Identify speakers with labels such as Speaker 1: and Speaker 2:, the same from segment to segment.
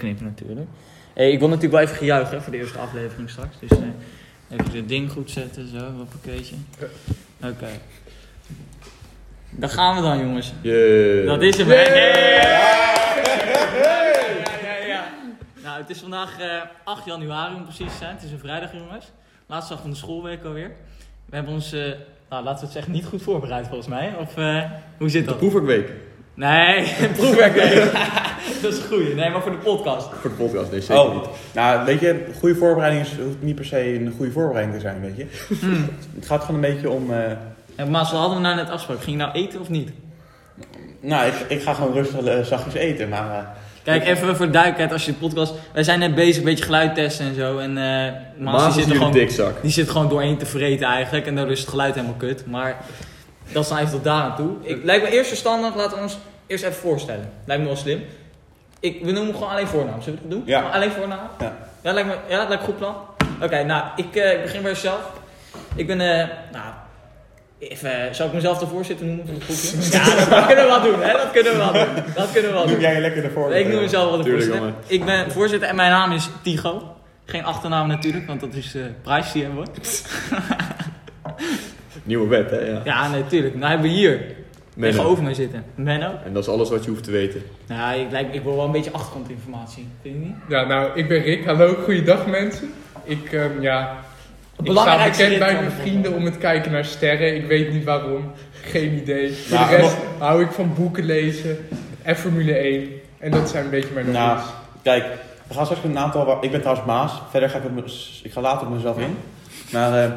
Speaker 1: knippen natuurlijk. Hey, ik wil natuurlijk wel even gejuichen hè, voor de eerste aflevering straks. Dus eh, even het ding goed zetten, zo, een pakketje. Oké. Daar gaan we dan, jongens.
Speaker 2: Yeah.
Speaker 1: Dat is hem, hè? Ja, ja, ja. Nou, het is vandaag eh, 8 januari om precies te zijn. Het is een vrijdag, jongens. Laatste dag van de schoolweek alweer. We hebben ons, eh, nou, laten we het zeggen, niet goed voorbereid volgens mij. Of eh, hoe zit
Speaker 2: De
Speaker 1: dat?
Speaker 2: proefwerkweek
Speaker 1: Nee, proefwerk. nee. dat is een goeie. Nee, maar voor de podcast.
Speaker 2: voor de podcast, nee zeker
Speaker 3: Oh.
Speaker 2: niet. Nou, weet je, goede voorbereiding is- hoeft niet per se een goede voorbereiding te zijn, weet je.
Speaker 1: Hmm.
Speaker 2: Het gaat gewoon een beetje om, eh,
Speaker 1: En Maas, we hadden we nou net afspraak. Ging je nou eten of niet?
Speaker 2: nou, ik, ik ga gewoon rustig eh, zachtjes eten, maar eh,
Speaker 1: Kijk, even voor duidelijkheid als je de podcast... Wij zijn net bezig, een beetje geluid testen en zo. En eh Maas,
Speaker 3: Maas
Speaker 1: die zit
Speaker 3: is
Speaker 1: er
Speaker 3: jullie
Speaker 1: gewoon...
Speaker 3: dikzak.
Speaker 1: Die zit gewoon doorheen te vreten eigenlijk. En daardoor is het geluid helemaal kut. Maar dat is dan even tot daar aan toe. Ik, lijkt me eerst verstandig, laten we ons eerst even voorstellen. Lijkt me wel slim. Ik, we noemen hem gewoon alleen voornaam. Zullen we dat doen?
Speaker 2: Ja.
Speaker 1: Gewoon Alleen voornaam?
Speaker 2: Ja.
Speaker 1: Dat lijkt me ja, dat lijkt me een goed plan. Oké, nou, ik, eh, ik begin bij mezelf. Ik ben, eh, nou, even, eh, zal ik mezelf de voorzitter noemen van het groepje? Ja, dat, dat kunnen we wel doen, hè? Dat kunnen we wel doen. Dat kunnen we wel doen.
Speaker 2: noem jij je lekker ervoor.
Speaker 1: Oh, Nee, ik noem mezelf wel de
Speaker 3: Tuurlijk,
Speaker 1: voorzitter. Ik ben voorzitter en mijn naam is Tigo. Geen achternaam natuurlijk, want dat is de prijs die hem wordt.
Speaker 3: Nieuwe wet, hè? Ja.
Speaker 1: Ja, natuurlijk. nou hebben we hier
Speaker 3: Menno.
Speaker 1: tegenover mij zitten. Menno.
Speaker 3: En dat is alles wat je hoeft te weten.
Speaker 1: Nou, ik, lijk, ik wil wel een beetje achtergrondinformatie. Vind je niet?
Speaker 4: Ja, nou, ik ben Rick. Hallo, goeiedag mensen. Ik, ehm, ja, ik sta
Speaker 1: belangrijkste
Speaker 4: bekend bij
Speaker 1: rit
Speaker 4: mijn
Speaker 1: van-
Speaker 4: vrienden om het kijken naar sterren. Ik weet niet waarom. Geen idee. Voor
Speaker 2: Nou,
Speaker 4: de rest hou ik van boeken lezen en Formule 1. En dat zijn een beetje mijn
Speaker 2: Nou,
Speaker 4: hobby's.
Speaker 2: Kijk, we gaan straks met een aantal. waar- Ik ben trouwens Maas. Verder ga ik, op mez- ik ga later op mezelf in. Maar eh,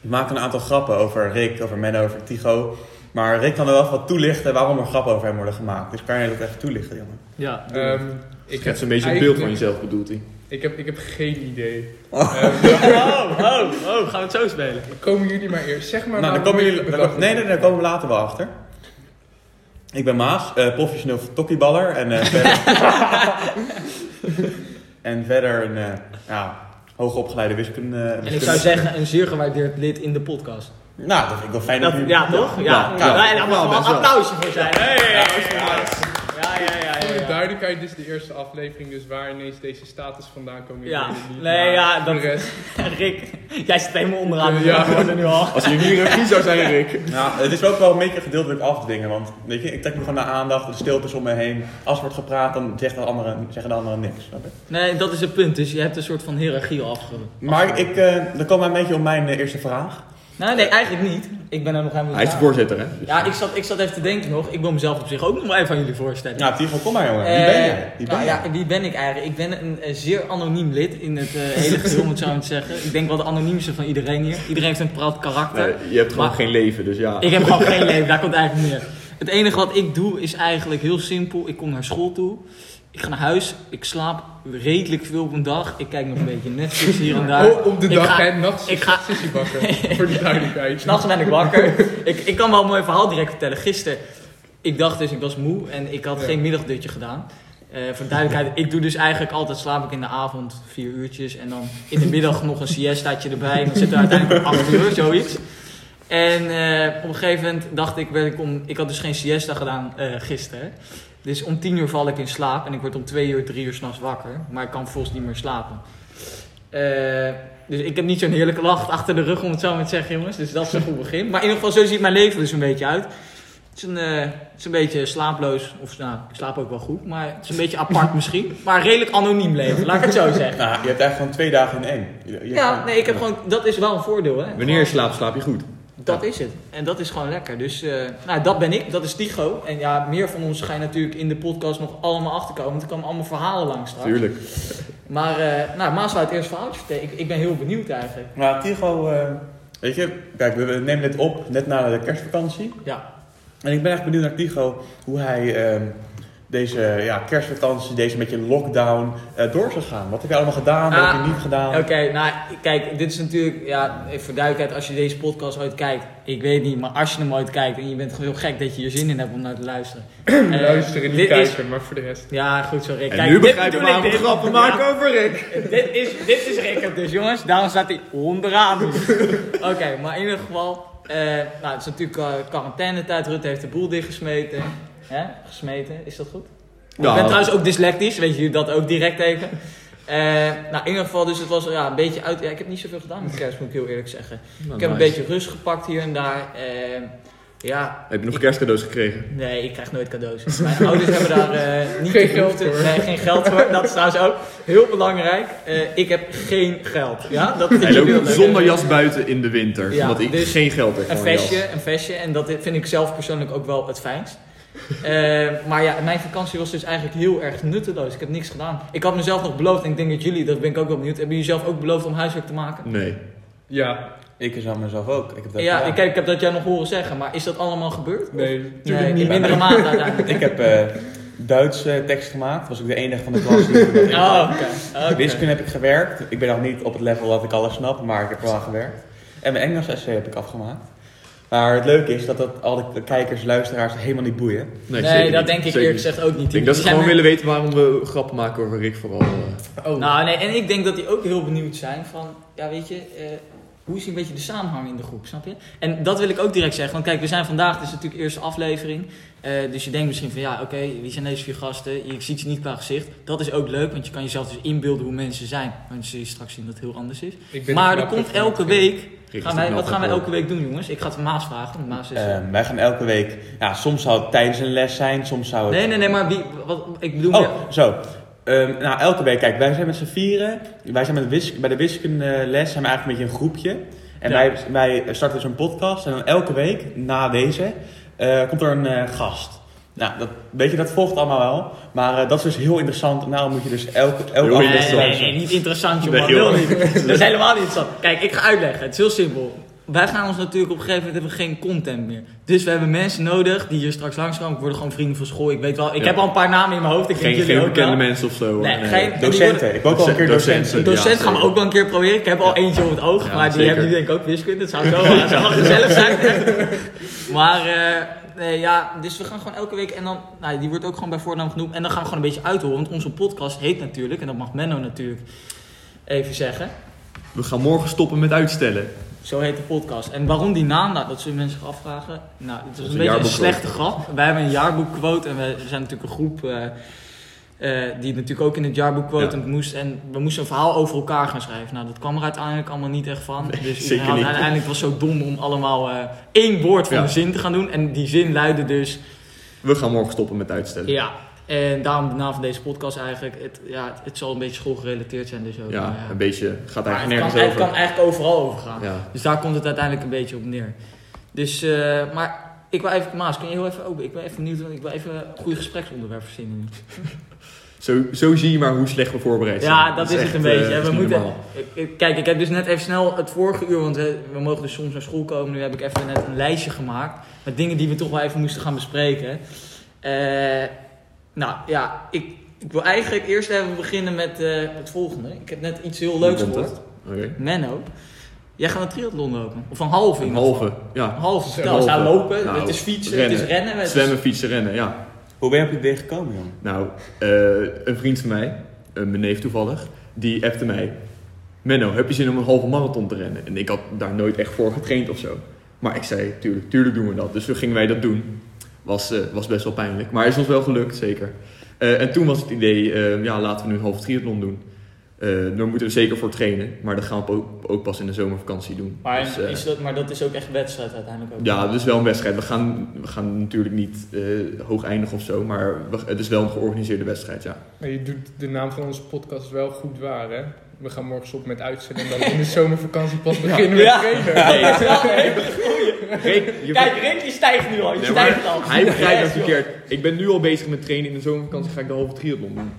Speaker 2: ik maak een aantal grappen over Rick, over Menno, over Tigo. Maar Rick kan er wel wat toelichten waarom er grappen over hem worden gemaakt. Dus kan je dat even toelichten, jongen?
Speaker 1: Ja.
Speaker 4: Ehm, ik,
Speaker 3: Je hebt
Speaker 4: heb,
Speaker 3: zo'n beetje een beeld van jezelf, bedoelt hij.
Speaker 4: ik, heb, ik heb geen idee.
Speaker 1: Oh, oh, oh, gaan we het zo spelen?
Speaker 4: Komen jullie maar eerst. Zeg maar
Speaker 2: nou, dan
Speaker 4: waarom
Speaker 2: komen jullie.
Speaker 4: het
Speaker 2: dan-
Speaker 4: bedacht
Speaker 2: nee, nee,
Speaker 4: hebben.
Speaker 2: daar komen we later wel achter. Ik ben Maas, eh, professioneel tokkieballer. En eh, verder. en verder een eh nou, hoogopgeleide wiskunde.
Speaker 1: En ik zou zeggen, een zeer gewaardeerd lid in de podcast.
Speaker 2: Nou, dat vind ik wel fijn
Speaker 1: Dat,
Speaker 2: dat, u-
Speaker 1: ja, toch? Ja.
Speaker 2: Ja, ja.
Speaker 1: Nou, en daar mag wel een applausje voor zijn. Hey, ja, ja, ja,
Speaker 4: Voor
Speaker 1: ja,
Speaker 4: de
Speaker 1: ja.
Speaker 4: duidelijkheid, dit is de eerste aflevering, dus waar ineens deze status vandaan komt. ik
Speaker 1: Ja.
Speaker 4: weet het niet.
Speaker 1: Nee,
Speaker 4: Maar
Speaker 1: ja,
Speaker 4: voor
Speaker 1: dat-
Speaker 4: de rest.
Speaker 1: Rick, jij zit helemaal onderaan.
Speaker 4: Ja.
Speaker 1: Ja. nu al.
Speaker 3: Als je nu regie zou zijn, Rick.
Speaker 2: Nou, het is ook wel een beetje gedeeltelijk afdwingen, want weet je, ik trek me gewoon naar aandacht, de stilte is om me heen. Als er wordt gepraat, dan zegt de andere, zeggen de anderen niks. snap je?
Speaker 1: Nee, dat is het punt. Dus je hebt een soort van hiërarchie al afgerond.
Speaker 2: Maar ik, eh dan komen we een beetje op mijn eh, eerste vraag.
Speaker 1: Nou, nee, eigenlijk niet. Ik ben er nog helemaal
Speaker 3: Hij is de
Speaker 1: klaar.
Speaker 3: voorzitter, hè? Dus-
Speaker 1: Ja, ik zat, ik zat even te denken nog. Ik wil mezelf op zich ook nog wel even aan jullie voorstellen.
Speaker 2: Nou, Tigo, kom maar jongen. Wie ben jij? Wie ben
Speaker 1: nou,
Speaker 2: jij?
Speaker 1: ja, wie ben ik eigenlijk? Ik ben een eh, zeer anoniem lid in het eh, hele geheel, om het zo maar te zeggen. Ik denk wel de anoniemste van iedereen hier. Iedereen heeft een pracht karakter.
Speaker 3: Nee, je hebt gewoon
Speaker 1: Maar-
Speaker 3: geen leven, dus ja.
Speaker 1: Ik heb gewoon geen leven, daar komt het eigenlijk neer. Het enige wat ik doe is eigenlijk heel simpel. Ik kom naar school toe, ik ga naar huis, ik slaap redelijk veel op een dag. Ik kijk nog een beetje Netflix hier en daar.
Speaker 4: Oh, op de
Speaker 1: Ik
Speaker 4: dag
Speaker 1: ga-
Speaker 4: en nachts
Speaker 1: ik ga-
Speaker 4: sissy bakken. voor de duidelijkheid.
Speaker 1: S'nachts ben ik wakker. ik, ik kan wel een mooi verhaal direct vertellen. Gisteren, ik dacht dus, ik was moe en ik had
Speaker 4: Ja.
Speaker 1: geen middagdutje gedaan. Eh, voor duidelijkheid, ik doe dus eigenlijk altijd, slaap ik in de avond vier uurtjes. En dan in de middag nog een siestaatje erbij. En dan zit er uiteindelijk acht uur, zoiets. En eh, op een gegeven moment dacht ik, werd ik om, ik had dus geen siesta gedaan eh, gisteren. hè. Dus om tien uur val ik in slaap en ik word om twee uur, drie uur s'nachts wakker. Maar ik kan volgens niet meer slapen. Eh, dus ik heb niet zo'n heerlijke lach achter de rug, om het zo maar te zeggen, jongens. Dus dat is een goed begin. Maar in ieder geval, zo ziet mijn leven dus een beetje uit. Het is een, eh, het is een beetje slaaploos. Of nou, ik slaap ook wel goed. Maar het is een beetje apart misschien. Maar een redelijk anoniem leven, laat ik het zo zeggen.
Speaker 2: Nou, je hebt eigenlijk gewoon twee dagen in één. Je- je hebt
Speaker 1: Ja,
Speaker 2: gewoon-
Speaker 1: nee, ik heb gewoon... Dat is wel een voordeel, hè.
Speaker 3: Wanneer je slaapt, slaap je goed.
Speaker 1: Dat is het. En dat is gewoon lekker. Dus eh, nou, dat ben ik, dat is Tigo. En ja, meer van ons ga je natuurlijk in de podcast nog allemaal achterkomen. Want er komen allemaal verhalen langs straks.
Speaker 3: Tuurlijk.
Speaker 1: Maar eh nou, Maas laat het eerst verhaaltje vertellen. Ik, ik ben heel benieuwd eigenlijk.
Speaker 2: Maar Tigo, eh, weet je, kijk, we we nemen dit op net na de kerstvakantie.
Speaker 1: Ja.
Speaker 2: En ik ben echt benieuwd naar Tigo, hoe hij ehm, deze ja, kerstvakantie, deze beetje lockdown eh, door zou gaan. Wat heb je allemaal gedaan, wat heb
Speaker 1: Ah,
Speaker 2: je niet gedaan?
Speaker 1: Oké, nou kijk, dit is natuurlijk, ja, even voor duidelijkheid, als je deze podcast ooit kijkt, ik weet niet, maar als je hem ooit kijkt en je bent gewoon heel gek dat je hier zin in hebt om naar te luisteren. Eh,
Speaker 4: Luisteren, niet
Speaker 1: dit is-
Speaker 4: kijken, maar voor de rest.
Speaker 1: ja, goed zo Rick.
Speaker 3: En
Speaker 1: Kijk,
Speaker 3: nu
Speaker 1: dit
Speaker 3: begrijp je
Speaker 1: bedoel ik
Speaker 3: waarom we
Speaker 1: dit.
Speaker 3: grappen
Speaker 1: Ja.
Speaker 3: maken over Rick.
Speaker 1: dit, is, dit is Rickert dus, jongens. Daarom staat hij onderaan. Oké, maar in ieder geval... eh, nou, het is natuurlijk eh quarantaine tijd. Rutte heeft de boel dichtgesmeten. Hè? Gesmeten, is dat goed? Ik ben
Speaker 3: Ja.
Speaker 1: trouwens ook dyslectisch, weet je dat ook direct even. Eh, nou, in ieder geval, dus het was ja, een beetje uit. Ja, ik heb niet zoveel gedaan met kerst, moet ik heel eerlijk zeggen. Ik heb een beetje rust gepakt hier en daar. Eh, ja,
Speaker 3: Heb je nog kerstcadeaus gekregen?
Speaker 1: nee, ik krijg nooit cadeaus. Mijn ouders hebben daar eh, niet
Speaker 4: Geen
Speaker 1: de
Speaker 4: geld
Speaker 1: behoefte-
Speaker 4: voor.
Speaker 1: Nee, geen geld voor. Dat is trouwens ook heel belangrijk. Eh, ik heb geen geld. Ja, dat
Speaker 3: Hij
Speaker 1: heel
Speaker 3: loopt
Speaker 1: leuk.
Speaker 3: zonder jas buiten in de winter.
Speaker 1: Ja,
Speaker 3: omdat ik
Speaker 1: dus
Speaker 3: geen geld heb.
Speaker 1: Een
Speaker 3: voor jas.
Speaker 1: vestje, een vestje. En dat vind ik zelf persoonlijk ook wel het fijnst. Eh, maar ja, mijn vakantie was dus eigenlijk heel erg nutteloos. Ik heb niks gedaan. Ik had mezelf nog beloofd, en ik denk dat jullie, dat ben ik ook wel benieuwd, hebben jullie zelf ook beloofd om huiswerk te maken?
Speaker 3: Nee.
Speaker 4: Ja,
Speaker 2: Ik is aan mezelf ook. Ik heb dat eh,
Speaker 1: ja,
Speaker 2: gedaan.
Speaker 1: ik, ik heb dat jij nog horen zeggen, maar is dat allemaal gebeurd?
Speaker 4: nee,
Speaker 1: Nee,
Speaker 4: natuurlijk
Speaker 1: in
Speaker 4: niet.
Speaker 1: mindere mate uiteindelijk.
Speaker 2: Ik heb eh, Duitse tekst gemaakt. Was ik de enige van de klas die dat deed.
Speaker 1: Oh, oké. oké.
Speaker 2: Wiskunde heb ik gewerkt. Ik ben nog niet op het level dat ik alles snap, maar ik heb er wel aan gewerkt. En mijn Engels essay heb ik afgemaakt. Maar het leuke is dat dat al die kijkers, luisteraars helemaal niet boeien.
Speaker 3: Nee,
Speaker 1: Nee,
Speaker 3: zeker
Speaker 1: dat
Speaker 3: niet.
Speaker 1: denk ik
Speaker 3: Zeker
Speaker 1: eerlijk
Speaker 3: niet.
Speaker 1: gezegd ook niet.
Speaker 3: Ik denk dat ze
Speaker 1: Die zijn
Speaker 3: gewoon
Speaker 1: me-
Speaker 3: willen weten waarom we grappen maken over Rick vooral. eh.
Speaker 4: Oh.
Speaker 1: Nou, nee, en ik denk dat die ook heel benieuwd zijn van, ja, weet je, eh, hoe is een beetje de samenhang in de groep, snap je? En dat wil ik ook direct zeggen, want kijk, we zijn vandaag, het is natuurlijk de eerste aflevering, eh, dus je denkt misschien van, ja, oké, wie zijn deze vier gasten? Je ziet ze niet qua gezicht. Dat is ook leuk, want je kan jezelf dus inbeelden hoe mensen zijn, want ze straks zien dat het heel anders is.
Speaker 4: Ik ben
Speaker 1: maar
Speaker 4: een
Speaker 1: er komt
Speaker 4: knapper
Speaker 1: elke
Speaker 4: van.
Speaker 1: week,
Speaker 3: Rick is
Speaker 1: gaan
Speaker 3: de
Speaker 1: wij, wat
Speaker 3: knapper
Speaker 1: gaan wij
Speaker 3: voor.
Speaker 1: elke week doen, jongens? Ik ga het Maas vragen, want Maas is... eh,
Speaker 2: Eh, wij gaan elke week, ja, soms zou het tijdens een les zijn, soms zou het...
Speaker 1: nee, nee, nee, maar wie, wat, ik bedoel...
Speaker 2: Oh, zo. Ehm, nou, elke week, kijk, wij zijn met z'n vieren. Wij zijn met wis- bij de wiskundeles zijn we eigenlijk een beetje een groepje. En
Speaker 1: Ja.
Speaker 2: wij, wij starten dus een podcast. En dan elke week, na deze, eh, komt er een eh, gast. Nou, dat, weet je, dat volgt allemaal wel. Maar eh, dat is dus heel interessant. En daarom moet je dus elke, elke
Speaker 3: Heel
Speaker 2: aflevering
Speaker 1: Nee, nee, nee,
Speaker 2: luisteren.
Speaker 1: nee, niet interessant, joh.
Speaker 3: Nee,
Speaker 1: man.
Speaker 3: joh.
Speaker 1: Wil niet. Dat is helemaal niet interessant. Kijk, ik ga uitleggen. Het is heel simpel. Wij gaan ons natuurlijk op een gegeven moment hebben we geen content meer. Dus we hebben mensen nodig die hier straks langskomen. Ik word gewoon vrienden van school. Ik weet wel, ik
Speaker 3: Ja.
Speaker 1: heb al een paar namen in mijn hoofd. Ik
Speaker 3: Geen,
Speaker 1: denk
Speaker 3: geen
Speaker 1: jullie ook
Speaker 3: bekende
Speaker 1: wel.
Speaker 3: mensen of zo.
Speaker 1: Nee,
Speaker 3: hoor.
Speaker 1: geen- en die
Speaker 2: Docenten. Ik wou ook al een keer
Speaker 3: Docenten.
Speaker 2: docenten.
Speaker 1: Een docent
Speaker 3: Ja,
Speaker 1: gaan we ook wel een keer proberen. Ik heb al eentje op het oog,
Speaker 3: Ja,
Speaker 1: maar die
Speaker 3: zeker.
Speaker 1: hebben nu denk ik ook wiskunde. Het zou zo het zou wel gezellig zijn. maar eh, nee, ja, dus we gaan gewoon elke week en dan, nou, die wordt ook gewoon bij voornaam genoemd. En dan gaan we gewoon een beetje uithoren, want onze podcast heet natuurlijk, en dat mag Menno natuurlijk even zeggen.
Speaker 3: We gaan morgen stoppen met uitstellen.
Speaker 1: Zo heet de podcast. En waarom die naam? Nou, dat zullen mensen zich afvragen. Nou, het is een
Speaker 3: is
Speaker 1: beetje
Speaker 3: een
Speaker 1: een
Speaker 3: jaarboekquote.
Speaker 1: slechte grap. Wij hebben een jaarboekquote en we zijn natuurlijk een groep eh, eh, die natuurlijk ook in het jaarboekquote moest. En we moesten een verhaal over elkaar gaan schrijven. Nou, dat kwam er uiteindelijk allemaal niet echt van. dus
Speaker 3: zeker
Speaker 1: iedereen had-
Speaker 3: niet.
Speaker 1: uiteindelijk was het zo dom om allemaal eh, één woord van
Speaker 3: Ja.
Speaker 1: de zin te gaan doen. En die zin luidde dus,
Speaker 3: We gaan morgen stoppen met uitstellen.
Speaker 1: ja. En daarom de naam van deze podcast eigenlijk. Het, ja, het, het zal een beetje schoolgerelateerd zijn dus ook.
Speaker 3: Ja,
Speaker 1: maar ja.
Speaker 3: een beetje. Gaat
Speaker 1: Maar het kan,
Speaker 3: eigenlijk nergens
Speaker 1: het
Speaker 3: over.
Speaker 1: kan eigenlijk overal over gaan.
Speaker 3: Ja.
Speaker 1: Dus daar komt het uiteindelijk een beetje op neer. Dus, eh, maar ik wil even, Maas, kun je heel even open? Ik ben even benieuwd, want ik wil even een goede gespreksonderwerp verzinnen. nu.
Speaker 3: Zo, zo zie je maar hoe slecht we voorbereid zijn.
Speaker 1: Ja, dat is het
Speaker 3: echt,
Speaker 1: een
Speaker 3: eh,
Speaker 1: beetje. hè.
Speaker 3: dat is
Speaker 1: we
Speaker 3: niet
Speaker 1: moeten,
Speaker 3: normaal.
Speaker 1: ik- ik- kijk, ik heb dus net even snel het vorige uur, want we, we mogen dus soms naar school komen. Nu heb ik even net een lijstje gemaakt met dingen die we toch wel even moesten gaan bespreken. Eh, nou ja, ik, ik wil eigenlijk eerst even beginnen met eh, het volgende. Ik heb net iets heel leuks
Speaker 3: Hoe komt
Speaker 1: gehoord.
Speaker 3: Oké.
Speaker 1: Menno, jij gaat een triathlon lopen. Of een halve in
Speaker 3: Een
Speaker 1: ieder geval.
Speaker 3: halve. Ja.
Speaker 1: Een halve, vertel.
Speaker 3: Een
Speaker 1: Het is
Speaker 3: halve.
Speaker 1: lopen,
Speaker 3: Nou,
Speaker 1: het is fietsen,
Speaker 3: rennen.
Speaker 1: het is rennen. Het is-
Speaker 3: Zwemmen, fietsen, rennen. Ja.
Speaker 2: Hoe ben je op dit idee gekomen, jong?
Speaker 3: Nou, eh, een vriend van mij, eh, mijn neef toevallig, die appte mij: Menno, heb je zin om een halve marathon te rennen? En ik had daar nooit echt voor getraind of zo. Maar ik zei: Tuurlijk, tuurlijk doen we dat. Dus toen gingen wij dat doen. Was, eh, was best wel pijnlijk, maar is ons wel gelukt, zeker. Eh, en toen was het idee: eh, ja, laten we nu een halve triathlon doen. Eh daar moeten we zeker voor trainen, maar dat gaan we ook, ook pas in de zomervakantie doen.
Speaker 1: Maar,
Speaker 3: Dus, eh,
Speaker 1: is dat, maar dat is ook echt wedstrijd uiteindelijk ook.
Speaker 3: ja, het is wel een wedstrijd. We gaan, we gaan natuurlijk niet eh, hoog eindigen of zo, maar we- het is wel een georganiseerde wedstrijd, ja.
Speaker 4: Maar je doet de naam van onze podcast wel goed waar, hè? We gaan morgen op met uitzenden en dan in de zomervakantie pas beginnen
Speaker 1: Ja.
Speaker 4: met trainen.
Speaker 1: Ja, dat is wel een hele goeie.
Speaker 3: Rick, je
Speaker 1: Kijk, Rick die stijgt nu al. Je
Speaker 3: Nee, maar
Speaker 1: stijgt al.
Speaker 3: Hij begrijpt het
Speaker 1: Ja,
Speaker 3: verkeerd. Ik ben nu al bezig met trainen. In de zomervakantie ga ik de halve triathlon doen.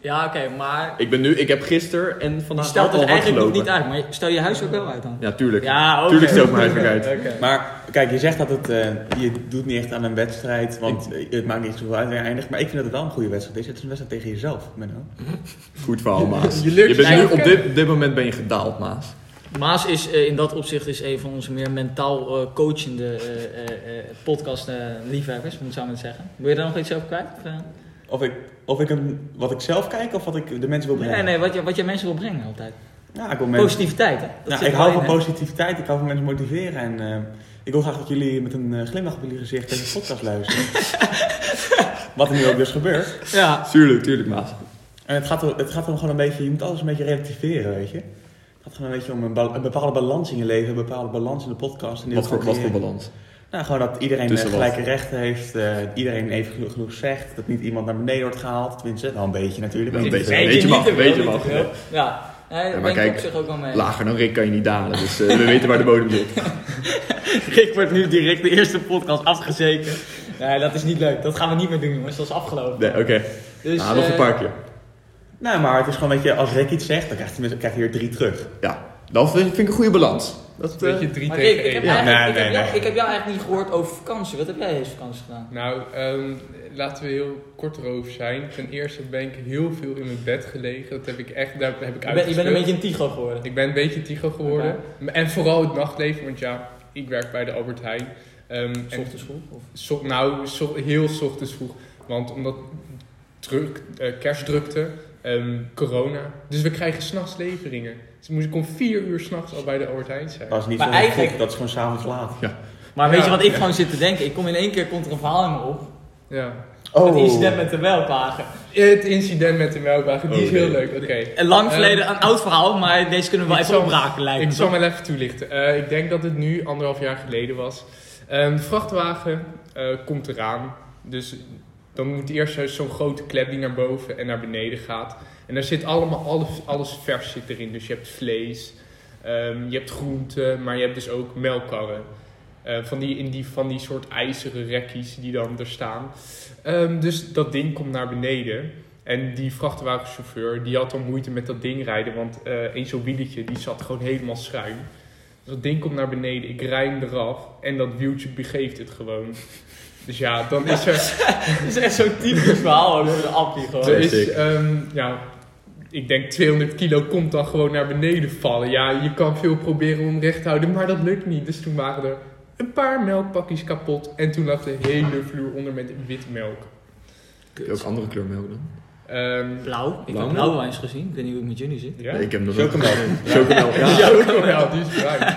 Speaker 1: Ja, oké, maar
Speaker 3: Ik ben nu, ik heb gisteren en
Speaker 1: je
Speaker 3: vandaag
Speaker 1: stelt
Speaker 3: al
Speaker 1: het
Speaker 3: hard
Speaker 1: eigenlijk nog
Speaker 3: gelopen.
Speaker 1: niet uit. Maar je- stel je huis ook wel uit dan?
Speaker 3: Ja, tuurlijk.
Speaker 1: Ja, oké.
Speaker 3: Tuurlijk stel ik mijn huiswerk uit.
Speaker 4: Oké.
Speaker 2: Maar kijk, je zegt dat het, eh, je doet niet echt aan een wedstrijd, want eh, het maakt niet zoveel uit waar je eindigt. Maar ik vind dat het wel een goede wedstrijd is. Het is een wedstrijd tegen jezelf, Menno.
Speaker 3: Goed verhaal, Maas.
Speaker 4: Je leert
Speaker 3: bent nu
Speaker 4: jezelf
Speaker 3: op dit, op dit moment ben je gedaald, Maas.
Speaker 1: Maas is eh, in dat opzicht is een van onze meer mentaal eh, coachende podcast-liefhebbers, eh, moet ik zo maar zeggen. Wil je daar nog iets over kwijt? Of, eh?
Speaker 2: Of ik, of ik hem, wat ik zelf kijk of wat ik de mensen wil
Speaker 1: Nee,
Speaker 2: brengen.
Speaker 1: nee, wat je, wat je mensen wil brengen altijd.
Speaker 2: Ja, ik wil mensen,
Speaker 1: Positiviteit, hè? Dat
Speaker 2: nou,
Speaker 1: zit
Speaker 2: ik
Speaker 1: er
Speaker 2: hou
Speaker 1: wel
Speaker 2: van
Speaker 1: in, hè?
Speaker 2: positiviteit, ik hou van mensen motiveren. En eh, ik wil graag dat jullie met een eh, glimlach op jullie gezicht deze podcast luisteren. Wat er nu ook dus gebeurt.
Speaker 1: Ja.
Speaker 3: Tuurlijk, tuurlijk, Maas.
Speaker 2: En het gaat, er- het gaat om gewoon een beetje, je moet alles een beetje relativeren, weet je. Het gaat gewoon een beetje om een, ba- een bepaalde balans in je leven, een bepaalde balans in de podcast. En dit
Speaker 3: Wat voor,
Speaker 2: gewoon
Speaker 3: wat voor
Speaker 2: die-
Speaker 3: balans?
Speaker 2: Nou, gewoon dat iedereen eh,
Speaker 3: Tussen wat?
Speaker 2: gelijke rechten heeft, eh, dat iedereen even genoeg, genoeg zegt, dat niet iemand naar beneden wordt gehaald. Tenminste, wel een beetje natuurlijk.
Speaker 3: Wel een
Speaker 2: maar
Speaker 3: beetje.
Speaker 2: niet
Speaker 3: Weet je mag,
Speaker 1: niet te veel,
Speaker 3: weet je
Speaker 1: niet te
Speaker 3: mag.
Speaker 1: veel. Ja. Nee, daar
Speaker 3: maar
Speaker 1: ben ik
Speaker 3: kijk,
Speaker 1: op zich ook wel mee.
Speaker 3: Lager dan Rick kan je niet dalen, dus eh, we weten waar de bodem zit.
Speaker 1: Ik word nu direct de eerste podcast afgezeken. Nee, dat is niet leuk. Dat gaan we niet meer doen, jongens. Dat is afgelopen.
Speaker 3: Nee, oké.
Speaker 1: Dus,
Speaker 3: nou, nog
Speaker 1: eh,
Speaker 3: een paar keer.
Speaker 2: te- Nou, maar het is gewoon, weet je, als Rick iets zegt, dan krijgt hij, krijgt hij weer drie terug.
Speaker 3: Ja, dat vind vind ik een goede balans. Dat, eh,
Speaker 4: Weet je, drie
Speaker 1: Maar
Speaker 4: tegen
Speaker 1: Rick, ik, heb
Speaker 4: één.
Speaker 2: Ja,
Speaker 1: eigenlijk-
Speaker 2: nee,
Speaker 1: ik, heb
Speaker 2: nee,
Speaker 1: jou,
Speaker 2: nee.
Speaker 1: ik heb jou eigenlijk niet gehoord over vakantie. Wat heb jij deze vakantie gedaan?
Speaker 4: Nou, ehm, laten we heel kort erover zijn. Ten eerste ben ik heel veel in mijn bed gelegen. Dat heb ik echt, daar heb ik
Speaker 1: Je bent, je bent een
Speaker 4: uitgespeeld.
Speaker 1: beetje een tigo geworden.
Speaker 4: Ik ben een beetje tygo geworden. En vooral het nachtleven, want ja, ik werk bij de Albert Heijn. Ehm,
Speaker 1: S
Speaker 4: en
Speaker 1: Ochtends vroeg? Of?
Speaker 4: zo- nou, zo- heel 's ochtends vroeg. Want omdat druk, eh, kerstdrukte, ehm, corona. Dus we krijgen s'nachts leveringen. Dus moest ik om vier uur s'nachts al bij de Albert Heijn zijn.
Speaker 2: Dat is niet
Speaker 1: Maar
Speaker 2: zo heel
Speaker 1: eigenlijk-
Speaker 2: gek, dat is gewoon s'avonds laat.
Speaker 1: Maar weet
Speaker 4: Ja.
Speaker 1: je wat ik gewoon zit te denken? Ik kom in één keer komt er een verhaal in me op.
Speaker 4: Ja.
Speaker 3: Oh.
Speaker 2: Oh.
Speaker 1: Het incident met de welpagen.
Speaker 4: Het incident met de melkwagen, die
Speaker 3: Oh,
Speaker 4: is heel
Speaker 3: nee.
Speaker 4: leuk. Oké.
Speaker 1: Een lang
Speaker 4: Ehm,
Speaker 1: verleden, een oud verhaal, maar deze kunnen we wel
Speaker 4: ik
Speaker 1: even
Speaker 4: zal-
Speaker 1: opraken lijkt
Speaker 4: Ik
Speaker 1: me.
Speaker 4: zal wel even toelichten. Eh, ik denk dat het nu anderhalf jaar geleden was. Ehm, de vrachtwagen eh, komt eraan. Dus dan moet eerst zo- zo'n grote klep die naar boven en naar beneden gaat. En daar zit allemaal alles, alles vers zit erin. Dus je hebt vlees, ehm, je hebt groenten, maar je hebt dus ook melkkarren. Eh, van, die, in die, van die soort ijzeren rekjes die dan er staan. Ehm, dus dat ding komt naar beneden. En die vrachtwagenchauffeur die had al moeite met dat ding rijden, want eh een zo'n wieletje die zat gewoon helemaal schuin. Dus dat ding komt naar beneden, ik rij hem eraf en dat wieltje begeeft het gewoon. Dus ja, dan is er.
Speaker 1: Het is echt zo'n typisch verhaal over de appie gewoon.
Speaker 4: er is,
Speaker 3: Classic.
Speaker 4: ehm, ja, ik denk 200 kilo komt dan gewoon naar beneden vallen. Ja, je kan veel proberen om recht te houden, maar dat lukt niet. Dus toen waren er een paar melkpakjes kapot en toen lag de hele vloer onder met wit melk.
Speaker 3: Heb je ook andere kleur melk dan?
Speaker 4: Ehm,
Speaker 1: Blauw. Ik heb
Speaker 3: Blauw.
Speaker 1: blauw eens gezien. Ik weet niet hoe het met jullie zit.
Speaker 4: ja.
Speaker 3: Nee, ik heb nog
Speaker 2: Chocomel.
Speaker 3: Chocomel, ja.
Speaker 4: Ja, ook wel, die is bruin.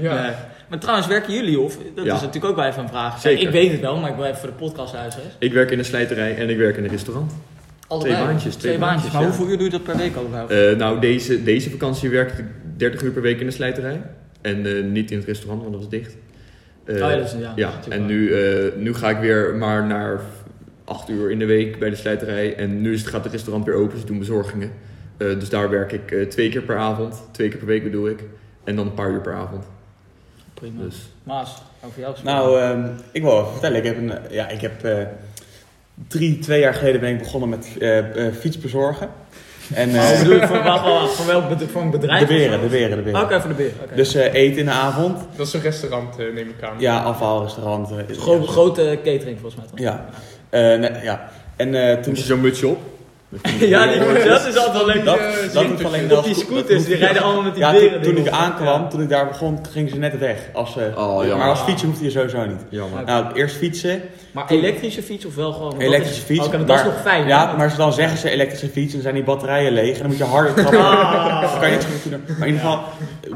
Speaker 4: Ja.
Speaker 1: Nee. Maar trouwens, werken jullie of? Dat
Speaker 3: Ja.
Speaker 1: is natuurlijk ook wel even een vraag.
Speaker 3: Zeker.
Speaker 1: Ik weet het wel, maar ik wil even voor de podcast uitzeggen.
Speaker 3: Ik werk in een slijterij en ik werk in een restaurant.
Speaker 1: Allebei.
Speaker 3: Twee
Speaker 1: Twee,
Speaker 3: baantjes, twee
Speaker 1: baantjes.
Speaker 3: baantjes,
Speaker 1: Maar
Speaker 3: ja.
Speaker 1: hoeveel uur doe je dat per week allebei?
Speaker 3: Eh, nou, deze, deze vakantie werkte ik 30 uur per week in de slijterij. En eh, niet in het restaurant, want dat was dicht. Eh,
Speaker 1: Oh ja, dat is- ja, dat is
Speaker 3: ja,
Speaker 1: natuurlijk
Speaker 3: en
Speaker 1: waar.
Speaker 3: nu, eh, nu ga ik weer maar naar 8 uur in de week bij de slijterij. En nu is het, gaat het restaurant weer open, ze doen bezorgingen. Eh, dus daar werk ik eh, twee keer per avond, twee keer per week bedoel ik. En dan een paar uur per avond.
Speaker 1: Prima.
Speaker 3: Dus
Speaker 1: Maas, over jou gesproken.
Speaker 2: Nou, ehm, ik wil even vertellen. Ik heb, een, eh, ja, ik heb eh, drie, twee jaar geleden ben ik begonnen met eh eh fiets bezorgen. En,
Speaker 1: Maar hoe
Speaker 2: eh
Speaker 1: Oh, bedoel je, voor, wacht, wacht, wacht, voor welk bed- voor een bedrijf?
Speaker 2: de
Speaker 1: of zo?
Speaker 2: beren, de beren, de beren.
Speaker 1: Oké, voor de beren. oké.
Speaker 2: Dus eh, eten in de avond.
Speaker 4: Dat is een restaurant, eh, neem ik aan.
Speaker 2: Ja, afhaalrestaurant. eh, is-
Speaker 1: Gro- grote catering volgens mij toch?
Speaker 2: Ja. Eh, nee, ja. En eh, toen...
Speaker 3: toen je zo'n mutsje op.
Speaker 1: Ja, die, dat is altijd wel leuk.
Speaker 2: Dat,
Speaker 4: eh,
Speaker 2: dat moet alleen
Speaker 1: Op die scooters, die rijden allemaal met die
Speaker 2: Ja,
Speaker 1: beren.
Speaker 2: toen, toen
Speaker 1: die
Speaker 2: ik
Speaker 1: rond-
Speaker 2: aankwam,
Speaker 1: Ja.
Speaker 2: toen ik daar begon, ging ze net weg. Als, eh,
Speaker 3: Oh, jammer.
Speaker 2: maar als fietser hoefde je sowieso niet.
Speaker 3: Jammer.
Speaker 2: Nou, eerst fietsen,
Speaker 1: Maar elektrische fiets of wel gewoon? Want dat
Speaker 2: elektrische
Speaker 1: Oh, is- oh,
Speaker 2: fiets.
Speaker 1: Oké, maar dat
Speaker 2: maar-
Speaker 1: is nog fijn.
Speaker 2: Ja,
Speaker 1: hè?
Speaker 2: maar ze dan zeggen ze elektrische fiets en dan zijn die batterijen leeg. En dan moet je harder trappen.
Speaker 1: Ah.
Speaker 2: Dan kan je niks goed doen. Maar in ieder geval,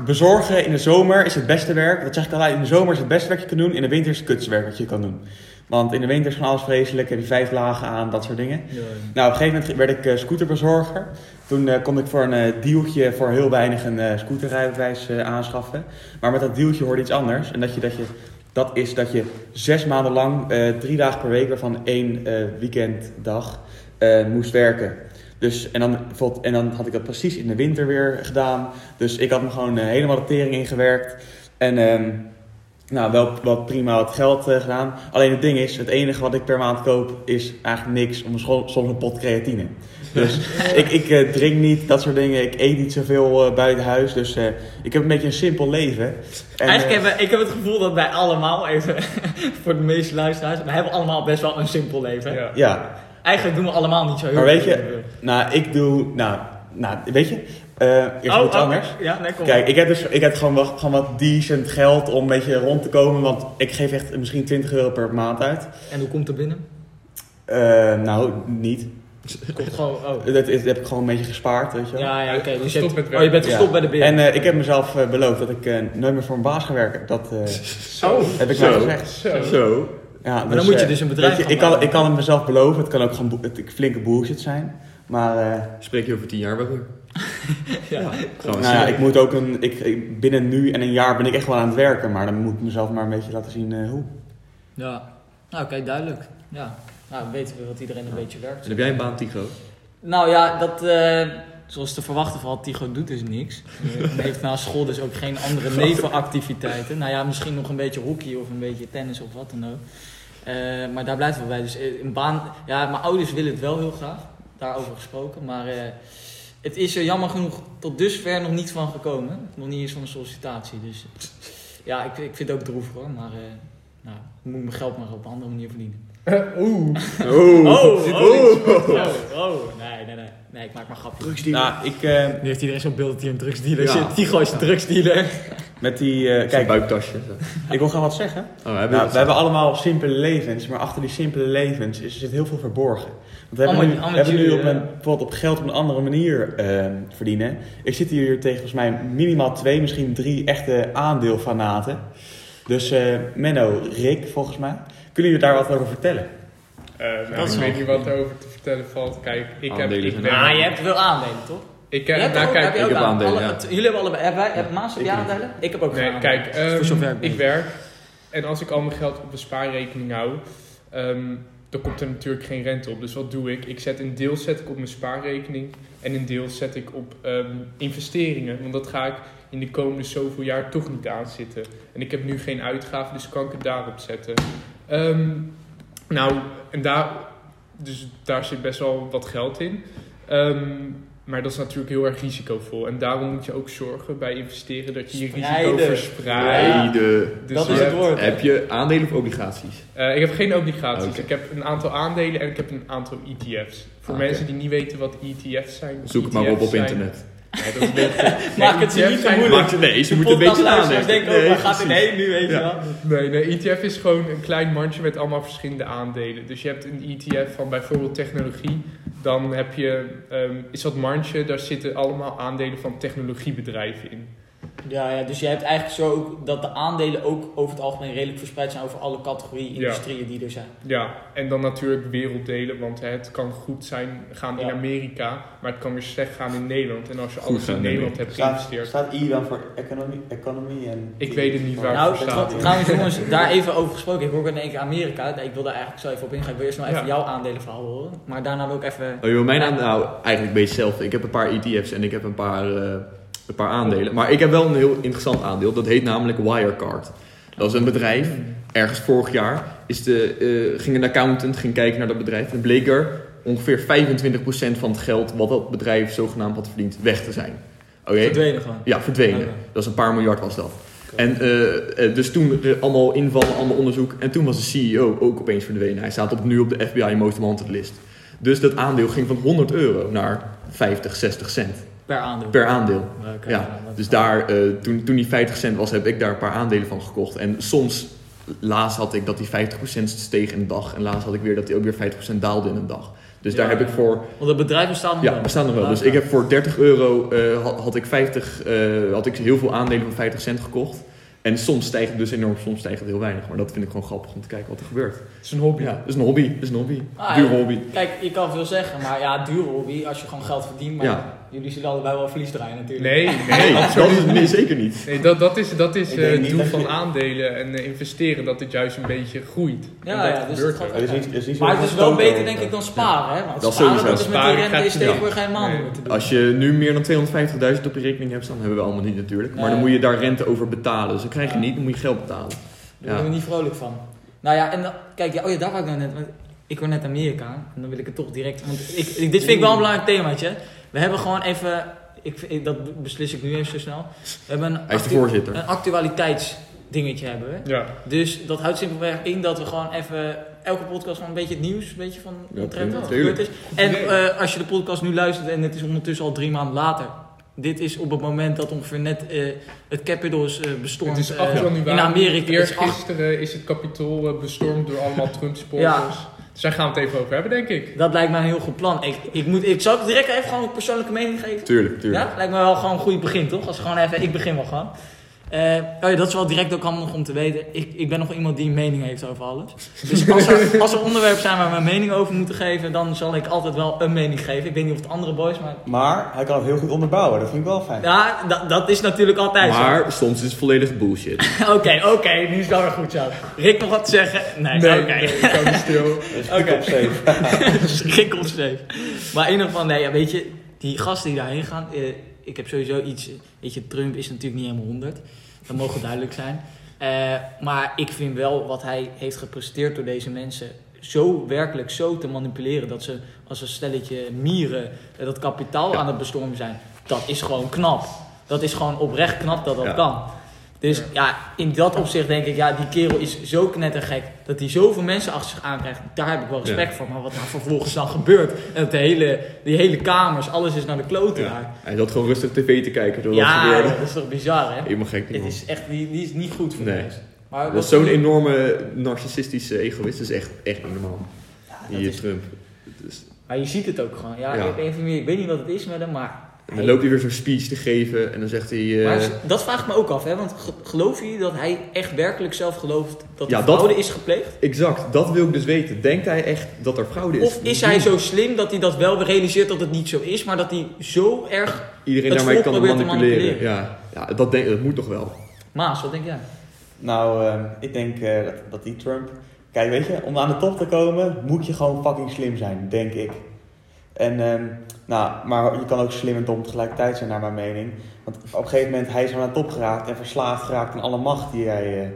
Speaker 2: bezorgen in de zomer is het beste werk. Dat zeg ik altijd, in de zomer is het beste werk je kan doen. In de winter is het kutste werk wat je kan doen. Want in de winter is van alles vreselijk. Heb je vijf lagen aan, dat soort dingen.
Speaker 1: Ja, ja.
Speaker 2: Nou, op een gegeven moment werd ik eh, scooterbezorger. Toen eh, kon ik voor een eh dealtje voor heel weinig een eh, scooterrijbewijs eh, aanschaffen. Maar met dat dealtje hoorde iets anders. En dat, je, dat, je, dat is dat je zes maanden lang, eh, drie dagen per week, waarvan één eh, weekenddag, eh, moest werken. Dus, en, dan, bijvoorbeeld- en dan had ik dat precies in de winter weer gedaan. Dus ik had me gewoon eh, helemaal de tering ingewerkt. En ehm, nou, wel, wel prima wat geld eh, gedaan. Alleen het ding is, het enige wat ik per maand koop is eigenlijk niks. Om scho- soms een pot creatine. Dus ik, ik eh, drink niet, dat soort dingen. Ik eet niet zoveel eh, buiten huis. Dus eh, ik heb een beetje een simpel leven. En, eh,
Speaker 1: Eigenlijk hebben, ik heb het gevoel dat wij allemaal, even voor de meeste luisteraars, we hebben allemaal best wel een simpel leven.
Speaker 4: Ja.
Speaker 2: ja,
Speaker 1: Eigenlijk doen we allemaal niet zo heel
Speaker 2: Maar weet
Speaker 1: veel.
Speaker 2: je- nou, ik doe... Nou, nou weet je... eh eerst
Speaker 1: oh,
Speaker 2: iets
Speaker 1: oh,
Speaker 2: anders.
Speaker 1: Ja, nee, kom.
Speaker 2: Kijk, ik heb, dus, ik heb gewoon, wat, gewoon wat decent geld om een beetje rond te komen. Want ik geef echt misschien 20 euro per maand uit.
Speaker 1: En hoe komt het binnen?
Speaker 2: Eh, nou, niet.
Speaker 1: Komt gewoon, oh.
Speaker 2: Dat, is, dat heb ik gewoon een beetje gespaard, weet je wel.
Speaker 1: Ja, ja, oké. Dus je,
Speaker 4: Gestopt
Speaker 1: hebt-
Speaker 4: met
Speaker 1: oh, je bent
Speaker 2: Ja.
Speaker 1: gestopt bij de beer.
Speaker 2: En eh, ik heb mezelf eh, beloofd dat ik eh, nooit meer voor een baas ga werken. Dat eh,
Speaker 1: oh,
Speaker 2: heb ik
Speaker 3: Zo.
Speaker 2: mij gezegd.
Speaker 4: Zo.
Speaker 3: Zo,
Speaker 2: Ja,
Speaker 1: Maar dan moet je
Speaker 2: eh,
Speaker 1: dus een bedrijf
Speaker 2: weet je,
Speaker 1: gaan
Speaker 2: ik, kan,
Speaker 1: bouwen.
Speaker 2: ik kan het mezelf beloven, het kan ook gewoon bo- het, flinke bullshit zijn. Maar eh,
Speaker 3: Spreek je over tien jaar wel weer.
Speaker 1: Ja.
Speaker 3: Gaan we
Speaker 2: nou ja,
Speaker 3: zien.
Speaker 2: ik moet ook een, ik, ik- binnen nu en een jaar ben ik echt wel aan het werken. Maar dan moet ik mezelf maar een beetje laten zien eh, hoe.
Speaker 1: Ja. Nou, kijk, duidelijk. Ja. Nou, dan weten we wat iedereen een beetje werkt.
Speaker 3: En heb jij een baan, Tigo?
Speaker 1: Nou ja, dat, eh, zoals te verwachten valt, Tigo doet dus niks. Hij heeft na school dus ook geen andere nevenactiviteiten. Nou ja, misschien nog een beetje hockey of een beetje tennis of wat dan ook. Eh, maar daar blijft het wel bij. Dus eh, een baan, ja, mijn ouders willen het wel heel graag, daarover gesproken. Maar eh, het is er jammer genoeg tot dusver nog niet van gekomen. Nog niet eens van een sollicitatie. Dus ja, ik, ik vind het ook droevig hoor. Maar eh nou, ik moet mijn geld maar op een andere manier verdienen.
Speaker 4: Oeh.
Speaker 3: Oh,
Speaker 1: Oh, oh. Nee, nee, nee. Nee, ik maak maar grapjes.
Speaker 2: Nou, ik, eh,
Speaker 1: Nu heeft iedereen zo'n beeld dat hij een drugsdealer
Speaker 2: Ja.
Speaker 1: zit. Tigo is een drugsdealer.
Speaker 2: met die, eh,
Speaker 3: Kijk,
Speaker 2: kijk,
Speaker 3: buiktasje. Zo.
Speaker 2: ik wil gewoon wat zeggen.
Speaker 3: Oh, hebben
Speaker 2: Nou,
Speaker 3: we
Speaker 2: we hebben allemaal simpele levens, maar achter die simpele levens is, zit heel veel verborgen. Want we hebben
Speaker 1: Allemaal-
Speaker 2: nu, we
Speaker 1: allemaal
Speaker 2: hebben nu
Speaker 1: jullie,
Speaker 2: op
Speaker 1: eh,
Speaker 2: een, bijvoorbeeld op geld op een andere manier eh, verdienen. Ik zit hier tegen volgens mij minimaal twee, misschien drie echte aandeelfanaten. Dus eh, Menno, Rick volgens mij. Kunnen jullie daar wat over vertellen?
Speaker 4: Eh, nou,
Speaker 1: Dat is
Speaker 4: ik weet
Speaker 1: wel
Speaker 4: niet wat er over te vertellen valt. Kijk, ik heb...
Speaker 3: Aandelen
Speaker 4: Ik
Speaker 3: zijn
Speaker 4: ben,
Speaker 1: Ah, je hebt wel aandelen, toch?
Speaker 4: Ik
Speaker 1: Je
Speaker 4: heb...
Speaker 1: hebt
Speaker 4: nou,
Speaker 1: ook-
Speaker 4: kijk,
Speaker 1: je
Speaker 3: ik
Speaker 1: ook
Speaker 3: heb
Speaker 1: aan-
Speaker 3: aandelen,
Speaker 1: alle-
Speaker 3: ja.
Speaker 1: het- Jullie hebben allebei... Heb, wij, heb Maas, heb
Speaker 2: Ik
Speaker 1: jij
Speaker 2: niet.
Speaker 1: aandelen? Ik heb ook geen
Speaker 4: Nee,
Speaker 1: aandelen.
Speaker 4: kijk,
Speaker 1: Voor zover
Speaker 4: ehm,
Speaker 1: ik
Speaker 4: ik
Speaker 1: weet.
Speaker 4: werk en als ik al mijn geld op een spaarrekening hou, ehm, dan komt er natuurlijk geen rente op. Dus wat doe ik? Ik zet een deel zet ik op mijn spaarrekening en een deel zet ik op ehm, investeringen. Want dat ga ik in de komende zoveel jaar toch niet aanzitten. En ik heb nu geen uitgaven, dus kan ik het daarop zetten. Ehm, nou, en daar, dus daar zit best wel wat geld in. Ehm, maar dat is natuurlijk heel erg risicovol. En daarom moet je ook zorgen bij investeren dat je je risico
Speaker 1: Spreiden.
Speaker 4: verspreidt.
Speaker 3: Beide.
Speaker 4: Dus
Speaker 1: dat
Speaker 4: je
Speaker 1: is het
Speaker 4: hebt-
Speaker 1: woord.
Speaker 3: Heb je aandelen of obligaties?
Speaker 4: eh, ik heb geen obligaties.
Speaker 3: Oké.
Speaker 4: Ik heb een aantal aandelen en ik heb een aantal ETF's. Voor
Speaker 3: Ah,
Speaker 4: mensen die niet weten wat ETF's zijn.
Speaker 3: Zoek het maar op
Speaker 4: ETF's
Speaker 3: op
Speaker 4: zijn-
Speaker 3: internet.
Speaker 4: Nee, dat is wel-
Speaker 1: Maak het ze
Speaker 4: ETF's
Speaker 1: niet te
Speaker 4: zijn-
Speaker 1: moeilijk.
Speaker 3: Maar nee, ze moeten een beetje
Speaker 1: Podcastluisteraars
Speaker 3: nadenken.
Speaker 1: denken ook,
Speaker 3: Nee,
Speaker 1: waar gaat dit
Speaker 3: precies.
Speaker 1: heen nu, weet je
Speaker 3: Ja.
Speaker 1: wel?
Speaker 4: Nee, nee, ETF is gewoon een klein mandje met allemaal verschillende aandelen. Dus je hebt een ETF van bijvoorbeeld technologie. Dan heb je, ehm, is dat mandje, daar zitten allemaal aandelen van technologiebedrijven in.
Speaker 1: Ja, ja, dus je hebt eigenlijk zo ook dat de aandelen ook over het algemeen redelijk verspreid zijn over alle categorieën
Speaker 4: Ja.
Speaker 1: industrieën die er zijn.
Speaker 4: Ja, en dan natuurlijk werelddelen, want het kan goed zijn gaan in
Speaker 1: Ja.
Speaker 4: Amerika, maar het kan weer slecht gaan in Nederland. En als je
Speaker 3: Goed
Speaker 4: alles
Speaker 3: gaan
Speaker 4: in
Speaker 3: in
Speaker 4: Nederland hebt geïnvesteerd,
Speaker 2: staat I dan voor economie, economie en...
Speaker 4: Ik weet het niet waar
Speaker 1: Nou,
Speaker 4: het voor
Speaker 1: trouw-
Speaker 4: staat.
Speaker 1: trouwens jongens, daar even over gesproken. Ik hoor ook in één keer Amerika. Ik wil daar eigenlijk zo even op ingaan. Ik wil eerst nog even
Speaker 4: Ja.
Speaker 1: jouw aandelenverhaal horen. Maar daarna wil ik even...
Speaker 3: Oh, joh, mijn aandeel, nou, eigenlijk beetje hetzelfde. Ik heb een paar ETF's en ik heb een paar, eh, een paar aandelen. Maar ik heb wel een heel interessant aandeel. Dat heet namelijk Wirecard. Dat is een bedrijf. Ergens vorig jaar is de, eh, ging een accountant ging kijken naar dat bedrijf. En bleek er ongeveer 25% van het geld wat dat bedrijf zogenaamd had verdiend weg te zijn. Oké?
Speaker 1: Verdwenen gewoon.
Speaker 3: Ja, verdwenen.
Speaker 1: Oké.
Speaker 3: Dat is een paar miljard was dat. En eh, eh, dus toen er allemaal invallen, allemaal onderzoek. En toen was de CEO ook opeens verdwenen. Hij staat op, nu op de FBI Most Wanted list. Dus dat aandeel ging van 100 euro naar 50, 60 cent
Speaker 1: Per aandeel.
Speaker 3: per aandeel.
Speaker 1: Maar oké,
Speaker 3: Ja,
Speaker 1: dat-
Speaker 3: dus daar, eh, toen, toen die 50 cent was, heb ik daar een paar aandelen van gekocht. En soms, laatst had ik dat die 50% steeg in een dag. En laatst had ik weer dat die ook weer 50% daalde in een dag. Dus daar
Speaker 1: Ja.
Speaker 3: heb ik voor
Speaker 1: Want het bedrijf bestaat nog
Speaker 3: ja,
Speaker 1: wel.
Speaker 3: bestaan er wel. Dus
Speaker 1: Ja.
Speaker 3: ik heb voor 30 euro eh, had, had ik 50, eh, had ik heel veel aandelen van 50 cent gekocht. En soms stijgt het dus enorm, soms stijgt het heel weinig. Maar dat vind ik gewoon grappig om te kijken wat er gebeurt.
Speaker 4: Het is een hobby.
Speaker 3: Ja, dat is een hobby. Dat is een hobby.
Speaker 1: Ah,
Speaker 3: Duur
Speaker 1: ja.
Speaker 3: hobby.
Speaker 1: Kijk, je kan veel zeggen, maar ja, duur hobby als je gewoon geld verdient. Maar
Speaker 3: Ja.
Speaker 1: jullie zullen allebei wel verlies draaien natuurlijk.
Speaker 4: Nee,
Speaker 3: Nee,
Speaker 4: nee,
Speaker 3: dat is
Speaker 4: absoluut
Speaker 3: het
Speaker 4: niet.
Speaker 3: nee, zeker niet.
Speaker 4: Nee, dat, dat is, dat is
Speaker 2: Ik
Speaker 4: eh,
Speaker 2: denk
Speaker 4: het
Speaker 2: niet
Speaker 4: doel
Speaker 2: dat
Speaker 4: van
Speaker 2: je-
Speaker 4: aandelen en eh, investeren, dat het juist een beetje groeit.
Speaker 1: Ja,
Speaker 4: En dat
Speaker 1: ja, dus
Speaker 4: gebeurt
Speaker 1: dat
Speaker 4: ook.
Speaker 1: gaat-
Speaker 2: Er is niet- er is niet
Speaker 1: Maar het
Speaker 2: zoveel
Speaker 1: is wel
Speaker 2: verstand
Speaker 1: beter denk
Speaker 2: over.
Speaker 1: ik dan sparen, hè? Want
Speaker 3: Dat
Speaker 1: sparen,
Speaker 3: sowieso.
Speaker 1: dat is met die
Speaker 4: Sparen
Speaker 1: rente
Speaker 4: gaat-
Speaker 1: is tegenwoordig
Speaker 4: ja.
Speaker 1: helemaal niet
Speaker 4: Nee.
Speaker 1: meer te doen.
Speaker 3: Als je nu meer dan 250.000 op je rekening hebt staan, hebben we allemaal niet natuurlijk. Maar dan
Speaker 1: Nee.
Speaker 3: moet je daar rente over betalen. Dus dat krijg je niet, dan moet je geld betalen.
Speaker 1: Daar ben ik niet vrolijk van. Nou ja, en dan, kijk, ja, oh ja, daar ga ik nou net. Want ik hoor net Amerika. En dan wil ik het toch direct. Want ik, ik- dit vind ik wel een belangrijk themaatje. We hebben gewoon even. Ik, vind- ik- dat beslis ik nu even zo snel. We hebben een,
Speaker 3: Hij is de
Speaker 1: actu-
Speaker 3: voorzitter.
Speaker 1: een actualiteitsdingetje hebben we.
Speaker 4: Ja,
Speaker 1: Dus dat houdt simpelweg in dat we gewoon even elke podcast van een beetje het nieuws, een beetje van
Speaker 3: Ja,
Speaker 1: omtrent wat er
Speaker 3: tuurlijk.
Speaker 1: gebeurd is. En
Speaker 4: idee.
Speaker 1: eh, als je de podcast nu luistert en het is ondertussen al drie maanden later. Dit is op het moment dat ongeveer net eh, het Capitol is eh, bestormd
Speaker 4: het is
Speaker 1: eh,
Speaker 4: 8 januari.
Speaker 1: in Amerika. Het is 8
Speaker 4: Eergisteren is het kapitool eh, bestormd door allemaal Trump-supporters. Dus daar gaan we het even over hebben, denk ik.
Speaker 1: Dat lijkt mij een heel goed plan. Ik, ik, moet, ik zal direct even gewoon een persoonlijke mening geven.
Speaker 3: Tuurlijk, tuurlijk.
Speaker 1: Ja, lijkt me wel gewoon een goed begin, toch? Als gewoon even, ik begin wel gewoon. Eh, Eh, oh ja, dat is wel direct ook handig om te weten. Ik, ik ben nog iemand die een mening heeft over alles. Dus als er, als er onderwerpen zijn waar we een mening over moeten geven, dan zal ik altijd wel een mening geven. Ik weet niet of het andere boys, maar...
Speaker 2: Maar hij kan het heel goed onderbouwen, dat vind ik wel fijn.
Speaker 1: Ja, da- dat is natuurlijk altijd zo.
Speaker 3: Maar soms is het volledig bullshit.
Speaker 1: Oké, oké, nu is dat weer goed zo. Rick nog wat te zeggen? Nee, oké.
Speaker 4: ik hou me stil.
Speaker 2: Dus
Speaker 1: Oké.
Speaker 2: ik op zeven.
Speaker 1: Schrik of zeep. Maar in ieder geval, nee, ja, weet je, die gasten die daarheen gaan, eh, ik heb sowieso iets. eh, Weet je, Trump is natuurlijk niet helemaal 100. Dat mogen duidelijk zijn. Eh, maar ik vind wel wat hij heeft gepresteerd door deze mensen zo werkelijk zo te manipuleren dat ze als een stelletje mieren eh, dat kapitaal
Speaker 3: Ja.
Speaker 1: aan het bestormen zijn. Dat is gewoon knap. Dat is gewoon oprecht knap dat dat
Speaker 3: Ja.
Speaker 1: kan. Dus ja, in dat opzicht denk ik, ja, die kerel is zo knettergek dat hij zoveel mensen achter zich aankrijgt. Daar heb ik wel respect voor. Maar wat daar vervolgens dan gebeurt, en dat de hele, die hele kamers, alles is naar de klote daar.
Speaker 3: Hij zat gewoon rustig tv te kijken door dat
Speaker 1: Ja,
Speaker 3: gebeurde.
Speaker 1: dat is toch bizar, hè?
Speaker 3: Helemaal gek, die
Speaker 1: Het
Speaker 3: man.
Speaker 1: is echt, die, die is niet goed voor
Speaker 3: Nee.
Speaker 1: nee. Maar
Speaker 3: Dat
Speaker 1: wat-
Speaker 3: is zo'n enorme narcissistische egoïst. Dat is echt, echt niet normaal.
Speaker 1: Ja, dat
Speaker 3: Hier,
Speaker 1: is-
Speaker 3: Trump. Het is-
Speaker 1: maar je ziet het ook gewoon. Ja,
Speaker 3: Ja.
Speaker 1: Op een of andere manier, ik weet niet wat het is met hem, maar...
Speaker 3: En dan loopt hij weer zo'n speech te geven en dan zegt hij... eh,
Speaker 1: Maar dat vraagt me ook af, hè? Want ge- geloof je dat hij echt werkelijk zelf gelooft dat
Speaker 3: Ja,
Speaker 1: er
Speaker 3: dat-
Speaker 1: fraude is gepleegd?
Speaker 3: exact, dat wil ik dus weten. Denkt hij echt dat er fraude is?
Speaker 1: Of is hij zo slim dat hij dat wel realiseert dat het niet zo is, maar dat hij zo erg...
Speaker 3: Iedereen
Speaker 1: het
Speaker 3: daarmee
Speaker 1: volk
Speaker 3: kan
Speaker 1: probeert te
Speaker 3: manipuleren.
Speaker 1: manipuleren?
Speaker 3: Ja, ja dat, denk, dat moet toch wel.
Speaker 1: Maas, wat denk jij?
Speaker 2: Nou, ehm, ik denk eh, dat, dat die Trump. Kijk, weet je, om aan de top te komen moet je gewoon fucking slim zijn, denk ik. En, ehm, nou, maar je kan ook slim en dom tegelijkertijd zijn, naar mijn mening. Want op een gegeven moment, hij is aan de top geraakt en verslaafd geraakt aan alle macht die hij eh,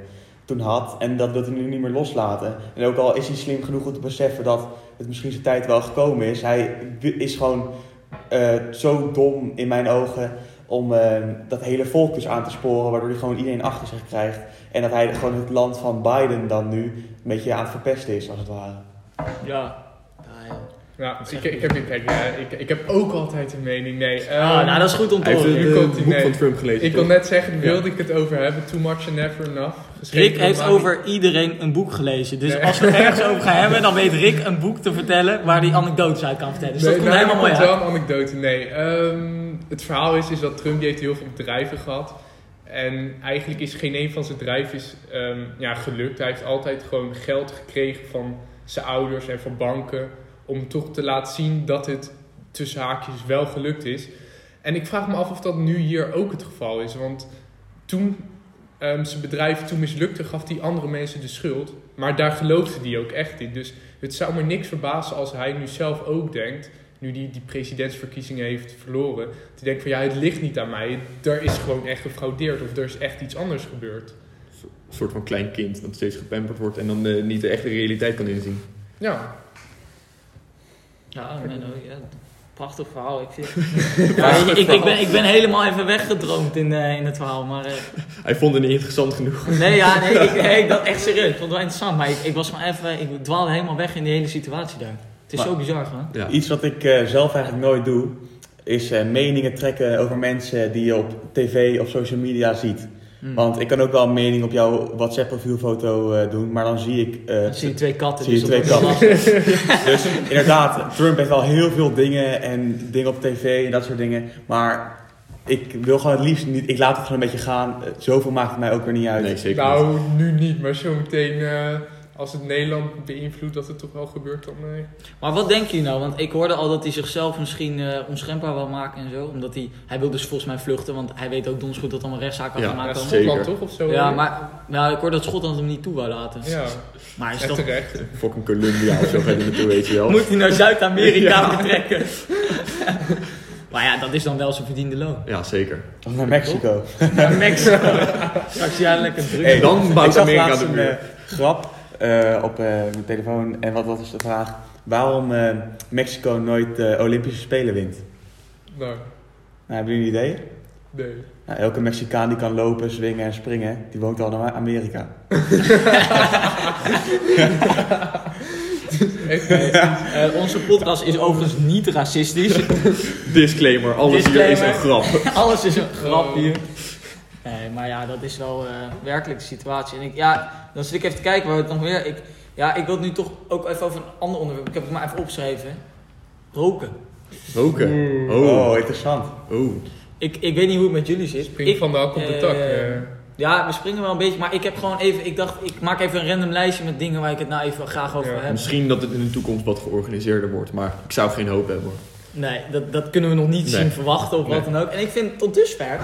Speaker 2: toen had. En dat wil hij nu niet meer loslaten. En ook al is hij slim genoeg om te beseffen dat het misschien zijn tijd wel gekomen is. Hij is gewoon eh, zo dom in mijn ogen om eh, dat hele volk dus aan te sporen, waardoor hij gewoon iedereen achter zich krijgt. En dat hij gewoon het land van Biden dan nu een beetje aan het verpesten is, als het ware.
Speaker 1: Ja. Ah,
Speaker 4: Ja, ik, ik, heb, kijk, ja, ik, ik heb ook altijd een mening. Nee,
Speaker 1: Ah,
Speaker 4: ehm,
Speaker 1: nou, dat is goed om te
Speaker 3: Hij heeft
Speaker 1: horen.
Speaker 3: het
Speaker 4: nu
Speaker 3: eh,
Speaker 4: komt hij,
Speaker 3: boek
Speaker 4: nee.
Speaker 3: van Trump gelezen.
Speaker 4: ik wil
Speaker 3: toch?
Speaker 4: net zeggen, daar wilde ik het over hebben. Too much and never enough. Geschreven
Speaker 1: Rick
Speaker 4: door
Speaker 1: heeft
Speaker 4: Mani.
Speaker 1: over iedereen een boek gelezen. Dus
Speaker 4: Nee.
Speaker 1: als we ergens over gaan hebben, dan weet Rick een boek te vertellen waar hij anekdotes uit kan vertellen. Dus dat komt
Speaker 4: nou,
Speaker 1: helemaal mooi
Speaker 4: komt
Speaker 1: uit.
Speaker 4: wel een anekdote, nee. Ehm, het verhaal is, is dat Trump die heeft heel veel bedrijven gehad. En eigenlijk is geen een van zijn bedrijven is, ehm, ja, gelukt. Hij heeft altijd gewoon geld gekregen van zijn ouders en van banken. Om toch te laten zien dat het tussen haakjes wel gelukt is. En ik vraag me af of dat nu hier ook het geval is. Want toen ehm, zijn bedrijf toen mislukte, gaf hij andere mensen de schuld. Maar daar geloofde hij ook echt in. Dus het zou me niks verbazen als hij nu zelf ook denkt, nu hij die presidentsverkiezingen heeft verloren, te denken van ja, het ligt niet aan mij, er is gewoon echt gefraudeerd of er is echt iets anders gebeurd.
Speaker 3: Een soort van klein kind dat steeds gepamperd wordt en dan eh, niet de echte realiteit kan inzien.
Speaker 4: Ja,
Speaker 1: Ja, Menno, ja, prachtig verhaal. Ik, vind... Ja, ik, ik, ik ben, ik ben helemaal even weggedroomd in, eh, in het verhaal. Maar, eh,
Speaker 3: Hij vond het niet interessant genoeg.
Speaker 1: nee, ja, nee, ik, nee, ik- dat echt serieus. Ik vond het wel interessant. Maar ik, ik was maar even, ik dwaalde helemaal weg in die hele situatie daar. Het is
Speaker 2: Maar-
Speaker 1: zo bizar, hè?
Speaker 3: Ja.
Speaker 2: Iets wat ik eh, zelf eigenlijk nooit doe, is eh, meningen trekken over mensen die je op tv of social media ziet.
Speaker 1: Hm.
Speaker 2: Want ik kan ook wel een mening op jouw WhatsApp profielfoto eh, doen, maar dan zie ik... eh,
Speaker 1: Dan zie je twee katten.
Speaker 2: Zie je
Speaker 1: dus dat
Speaker 2: twee
Speaker 1: is
Speaker 2: katten.
Speaker 1: lastig.
Speaker 2: Dus inderdaad, Trump heeft al heel veel dingen en dingen op tv en dat soort dingen. Maar ik wil gewoon het liefst niet, ik laat het gewoon een beetje gaan. Eh, Zoveel maakt het mij ook weer niet uit.
Speaker 3: Nee, zeker niet.
Speaker 4: nou nu niet, maar zometeen eh, als het Nederland beïnvloedt dat het toch wel gebeurt dan...
Speaker 1: Ah,
Speaker 4: eh,
Speaker 1: Maar wat denk je nou? Want ik hoorde al dat hij zichzelf misschien eh onschendbaar wil maken en zo. Omdat hij, hij wil dus volgens mij vluchten, want hij weet ook donsgoed dat er allemaal rechtszaken
Speaker 3: Ja,
Speaker 1: gaan
Speaker 4: ja,
Speaker 1: maken.
Speaker 3: zeker.
Speaker 4: Schotland toch of zo? eh,
Speaker 1: Ja, maar nou, ik hoorde dat Schotland hem niet toe wou laten.
Speaker 4: Ja,
Speaker 1: Maar is
Speaker 4: en
Speaker 1: dat...
Speaker 4: terecht.
Speaker 3: Fucking Columbia of zo ga je er naartoe, weet je wel.
Speaker 1: Moet hij naar Zuid-Amerika vertrekken? maar ja, dat is dan wel zijn verdiende loon.
Speaker 3: Ja, zeker.
Speaker 2: Of naar Mexico.
Speaker 1: Naar Mexico. Straks jij lekker druk.
Speaker 2: Hey,
Speaker 3: dan bouwt
Speaker 2: ik zag
Speaker 3: Amerika
Speaker 2: laatst
Speaker 3: de
Speaker 2: een
Speaker 3: muur.
Speaker 2: eh, grap eh, op eh, mijn telefoon. En wat was de vraag? Waarom eh, Mexico nooit de Olympische Spelen wint?
Speaker 4: Nou,
Speaker 2: Nou, hebben jullie een idee?
Speaker 4: nee.
Speaker 2: Nou, elke Mexicaan die kan lopen, zwingen en springen, die woont al in Amerika.
Speaker 4: Echt niet.
Speaker 1: Eh, onze podcast is overigens niet racistisch.
Speaker 3: Disclaimer, alles hier is
Speaker 1: Disclaimer.
Speaker 3: een grap.
Speaker 1: Alles is een grap
Speaker 4: Oh.
Speaker 1: hier. Nee, maar ja, dat is wel eh, werkelijk de situatie. En ik, ja, dan zit ik even te kijken waar we het nog weer... Ik, ja, ik wil het nu toch ook even over een ander onderwerp. Ik heb het maar even opgeschreven. Roken.
Speaker 3: Roken.
Speaker 4: Oeh.
Speaker 2: Oh,
Speaker 3: Oh,
Speaker 2: interessant.
Speaker 3: oh.
Speaker 1: Ik, ik weet niet hoe het met jullie zit.
Speaker 4: Spring
Speaker 1: Ik-
Speaker 4: van de hak op de
Speaker 1: eh,
Speaker 4: tak. eh.
Speaker 1: Ja, we springen wel een beetje, maar ik heb gewoon even, ik dacht, ik maak even een random lijstje met dingen waar ik het nou even graag over
Speaker 4: Ja.
Speaker 1: heb.
Speaker 3: Misschien dat het in de toekomst wat georganiseerder wordt, maar ik zou geen hoop hebben. hoor.
Speaker 1: Nee, dat, dat kunnen we nog niet
Speaker 3: Nee.
Speaker 1: zien verwachten of wat
Speaker 3: Nee.
Speaker 1: dan ook. En ik vind tot dusver,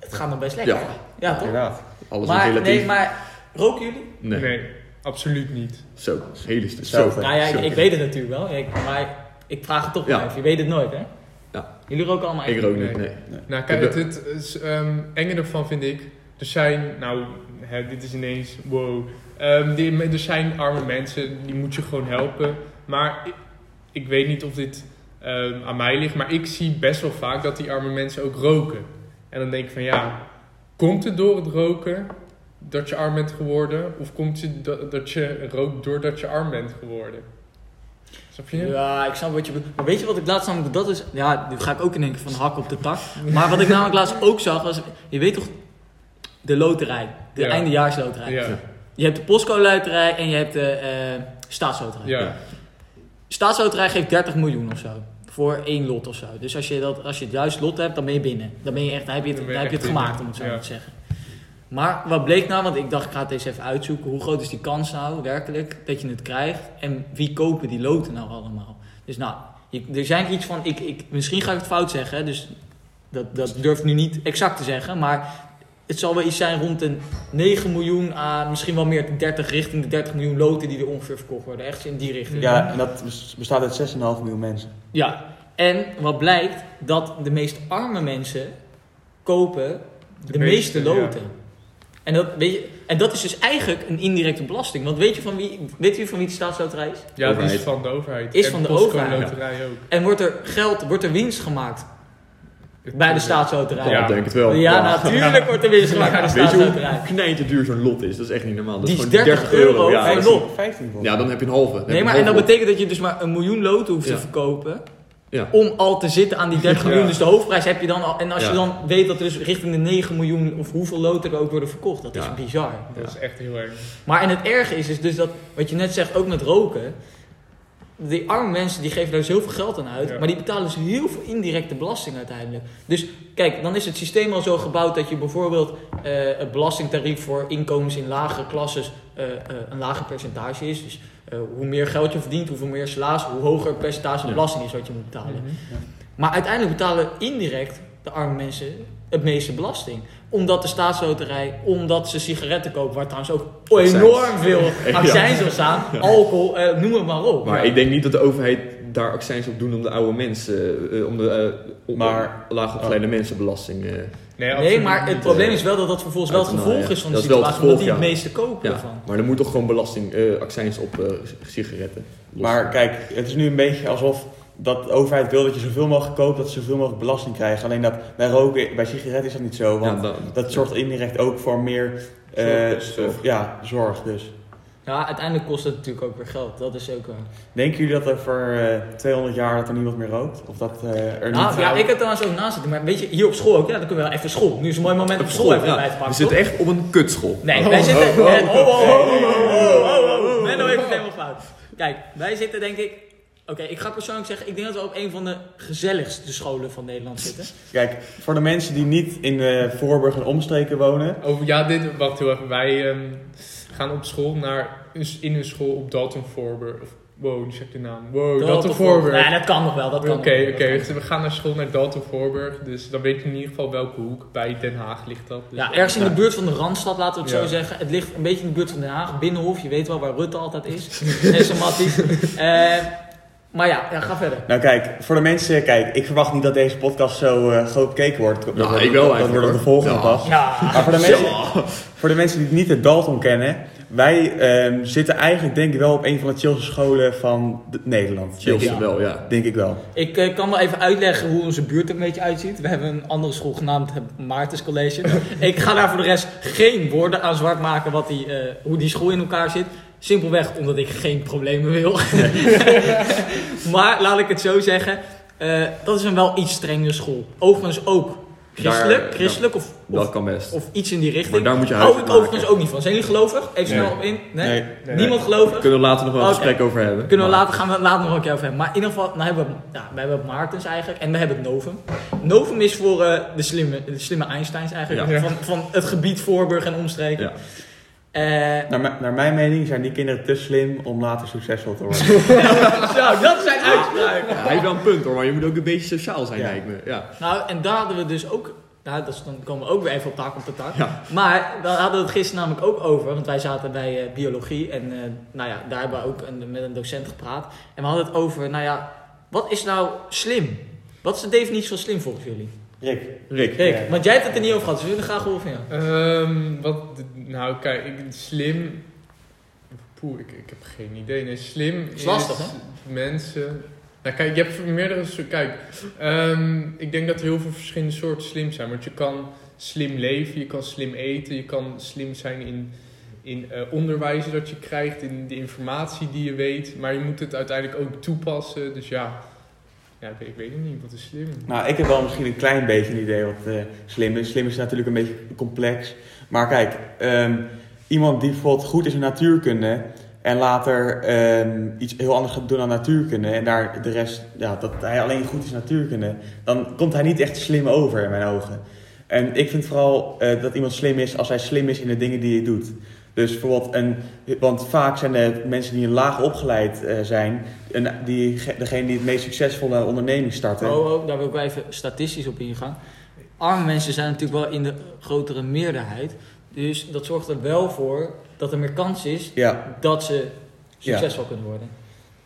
Speaker 1: het gaat nog best lekker.
Speaker 3: Ja.
Speaker 1: ja toch?
Speaker 2: Inderdaad.
Speaker 3: Alles is
Speaker 1: Maar,
Speaker 3: relatief.
Speaker 1: nee, maar roken jullie?
Speaker 3: Nee.
Speaker 4: nee, absoluut niet.
Speaker 3: Zo, hele stu-
Speaker 2: Zo.
Speaker 3: Zo.
Speaker 1: Nou ja, ik,
Speaker 3: Zo.
Speaker 1: ik weet het natuurlijk wel, ik, maar ik vraag het toch
Speaker 3: Ja.
Speaker 1: maar even. Je weet het nooit, hè?
Speaker 3: Ja.
Speaker 1: Jullie roken allemaal
Speaker 3: Ik
Speaker 1: echt?
Speaker 3: rook niet,
Speaker 4: Nee.
Speaker 3: nee.
Speaker 4: Nou, kijk, het, het is, ehm, enge ervan vind ik. Er zijn, nou, hè, dit is ineens, wow. Ehm, die, er zijn arme mensen, die moet je gewoon helpen. Maar ik, ik weet niet of dit ehm, aan mij ligt, maar ik zie best wel vaak dat die arme mensen ook roken. En dan denk ik van ja, komt het door het roken dat je arm bent geworden? Of komt het dat, dat je rookt doordat je arm bent geworden? Snap je?
Speaker 1: Ja, ik snap wat je bedoelt. Maar weet je wat ik laatst namelijk... Dat is... Ja, dit ga ik ook in één keer van de hak op de tak. Maar wat ik namelijk laatst ook zag was... Je weet toch... De loterij. De
Speaker 4: Ja.
Speaker 1: eindejaarsloterij.
Speaker 4: Ja,
Speaker 1: Je hebt de postcode-loterij en je hebt de eh staatsloterij.
Speaker 4: ja,
Speaker 1: Staatsloterij geeft 30 miljoen of zo. Voor één lot of zo. Dus als je, dat, als je het juiste lot hebt, dan ben je binnen. Dan, ben je echt, dan heb je het,
Speaker 4: Dan
Speaker 1: dan
Speaker 4: ben je
Speaker 1: heb je
Speaker 4: echt
Speaker 1: het gemaakt,
Speaker 4: binnen.
Speaker 1: om het zo
Speaker 4: Ja.
Speaker 1: maar te zeggen. Maar wat bleek nou, want ik dacht, ik ga het eens even uitzoeken. Hoe groot is die kans nou werkelijk dat je het krijgt? En wie kopen die loten nou allemaal? Dus nou, je- er zijn iets van, ik, ik, misschien ga ik het fout zeggen, hè, dus dat, dat durf ik nu niet exact te zeggen. Maar het zal wel iets zijn rond een 9 miljoen aan, misschien wel meer 30 richting de 30 miljoen loten die er ongeveer verkocht worden. Echt in die richting.
Speaker 2: Ja, en dat bes- bestaat uit 6,5 miljoen mensen.
Speaker 1: Ja, en wat blijkt dat de meest arme mensen kopen de,
Speaker 4: De meeste,
Speaker 1: meeste,
Speaker 4: ja.
Speaker 1: loten. En, dat, weet je, en dat is dus eigenlijk een indirecte belasting. Want weet je van wie, weet u van wie de staatsloterij is?
Speaker 4: ja die is
Speaker 3: Overheid.
Speaker 4: van de overheid.
Speaker 1: Is
Speaker 4: En
Speaker 1: van de
Speaker 4: postcode
Speaker 1: overheid.
Speaker 4: loterij ook.
Speaker 1: En wordt er geld, wordt er winst gemaakt bij de staatsloterij?
Speaker 3: Ja,
Speaker 1: Ja, nou,
Speaker 4: Ja.
Speaker 3: ik denk het wel.
Speaker 1: natuurlijk wordt er winst gemaakt bij de
Speaker 3: Weet je hoe
Speaker 1: staatsloterij.
Speaker 3: knijter duur zo'n lot is? Dat is echt niet normaal. Dat
Speaker 1: Die
Speaker 3: is
Speaker 1: is
Speaker 3: gewoon
Speaker 1: 30 euro
Speaker 3: Ja,
Speaker 1: voor
Speaker 3: ik-
Speaker 1: een lot.
Speaker 2: 15 volgens
Speaker 3: ja, dan heb je een halve. Dan heb
Speaker 1: Nee,
Speaker 3: je
Speaker 1: maar
Speaker 3: een
Speaker 1: en dat
Speaker 3: halve
Speaker 1: betekent dat je dus maar een miljoen loten hoeft
Speaker 3: Ja.
Speaker 1: te verkopen.
Speaker 3: Ja.
Speaker 1: Om al te zitten aan die 30
Speaker 4: Ja.
Speaker 1: miljoen. Dus de hoofdprijs heb je dan al. En als
Speaker 3: Ja.
Speaker 1: je dan weet dat er dus richting de 9 miljoen of hoeveel loten er ook worden verkocht. Dat is
Speaker 3: Ja.
Speaker 1: bizar.
Speaker 4: Dat is echt heel erg.
Speaker 1: Maar en het erge is, is dus dat, wat je net zegt, ook met roken. Die arme mensen die geven daar dus heel veel geld aan uit.
Speaker 4: Ja.
Speaker 1: Maar die betalen dus heel veel indirecte belasting uiteindelijk. Dus kijk, dan is het systeem al zo gebouwd dat je bijvoorbeeld eh, het belastingtarief voor inkomens in lagere klasses eh, eh, een lager percentage is. Dus eh, hoe meer geld je verdient, hoeveel meer salaris, hoe hoger het percentage
Speaker 3: Ja.
Speaker 1: belasting is wat je moet betalen. Maar uiteindelijk betalen indirect de arme mensen het meeste belasting. Omdat de staatsloterij, omdat ze sigaretten kopen, waar trouwens ook
Speaker 3: Accijns.
Speaker 1: enorm veel
Speaker 3: Ja.
Speaker 1: accijns op staan. Alcohol, eh, noem het maar op.
Speaker 3: Maar
Speaker 1: Ja.
Speaker 3: ik denk niet dat de overheid daar accijns op doen om de oude mensen, eh, om de eh, om-
Speaker 2: Maar-
Speaker 3: om laagopgeleide mensen belasting. eh.
Speaker 4: Nee,
Speaker 1: nee,
Speaker 4: absoluut
Speaker 1: maar het
Speaker 4: niet.
Speaker 1: probleem is wel dat dat vervolgens wel het
Speaker 3: Uit- nou,
Speaker 1: gevolg
Speaker 3: ja.
Speaker 1: is van de
Speaker 3: Dat is wel het
Speaker 1: situatie, omdat die het
Speaker 3: gevolg,
Speaker 1: meeste kopen
Speaker 3: ja.
Speaker 1: ervan.
Speaker 3: Maar er moet toch gewoon belasting, eh, accijns op eh, sigaretten.
Speaker 2: mij. Maar kijk, het is nu een beetje alsof dat de overheid wil dat je zoveel mogelijk koopt, dat ze zoveel mogelijk belasting krijgen. Alleen dat bij roken, bij sigaretten is dat niet zo, want dat zorgt indirect ook voor meer eh,
Speaker 3: Zorg, dus, zorg.
Speaker 2: Ja, zorg dus.
Speaker 1: Ja, uiteindelijk kost het natuurlijk ook weer geld. Dat is ook eh, wel.
Speaker 2: Denken jullie dat over eh, 200 jaar dat er niemand meer rookt? Of dat eh, er
Speaker 1: Nou,
Speaker 2: niet...
Speaker 1: ja, ik heb trouwens ook naast zitten, maar weet je, hier op school ook, ja, dan kunnen we wel even school. Nu is een mooi moment om school even bij te
Speaker 3: We
Speaker 1: pakken.
Speaker 3: zitten
Speaker 1: toch?
Speaker 3: echt op een kutschool.
Speaker 1: Nee,
Speaker 3: Oh,
Speaker 1: wij
Speaker 3: oh,
Speaker 1: zitten.
Speaker 3: oh, oh.
Speaker 1: eh, Oh, oh, oh, oh, oh, oh, oh, oh. Menno heeft het helemaal fout. Kijk, wij zitten denk ik. Oké, ik ga persoonlijk zeggen, ik denk dat we op een van de gezelligste scholen van Nederland zitten.
Speaker 2: Kijk, voor de mensen die niet in eh Voorburg en omstreken wonen...
Speaker 4: Over, ja, dit, wacht heel even. Wij ehm, gaan op school naar, in een school op Dalton Forber. Of, wow, nu zeg ik de naam. Wow, Dalton, Forber.
Speaker 1: Ja, dat kan nog wel, dat kan
Speaker 4: Oké,
Speaker 1: nog wel,
Speaker 4: oké.
Speaker 1: dat kan nog
Speaker 4: dus
Speaker 1: wel.
Speaker 4: we gaan naar school naar Dalton Voorburg, dus dan weet je in ieder geval welke hoek. Bij Den Haag ligt dat. Dus
Speaker 1: Ja, ergens in de buurt van de Randstad, laten we het
Speaker 4: Ja.
Speaker 1: zo zeggen. Het ligt een beetje in de buurt van Den Haag, Binnenhof. Je weet wel waar Rutte altijd is. en zijn matties. Eh, maar ja, ja, ga verder.
Speaker 2: Nou kijk, voor de mensen... Kijk, ik verwacht niet dat deze podcast zo eh, groot bekeken wordt. Dat
Speaker 3: Nou,
Speaker 2: wordt-
Speaker 3: ik wel
Speaker 2: Dat
Speaker 3: eigenlijk,
Speaker 2: wordt op de
Speaker 3: hoor.
Speaker 2: volgende
Speaker 3: Ja.
Speaker 2: pas.
Speaker 1: Ja.
Speaker 2: Maar voor de, mensen,
Speaker 3: Ja.
Speaker 2: voor de mensen die niet het Dalton kennen... Wij ehm, zitten eigenlijk denk ik wel op een van de chillste scholen van de- Nederland.
Speaker 3: Chills
Speaker 1: Ja.
Speaker 3: wel, ja.
Speaker 2: Denk ik wel.
Speaker 1: Ik eh, kan wel even uitleggen hoe onze buurt er een beetje uitziet. We hebben een andere school genaamd het Maartens College. ik ga daar voor de rest geen woorden aan zwart maken wat die, eh, hoe die school in elkaar zit. Simpelweg omdat ik geen problemen wil. maar laat ik het zo zeggen. eh, dat is een wel iets strengere school. Overigens ook christelijk,
Speaker 3: Daar- eh,
Speaker 1: christelijk of,
Speaker 3: Dat
Speaker 1: of,
Speaker 3: kan best.
Speaker 1: of iets in die
Speaker 3: Maar
Speaker 1: richting.
Speaker 3: daar moet je
Speaker 1: Hou ik
Speaker 3: huiswerk maken.
Speaker 1: overigens ook niet van. Zijn jullie gelovig? Even
Speaker 4: Nee.
Speaker 1: snel op in. Nee?
Speaker 2: Nee.
Speaker 4: Nee,
Speaker 1: Niemand gelovig?
Speaker 3: Kunnen we later nog wel een
Speaker 1: Oké.
Speaker 3: gesprek over hebben.
Speaker 1: Kunnen we
Speaker 3: Maar-
Speaker 1: later, gaan we het later nog een keer over hebben. Maar in ieder geval, nou hebben we, ja, we hebben Maartens eigenlijk. En we hebben Novum. Novum is voor eh, de, slimme, de slimme Einsteins eigenlijk.
Speaker 4: Ja.
Speaker 1: Van, van het gebied Voorburg en omstreken.
Speaker 3: Ja.
Speaker 1: Eh,
Speaker 2: Naar, mijn- naar mijn mening zijn die kinderen te slim om later succesvol te worden.
Speaker 1: zo, dat zijn uitspraken.
Speaker 3: Ja, hij heeft wel een punt hoor, maar je moet ook een beetje sociaal zijn,
Speaker 2: Ja.
Speaker 3: lijkt me. Ja.
Speaker 1: Nou, en daar hadden we dus ook. Nou, dat is, dan komen we ook weer even op taak op de taak.
Speaker 3: Ja.
Speaker 1: Maar daar hadden we het gisteren namelijk ook over. Want wij zaten bij eh, biologie. En eh, nou ja, daar hebben we ook een- met een docent gepraat. En we hadden het over, nou ja, wat is nou slim? Wat is de definitie van slim volgens jullie?
Speaker 2: Rick.
Speaker 3: Rick.
Speaker 1: Rick,
Speaker 2: Ja.
Speaker 1: want jij hebt het er niet over gehad. Dus we willen graag horen van jou.
Speaker 4: Ehm, wat, de- nou kijk, ik- slim. Poeh, ik, ik heb geen idee. Nee, slim
Speaker 1: Is lastig, hè?
Speaker 4: mensen. Nou kijk, je hebt meerdere soorten. Kijk, ehm, ik denk dat er heel veel verschillende soorten slim zijn. Want je kan slim leven, je kan slim eten, je kan slim zijn in, in eh, onderwijs dat je krijgt, in de informatie die je weet. Maar je moet het uiteindelijk ook toepassen. Dus ja, ja ik, weet- ik weet het niet, wat is slim?
Speaker 2: Nou, ik heb wel misschien een klein beetje een idee wat eh, slim is. Slim is natuurlijk een beetje complex. Maar kijk, ehm, iemand die bijvoorbeeld goed is in natuurkunde en later ehm, iets heel anders gaat doen dan natuurkunde en daar de rest, ja, dat hij alleen goed is in natuurkunde, dan komt hij niet echt slim over in mijn ogen. En ik vind vooral eh, dat iemand slim is als hij slim is in de dingen die hij doet. Dus bijvoorbeeld een, want vaak zijn de mensen die een laag opgeleid eh, zijn, een, die, degene die het meest succesvolle onderneming starten.
Speaker 1: Oh, oh, daar wil ik wel even statistisch op ingaan. Arme mensen zijn natuurlijk wel in de grotere meerderheid. Dus dat zorgt er wel voor dat er meer kans is
Speaker 2: Ja,
Speaker 1: dat ze succesvol kunnen worden.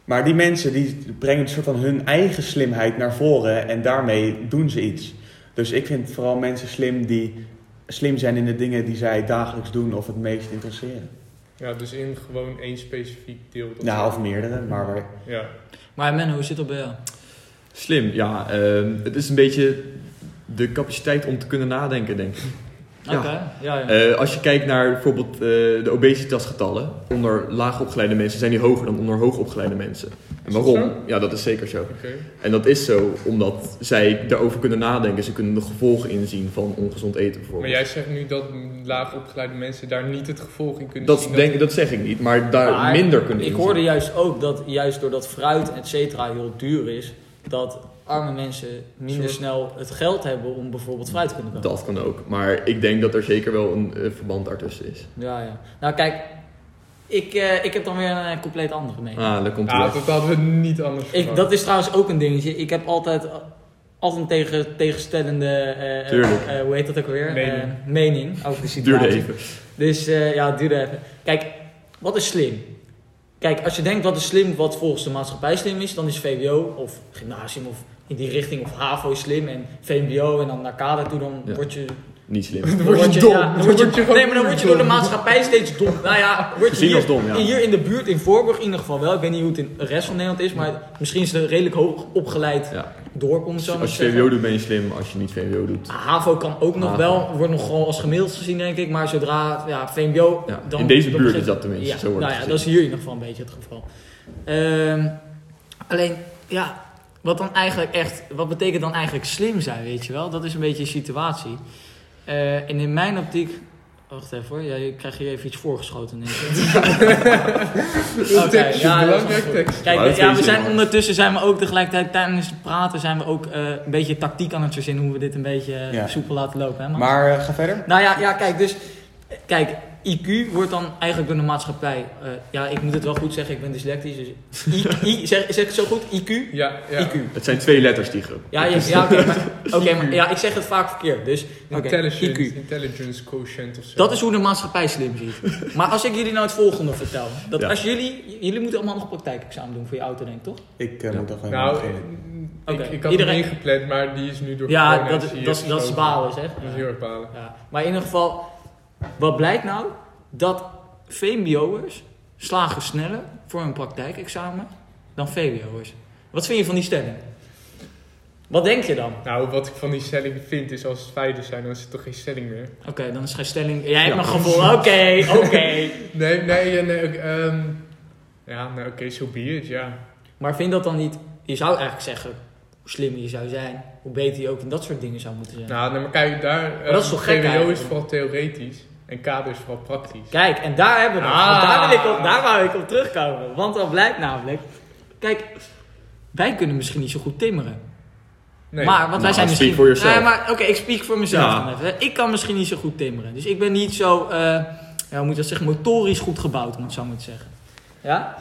Speaker 2: Maar die mensen die brengen een soort van hun eigen slimheid naar voren en daarmee doen ze iets. Dus ik vind vooral mensen slim die slim zijn in de dingen die zij dagelijks doen of het meest interesseren.
Speaker 4: Ja, dus in gewoon één specifiek deel. dat-
Speaker 2: Nou, of meerdere, maar waar-
Speaker 4: Ja.
Speaker 1: Maar Menno, hoe zit het bij jou?
Speaker 3: Slim, ja. ehm, het is een beetje de capaciteit om te kunnen nadenken, denk ik.
Speaker 1: Oké,
Speaker 3: Ja.
Speaker 1: ja, ja.
Speaker 3: Eh, als je kijkt naar bijvoorbeeld eh, de obesitasgetallen, onder laagopgeleide mensen zijn die hoger dan onder hoogopgeleide mensen. En
Speaker 4: Is dat
Speaker 3: waarom?
Speaker 4: zo?
Speaker 3: Ja, dat is zeker zo.
Speaker 4: Oké.
Speaker 3: En dat is zo omdat zij daarover kunnen nadenken. Ze kunnen de gevolgen inzien van ongezond eten bijvoorbeeld.
Speaker 4: Maar jij zegt nu dat laag opgeleide mensen daar niet het gevolg in kunnen
Speaker 3: dat,
Speaker 4: zien.
Speaker 3: denk, dat zeg ik niet, maar daar
Speaker 1: Maar
Speaker 3: minder kunnen
Speaker 1: Ik
Speaker 3: inzien.
Speaker 1: hoorde juist ook dat juist doordat fruit et cetera heel duur is, dat arme mensen minder
Speaker 4: Soort-
Speaker 1: snel het geld hebben om bijvoorbeeld fruit te kunnen kopen.
Speaker 3: Dat kan ook. Maar ik denk dat er zeker wel een eh, verband daartussen is.
Speaker 1: Ja, ja. Nou kijk, ik, eh, ik heb dan weer een eh, compleet andere mening.
Speaker 3: Ah, daar komt hij.
Speaker 4: Ja, dat hadden we niet anders
Speaker 1: Ik,
Speaker 3: Oh.
Speaker 4: verwacht.
Speaker 1: dat is trouwens ook een dingetje. Ik heb altijd, altijd een tegen, tegenstellende, eh, eh,
Speaker 3: Tuurlijk.
Speaker 1: eh, hoe heet dat ook weer?
Speaker 4: Mening.
Speaker 1: Eh, mening over de situatie.
Speaker 3: Duurde even.
Speaker 1: Dus eh, ja, het duurde even. Kijk, wat is slim? Kijk, als je denkt wat is slim, wat volgens de maatschappij slim is, dan is VWO of gymnasium of in die richting of HAVO is slim en VMBO en dan naar kader toe, dan
Speaker 3: Ja.
Speaker 1: word je...
Speaker 3: Niet slim.
Speaker 4: Dan word je dom.
Speaker 1: ja, dan word je, nee, maar dan word je door de maatschappij steeds dom. Nou ja, word je
Speaker 3: Gezien
Speaker 1: hier,
Speaker 3: als dom, ja.
Speaker 1: hier in de buurt, in Voorburg in ieder geval wel. Ik weet niet hoe het in de rest van Nederland is, maar misschien is het een redelijk hoog opgeleid
Speaker 3: Ja.
Speaker 1: dorp om het zo maar te
Speaker 3: Als je
Speaker 1: zeggen.
Speaker 3: VWO doet ben je slim, als je niet VWO doet.
Speaker 1: Ah, HAVO kan ook nog
Speaker 3: HAVO.
Speaker 1: wel, wordt nog gewoon als gemiddeld gezien denk ik, maar zodra, ja, VMBO...
Speaker 3: Ja,
Speaker 1: Dan,
Speaker 3: in deze
Speaker 1: dan
Speaker 3: buurt
Speaker 1: begint-
Speaker 3: is dat tenminste,
Speaker 1: Ja,
Speaker 3: zo wordt
Speaker 1: nou
Speaker 3: het
Speaker 1: ja,
Speaker 3: gezien.
Speaker 1: dat is hier in ieder geval een beetje het geval. Ehm, alleen, ja, wat dan eigenlijk echt, wat betekent dan eigenlijk slim zijn, weet je wel? Dat is een beetje de situatie. Eh, en in mijn optiek, wacht even hoor, ja, ik krijg hier even iets voorgeschoten. denk ik. Oké,
Speaker 4: tekst,
Speaker 1: ja, dat is
Speaker 4: belangrijk
Speaker 1: wel goed.
Speaker 4: tekst.
Speaker 1: Kijk,
Speaker 3: Maar dat
Speaker 1: ja,
Speaker 3: vind
Speaker 1: we
Speaker 3: je
Speaker 1: zijn
Speaker 3: wel.
Speaker 1: ondertussen zijn we ook tegelijkertijd tijdens het praten zijn we ook eh, een beetje tactiek aan het verzinnen hoe we dit een beetje eh,
Speaker 2: Ja.
Speaker 1: soepel laten lopen. Hè, Max?
Speaker 2: Maar eh, ga verder.
Speaker 1: Nou ja, ja, kijk, dus... eh, Kijk, IQ wordt dan eigenlijk door de maatschappij... eh, ja, ik moet het wel goed zeggen, ik ben dyslectisch, dus... I, I- zeg, zeg ik het zo goed? IQ?
Speaker 4: Ja, ja.
Speaker 1: IQ.
Speaker 3: Het zijn twee letters die groep.
Speaker 1: Ja, ja, ja oké, maar, oké, maar ja, ik zeg het vaak verkeerd, dus... oké,
Speaker 4: Intelligence,
Speaker 1: IQ.
Speaker 4: intelligence quotient of zo.
Speaker 1: Dat is hoe de maatschappij slim ziet. Maar als ik jullie nou het volgende vertel. Dat
Speaker 3: Ja.
Speaker 1: als jullie... j- Jullie moeten allemaal nog praktijkexamen doen voor je auto, denk ik, toch?
Speaker 2: Ik eh,
Speaker 3: Ja.
Speaker 2: moet nog even
Speaker 4: Nou,
Speaker 2: beginnen.
Speaker 4: ik,
Speaker 1: Oké,
Speaker 4: ik, had
Speaker 1: iedereen-
Speaker 4: hem ingepland, maar die is nu door
Speaker 1: Ja,
Speaker 4: corona,
Speaker 1: dat,
Speaker 4: zie je,
Speaker 1: dat, dat is
Speaker 4: geschoven.
Speaker 1: balen, zeg.
Speaker 4: Dat is heel erg balen.
Speaker 1: Ja. Maar in ieder geval, wat blijkt nou? Dat VMBO'ers slagen sneller voor hun praktijkexamen dan VWO'ers. Wat vind je van die stelling? Wat denk je dan?
Speaker 4: Nou, wat ik van die stelling vind is als het feiten zijn, dan is het toch geen stelling meer.
Speaker 1: Oké, dan is geen stelling. Jij hebt
Speaker 3: Ja.
Speaker 1: een gevoel. Oké, oké.
Speaker 4: Nee, nee, eh, nee. ook, ehm, ja, nou oké, zo so be it, ja.
Speaker 1: Maar vind dat dan niet... Je zou eigenlijk zeggen, hoe slimmer je zou zijn, hoe beter je ook in dat soort dingen zou moeten zijn.
Speaker 4: Nou, nee, maar kijk, daar... eh,
Speaker 1: dat is toch gek
Speaker 4: VWO
Speaker 1: eigenlijk?
Speaker 4: is vooral theoretisch en kader is vooral praktisch.
Speaker 1: Kijk, en daar hebben we het.
Speaker 4: Ah.
Speaker 1: Want Daar, wil ik op, daar wou ik op terugkomen. Want dan blijkt namelijk... Kijk, wij kunnen misschien niet zo goed timmeren.
Speaker 4: Nee.
Speaker 1: Maar, want wij
Speaker 3: Nou,
Speaker 1: zijn
Speaker 3: speak
Speaker 1: misschien...
Speaker 3: for yourself.
Speaker 1: Nee, maar oké, ik speak voor mezelf.
Speaker 3: Ja.
Speaker 1: dan even, hè. Ik kan misschien niet zo goed timmeren. Dus ik ben niet zo, eh, ja, hoe moet je dat zeggen, motorisch goed gebouwd, om het zo maar te zeggen. Ja?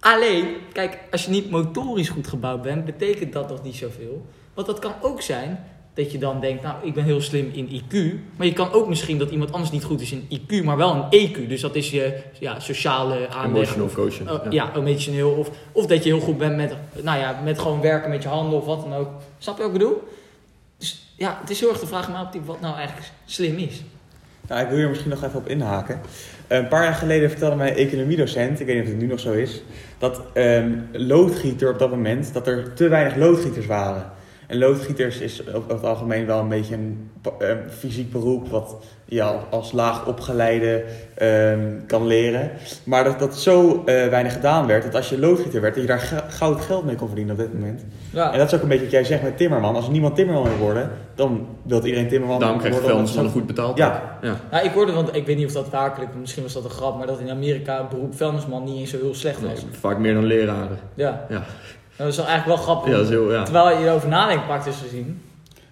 Speaker 1: Alleen, kijk, als je niet motorisch goed gebouwd bent, betekent dat nog niet zoveel. Want dat kan ook zijn dat je dan denkt, nou, ik ben heel slim in IQ. Maar je kan ook misschien dat iemand anders niet goed is in IQ, maar wel in EQ. Dus dat is je ja, sociale aanleg.
Speaker 3: Emotional coaching.
Speaker 1: Oh, ja. emotioneel. Of, of dat je heel goed bent met, nou ja, met gewoon werken met je handen of wat dan ook. Snap je wat ik bedoel? Dus ja, het is heel erg de vraag maar op die, wat nou eigenlijk slim is.
Speaker 2: Nou, ik wil hier misschien nog even op inhaken. Een paar jaar geleden vertelde mijn economiedocent, ik weet niet of het nu nog zo is, dat ehm, loodgieter op dat moment, dat er te weinig loodgieters waren. En loodgieters is op- over het algemeen wel een beetje een pa- ehm, fysiek beroep wat je al- als laag opgeleide ehm, kan leren. Maar dat dat zo eh, weinig gedaan werd, dat als je loodgieter werd, dat je daar ga- goud geld mee kon verdienen op dit moment. En
Speaker 1: Ja,
Speaker 2: dat is ook een beetje wat jij zegt met Timmerman. Als niemand Timmerman wil worden, dan wil iedereen Timmerman
Speaker 3: Daarom krijg je
Speaker 2: worden.
Speaker 3: vuilnis
Speaker 2: omdat ze
Speaker 3: dan
Speaker 2: dan-
Speaker 3: goed betaald.
Speaker 2: Ja,
Speaker 3: ja.
Speaker 1: nou, ik hoorde, want ik weet niet of dat werkelijk, misschien was dat een grap, maar dat in Amerika het beroep vuilnisman niet eens zo heel slecht
Speaker 3: Nee,
Speaker 1: was.
Speaker 3: vaak meer dan leraren.
Speaker 1: Ja.
Speaker 3: Ja.
Speaker 1: Dat is wel eigenlijk wel grappig.
Speaker 3: Ja, dat is heel, ja.
Speaker 1: Terwijl je erover nadenkt, praktisch gezien.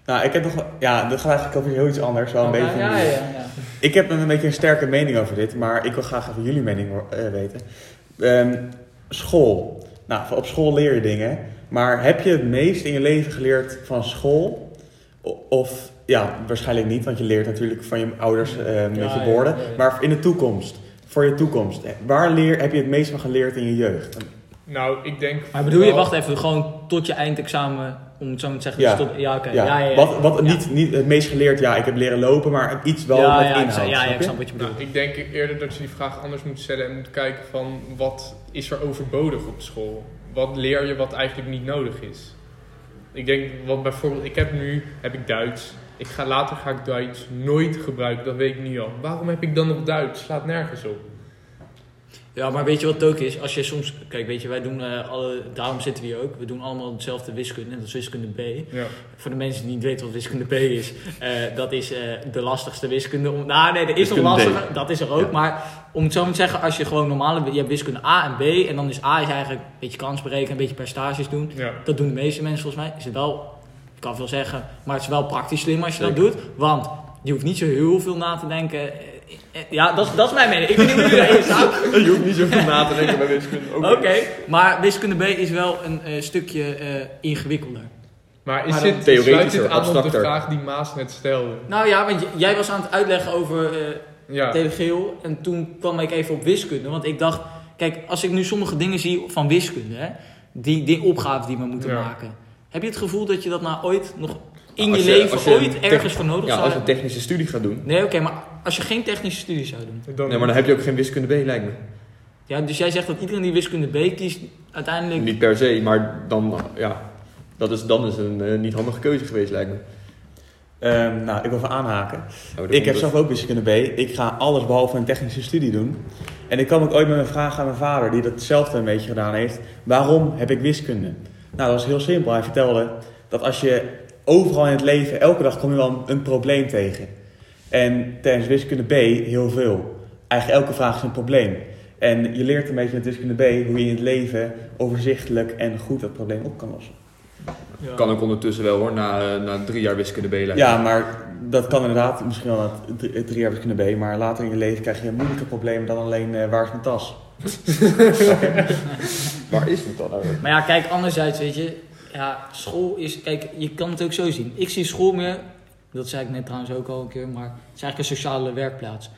Speaker 2: Nou, ik heb nog. wel- Ja, dat gaat eigenlijk over heel iets anders. Wel een beetje.
Speaker 1: Oh, ja, ja, ja, ja.
Speaker 2: Ik heb een beetje een sterke mening over dit, maar ik wil graag even jullie mening hoor- eh, weten. Ehm, school. Nou, op school leer je dingen. Maar heb je het meest in je leven geleerd van school? O- Of ja, waarschijnlijk niet, want je leert natuurlijk van je ouders eh, met
Speaker 1: Ja,
Speaker 2: je
Speaker 1: ja,
Speaker 2: woorden.
Speaker 1: ja, ja.
Speaker 2: Maar in de toekomst, voor je toekomst, eh, waar leer, heb je het meest van geleerd in je jeugd?
Speaker 4: Nou, ik denk.
Speaker 1: Maar bedoel je,
Speaker 4: vooral-
Speaker 1: wacht even, gewoon tot je eindexamen, om het zo maar te zeggen.
Speaker 2: Ja.
Speaker 1: dus tot, ja oké.
Speaker 2: ja.
Speaker 1: Ja, ja, ja.
Speaker 2: Wat, wat Niet, niet het meest geleerd, ja, ik heb leren lopen, maar iets wel
Speaker 1: ja,
Speaker 2: met
Speaker 1: ja, ik
Speaker 2: inhoud.
Speaker 1: snap- ja, ja,
Speaker 2: snap
Speaker 1: ik
Speaker 2: je?
Speaker 1: snap wat je bedoelt.
Speaker 4: Nou, ik denk eerder dat je die vraag anders moet stellen en moet kijken van wat is er overbodig op school? Wat leer je wat eigenlijk niet nodig is? Ik denk, want bijvoorbeeld, ik heb nu heb ik Duits. Ik ga later ga ik Duits nooit gebruiken, dat weet ik nu al. Waarom heb ik dan nog Duits? Slaat nergens op.
Speaker 1: Ja, maar weet je wat het ook is? Als je soms... Kijk, weet je, wij doen eh, alle... Daarom zitten we hier ook. We doen allemaal hetzelfde wiskunde. En dat is wiskunde B.
Speaker 4: Ja.
Speaker 1: Voor de mensen die niet weten wat wiskunde B is. eh, dat is eh, de lastigste wiskunde. Om, nou, nee, er is nog
Speaker 3: Wiskunde D.
Speaker 1: lastiger. Dat is er ook.
Speaker 3: Ja.
Speaker 1: Maar om het zo maar te zeggen, als je gewoon normale... Je hebt wiskunde A en B. En dan is A is eigenlijk een beetje kans berekenen, een beetje percentages doen.
Speaker 4: ja.
Speaker 1: Dat doen de meeste mensen volgens mij. Is het wel... Ik kan veel zeggen. Maar het is wel praktisch slim als je dat doet. Want je hoeft niet zo heel veel na te denken. Eh, eh, Ja, dat, is- dat is mijn mening. Ik weet niet hoe jullie daarin staan.
Speaker 3: Je hoeft niet zoveel na te denken bij wiskunde.
Speaker 1: Oké, maar wiskunde B is wel een eh, stukje eh, ingewikkelder.
Speaker 4: Maar is
Speaker 1: Maar dan
Speaker 4: dit,
Speaker 3: theoretischer,
Speaker 4: sluit dit aan op de
Speaker 3: abstracter.
Speaker 4: vraag die Maas net stelde?
Speaker 1: Nou ja, want j- jij was aan het uitleggen over eh
Speaker 4: Ja.
Speaker 1: telegeel en toen kwam ik even op wiskunde. Want ik dacht, kijk, als ik nu sommige dingen zie van wiskunde, hè, die, die opgave die we moeten
Speaker 4: Ja.
Speaker 1: maken. Heb je het gevoel dat je dat nou ooit nog in je,
Speaker 3: Als je-
Speaker 1: leven
Speaker 3: als je
Speaker 1: ooit
Speaker 3: een
Speaker 1: ergens voor nodig
Speaker 3: Ja,
Speaker 1: zou
Speaker 3: als je een
Speaker 1: hebben?
Speaker 3: technische studie gaat doen.
Speaker 1: Nee, oké, maar als je geen technische studie zou doen.
Speaker 4: Dan,
Speaker 3: Nee, maar dan heb je ook geen wiskunde B, lijkt me.
Speaker 1: Ja, dus jij zegt dat iedereen die wiskunde B kiest, uiteindelijk...
Speaker 3: Niet per se, maar dan, ja. Dat is, dan is een eh, niet handige keuze geweest, lijkt me.
Speaker 2: Ehm, nou, ik wil even aanhaken.
Speaker 3: Oh, daar
Speaker 2: Ik
Speaker 3: komt
Speaker 2: heb
Speaker 3: het.
Speaker 2: zelf ook wiskunde B. Ik ga alles behalve een technische studie doen. En ik kwam ook ooit met een vraag aan mijn vader, die datzelfde een beetje gedaan heeft. Waarom heb ik wiskunde? Nou, dat was heel simpel. Hij vertelde dat als je overal in het leven, elke dag kom je wel een, een probleem tegen. En tijdens wiskunde B heel veel. Eigenlijk elke vraag is een probleem. En je leert een beetje met wiskunde B hoe je in het leven overzichtelijk en goed dat probleem op kan lossen.
Speaker 1: Ja.
Speaker 3: Kan ook ondertussen wel hoor, na, eh, na drie jaar wiskunde B lijkt me.
Speaker 2: Ja, maar dat kan inderdaad misschien wel na het drie, het drie jaar wiskunde B, maar later in je leven krijg je moeilijke problemen dan alleen eh, waar is mijn tas?
Speaker 3: Waar is het dan eigenlijk?
Speaker 1: Maar ja, kijk, anderzijds, weet je, ja, school is, kijk, je kan het ook zo zien. Ik zie school meer, dat zei ik net trouwens ook al een keer, maar het is eigenlijk een sociale werkplaats.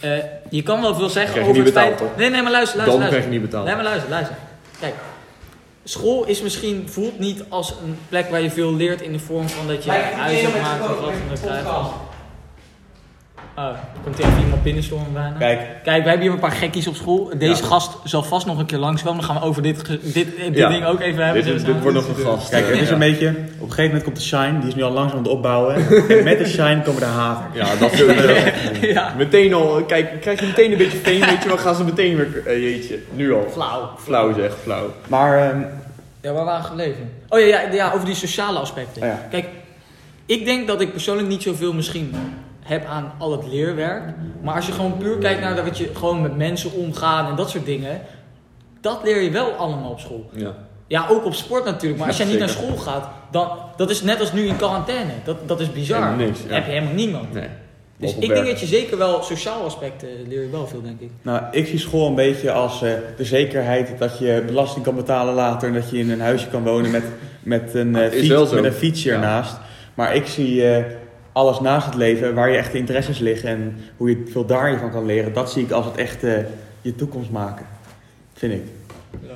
Speaker 1: Eh, je kan wel veel zeggen
Speaker 3: Krijg je
Speaker 1: over het
Speaker 3: niet betaald,
Speaker 1: feit-
Speaker 3: hoor.
Speaker 1: Nee, nee, maar luister,
Speaker 3: Dan
Speaker 1: luister,
Speaker 3: krijg
Speaker 1: luister.
Speaker 3: je niet betaald.
Speaker 1: Nee, maar luister, luister. Kijk, school is misschien, voelt niet als een plek waar je veel leert in de vorm van dat je huiswerk maakt of wat dan ook krijgt. Oh, er komt hier even iemand binnenstormen bijna.
Speaker 2: Kijk,
Speaker 1: Kijk, wij hebben hier een paar gekkies op school. Deze
Speaker 3: Ja.
Speaker 1: gast zal vast nog een keer langskomen. Dan gaan we over dit, ge- dit, dit
Speaker 3: Ja.
Speaker 1: ding ook even hebben. Dus, eh, zeg
Speaker 3: Dit, is-
Speaker 1: maar.
Speaker 3: dit wordt nog een gast. eh,
Speaker 2: kijk, het is
Speaker 3: ja.
Speaker 2: een beetje, op een gegeven moment komt de shine, die is nu al langzaam aan het opbouwen. en met de shine komen de haven.
Speaker 3: Ja, dat sowieso.
Speaker 1: ja.
Speaker 3: Meteen al, eh, kijk, krijg je meteen een beetje veen, weet je wel, gaan ze meteen weer, eh, jeetje, nu al.
Speaker 1: Flauw.
Speaker 3: Flauw zeg, flauw.
Speaker 2: Maar ehm,
Speaker 1: Ja, waar waren we gebleven? Oh ja, ja, ja over die sociale aspecten.
Speaker 2: Oh ja.
Speaker 1: Kijk, ik denk dat ik persoonlijk niet zoveel misschien heb aan al het leerwerk. Maar als je gewoon puur kijkt naar dat wat je gewoon met mensen omgaan en dat soort dingen. Dat leer je wel allemaal op school.
Speaker 3: Ja.
Speaker 1: Ja, ook op sport natuurlijk. Maar als
Speaker 3: Ja,
Speaker 1: jij niet naar
Speaker 3: zeker.
Speaker 1: school gaat, dan, dat is net als nu in quarantaine. Dat, dat is bizar.
Speaker 3: Helemaal niks, ja.
Speaker 1: Dan heb je helemaal niemand.
Speaker 3: Nee.
Speaker 1: Dus
Speaker 3: Op
Speaker 1: ik denk
Speaker 3: werk.
Speaker 1: dat je zeker wel sociaal aspect eh, leer je wel veel, denk ik.
Speaker 2: Nou, ik zie school een beetje als eh, de zekerheid dat je belasting kan betalen later en dat je in een huisje kan wonen met, met, een, eh,
Speaker 3: het Ah, is
Speaker 2: fiets,
Speaker 3: wel zo.
Speaker 2: met een fietsje
Speaker 3: Ja.
Speaker 2: ernaast. Maar ik zie eh, alles naast het leven, waar je echt interesses liggen en hoe je veel daarin van kan leren. Dat zie ik als het echt eh, je toekomst maken, vind ik.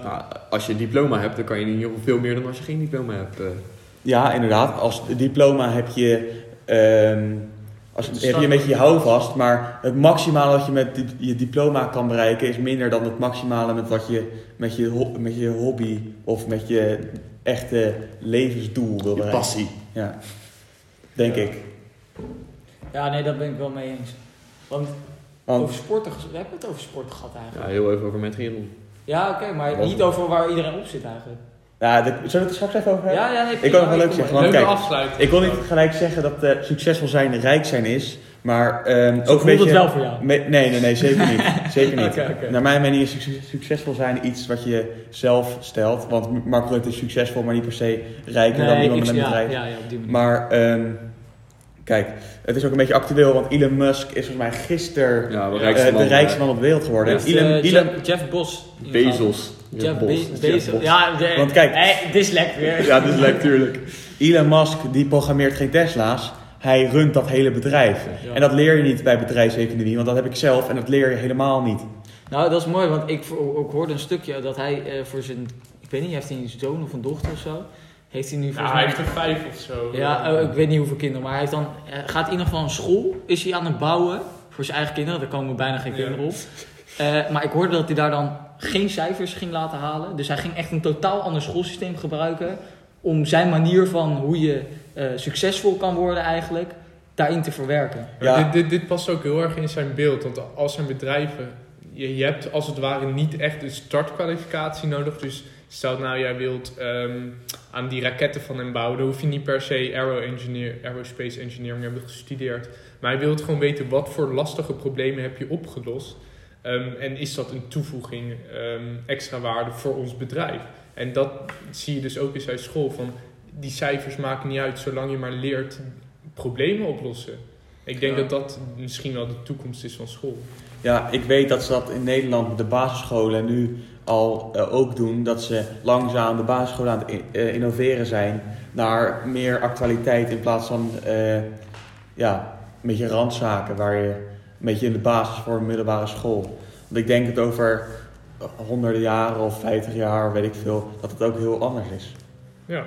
Speaker 3: Nou, als je een diploma hebt, dan kan je in ieder geval veel meer dan als je geen diploma hebt. eh.
Speaker 2: Ja, inderdaad. Als diploma heb je, ehm, als,
Speaker 1: Het
Speaker 2: heb je een beetje je houvast. Maar het maximale wat je met di- je diploma kan bereiken is minder dan het maximale met wat je met je, ho- met je hobby of met je echte levensdoel wil
Speaker 3: je
Speaker 2: bereiken.
Speaker 3: passie.
Speaker 2: Ja, denk
Speaker 1: Ja.
Speaker 2: ik.
Speaker 1: Ja, nee, daar ben ik wel mee eens. Want
Speaker 2: Want
Speaker 1: over sporten, ges- we hebben het over sport gehad eigenlijk.
Speaker 3: Ja, heel even over mijn triathlon.
Speaker 1: Ja, oké, maar
Speaker 3: Was
Speaker 1: niet
Speaker 3: het.
Speaker 1: over waar iedereen op zit eigenlijk.
Speaker 2: ja, dit- zullen we het er straks even over hebben?
Speaker 1: Ja, ja, nee,
Speaker 2: Ik kan nog wel leuk
Speaker 1: kom
Speaker 2: zeggen,
Speaker 1: maar.
Speaker 2: want
Speaker 4: Leuke
Speaker 2: kijk,
Speaker 4: afsluiting.
Speaker 2: Ik wil niet gelijk zeggen dat eh, succesvol zijn rijk zijn is, maar ehm
Speaker 1: Zo
Speaker 2: ook een
Speaker 1: voelt het
Speaker 2: beetje...
Speaker 1: wel voor jou.
Speaker 2: Me- nee, nee, nee, zeker niet. zeker niet.
Speaker 1: Oké, oké.
Speaker 2: Naar mijn mening is succes- succesvol zijn iets wat je zelf stelt. Want Mark Rutte is succesvol, maar niet per se rijker dan iemand met een
Speaker 1: ja,
Speaker 2: bedrijf.
Speaker 1: ja, ja, op die manier.
Speaker 2: Maar ehm, kijk, het is ook een beetje actueel, want Elon Musk is volgens mij gisteren
Speaker 3: Ja, de
Speaker 2: eh,
Speaker 3: rijkste man.
Speaker 2: de rijkste man op de wereld geworden.
Speaker 3: Ja.
Speaker 2: En Elon,
Speaker 1: Eh,
Speaker 2: Elon,
Speaker 1: Jeff, Jeff Bos.
Speaker 3: eh, Bezos.
Speaker 1: Jeff
Speaker 3: Bos.
Speaker 1: Be-
Speaker 3: Jeff
Speaker 1: Bezos.
Speaker 3: Bos.
Speaker 1: Ja, de-
Speaker 2: Want kijk-
Speaker 1: Hey, dit is lekker weer.
Speaker 3: Ja, dat is leuk, tuurlijk.
Speaker 2: Elon Musk die programmeert geen Tesla's, hij runt dat hele bedrijf.
Speaker 1: Ja.
Speaker 2: En dat leer je niet bij bedrijfseconomie, want dat heb ik zelf en dat leer je helemaal niet.
Speaker 1: Nou, dat is mooi, want ik, vo- ook hoorde een stukje dat hij eh, voor zijn, ik weet niet, heeft hij een zoon of een dochter of zo? Heeft hij nu voor
Speaker 4: Ja, hij heeft er vijf of zo.
Speaker 1: Ja, eh, ik weet niet hoeveel kinderen, maar hij heeft dan, eh, gaat in ieder geval een school, is hij aan het bouwen voor zijn eigen kinderen, daar komen bijna geen
Speaker 4: Ja.
Speaker 1: kinderen op. Eh, maar ik hoorde dat hij daar dan geen cijfers ging laten halen, dus hij ging echt een totaal ander schoolsysteem gebruiken om zijn manier van hoe je eh, succesvol kan worden eigenlijk, daarin te verwerken.
Speaker 2: Ja.
Speaker 4: Dit, dit, dit past ook heel erg in zijn beeld. Want als zijn bedrijven. Je, je hebt als het ware niet echt een startkwalificatie nodig. Dus stel nou, jij wilt ehm, aan die raketten van hem bouwen. Dan hoef je niet per se aero engineer, aerospace engineering hebben gestudeerd. Maar je wilt gewoon weten wat voor lastige problemen heb je opgelost. Ehm, en is dat een toevoeging, ehm, extra waarde voor ons bedrijf? En dat zie je dus ook in zijn school. Van die cijfers maken niet uit zolang je maar leert problemen oplossen. Ik denk
Speaker 1: Ja.
Speaker 4: dat dat misschien wel de toekomst is van school.
Speaker 2: Ja, ik weet dat ze dat in Nederland de basisscholen nu al eh, ook doen. Dat ze langzaam de basisscholen aan het in- eh, innoveren zijn naar meer actualiteit in plaats van eh, ja, een beetje randzaken waar je een beetje in de basis voor een middelbare school. Want ik denk dat over honderden jaren of 50 jaar, weet ik veel, dat het ook heel anders is.
Speaker 4: Ja,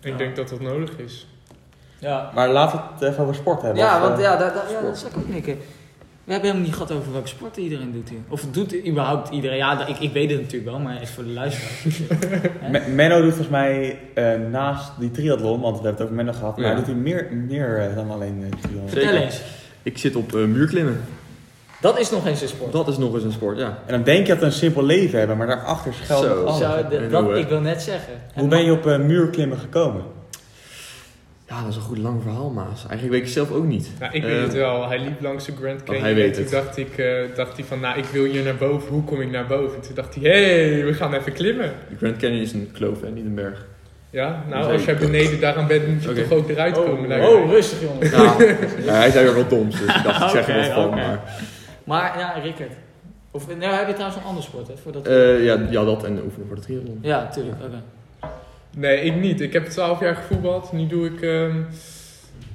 Speaker 4: ik
Speaker 1: Ja.
Speaker 4: denk dat dat nodig is.
Speaker 1: Ja,
Speaker 2: Maar laten we het even over sport hebben.
Speaker 1: ja
Speaker 2: of,
Speaker 1: want
Speaker 2: eh,
Speaker 1: ja, daar- daar- ja, dat zou ik ook knikken. We hebben helemaal niet gehad over welke sporten iedereen doet hier. Of doet überhaupt iedereen? Ja, da- ik, ik weet het natuurlijk wel, maar even voor de luisteraars. Hè?
Speaker 2: Me- Menno doet volgens mij eh, naast die triathlon, want we hebben het over Menno gehad, maar
Speaker 3: Ja.
Speaker 2: hij doet hij meer, meer eh, dan alleen eh, triathlon.
Speaker 3: Zeker.
Speaker 1: Vertel eens.
Speaker 3: Ik zit op eh, muurklimmen.
Speaker 1: Dat is nog eens een sport.
Speaker 3: Dat is nog eens een sport, ja.
Speaker 2: En dan denk je dat we een simpel leven hebben, maar daarachter schuilt
Speaker 3: Zo.
Speaker 2: nog alles.
Speaker 1: Zou- de-
Speaker 3: en
Speaker 1: dat
Speaker 3: hoe, hè?
Speaker 1: ik wil net zeggen. En
Speaker 2: Hoe ben je op eh, muurklimmen gekomen?
Speaker 3: Ja, dat is een goed lang verhaal, Maas. Eigenlijk weet ik het zelf ook niet.
Speaker 4: Nou, ik
Speaker 3: Eh,
Speaker 4: weet het wel. Hij liep langs de Grand Canyon.
Speaker 3: hij weet
Speaker 4: en toen
Speaker 3: het.
Speaker 4: dacht ik, eh, dacht hij van, nou, ik wil hier naar boven. Hoe kom ik naar boven? Toen dacht hij, hé, hey, we gaan even klimmen.
Speaker 3: De Grand Canyon is een kloof en niet een berg.
Speaker 4: Ja, nou,
Speaker 3: Zeker.
Speaker 4: als jij beneden daaraan bent, moet je
Speaker 3: Oké.
Speaker 4: toch ook eruit komen.
Speaker 1: Oh,
Speaker 4: lijkt mij.
Speaker 1: oh, rustig jongen.
Speaker 3: Ja, hij zei weer wat doms, dus ik dacht, ik zeg er wat
Speaker 1: Oké,
Speaker 3: van.
Speaker 1: oké.
Speaker 3: Maar,
Speaker 1: Maar ja, Rickert. Of nou, heb je trouwens een ander sport hè? Voor dat...
Speaker 3: Eh, ja, ja, dat en oefenen voor de triathlon.
Speaker 1: ja, tuurlijk. Oké.
Speaker 4: Nee, ik niet. Ik heb 12 jaar gevoetbald. Nu doe ik ehm,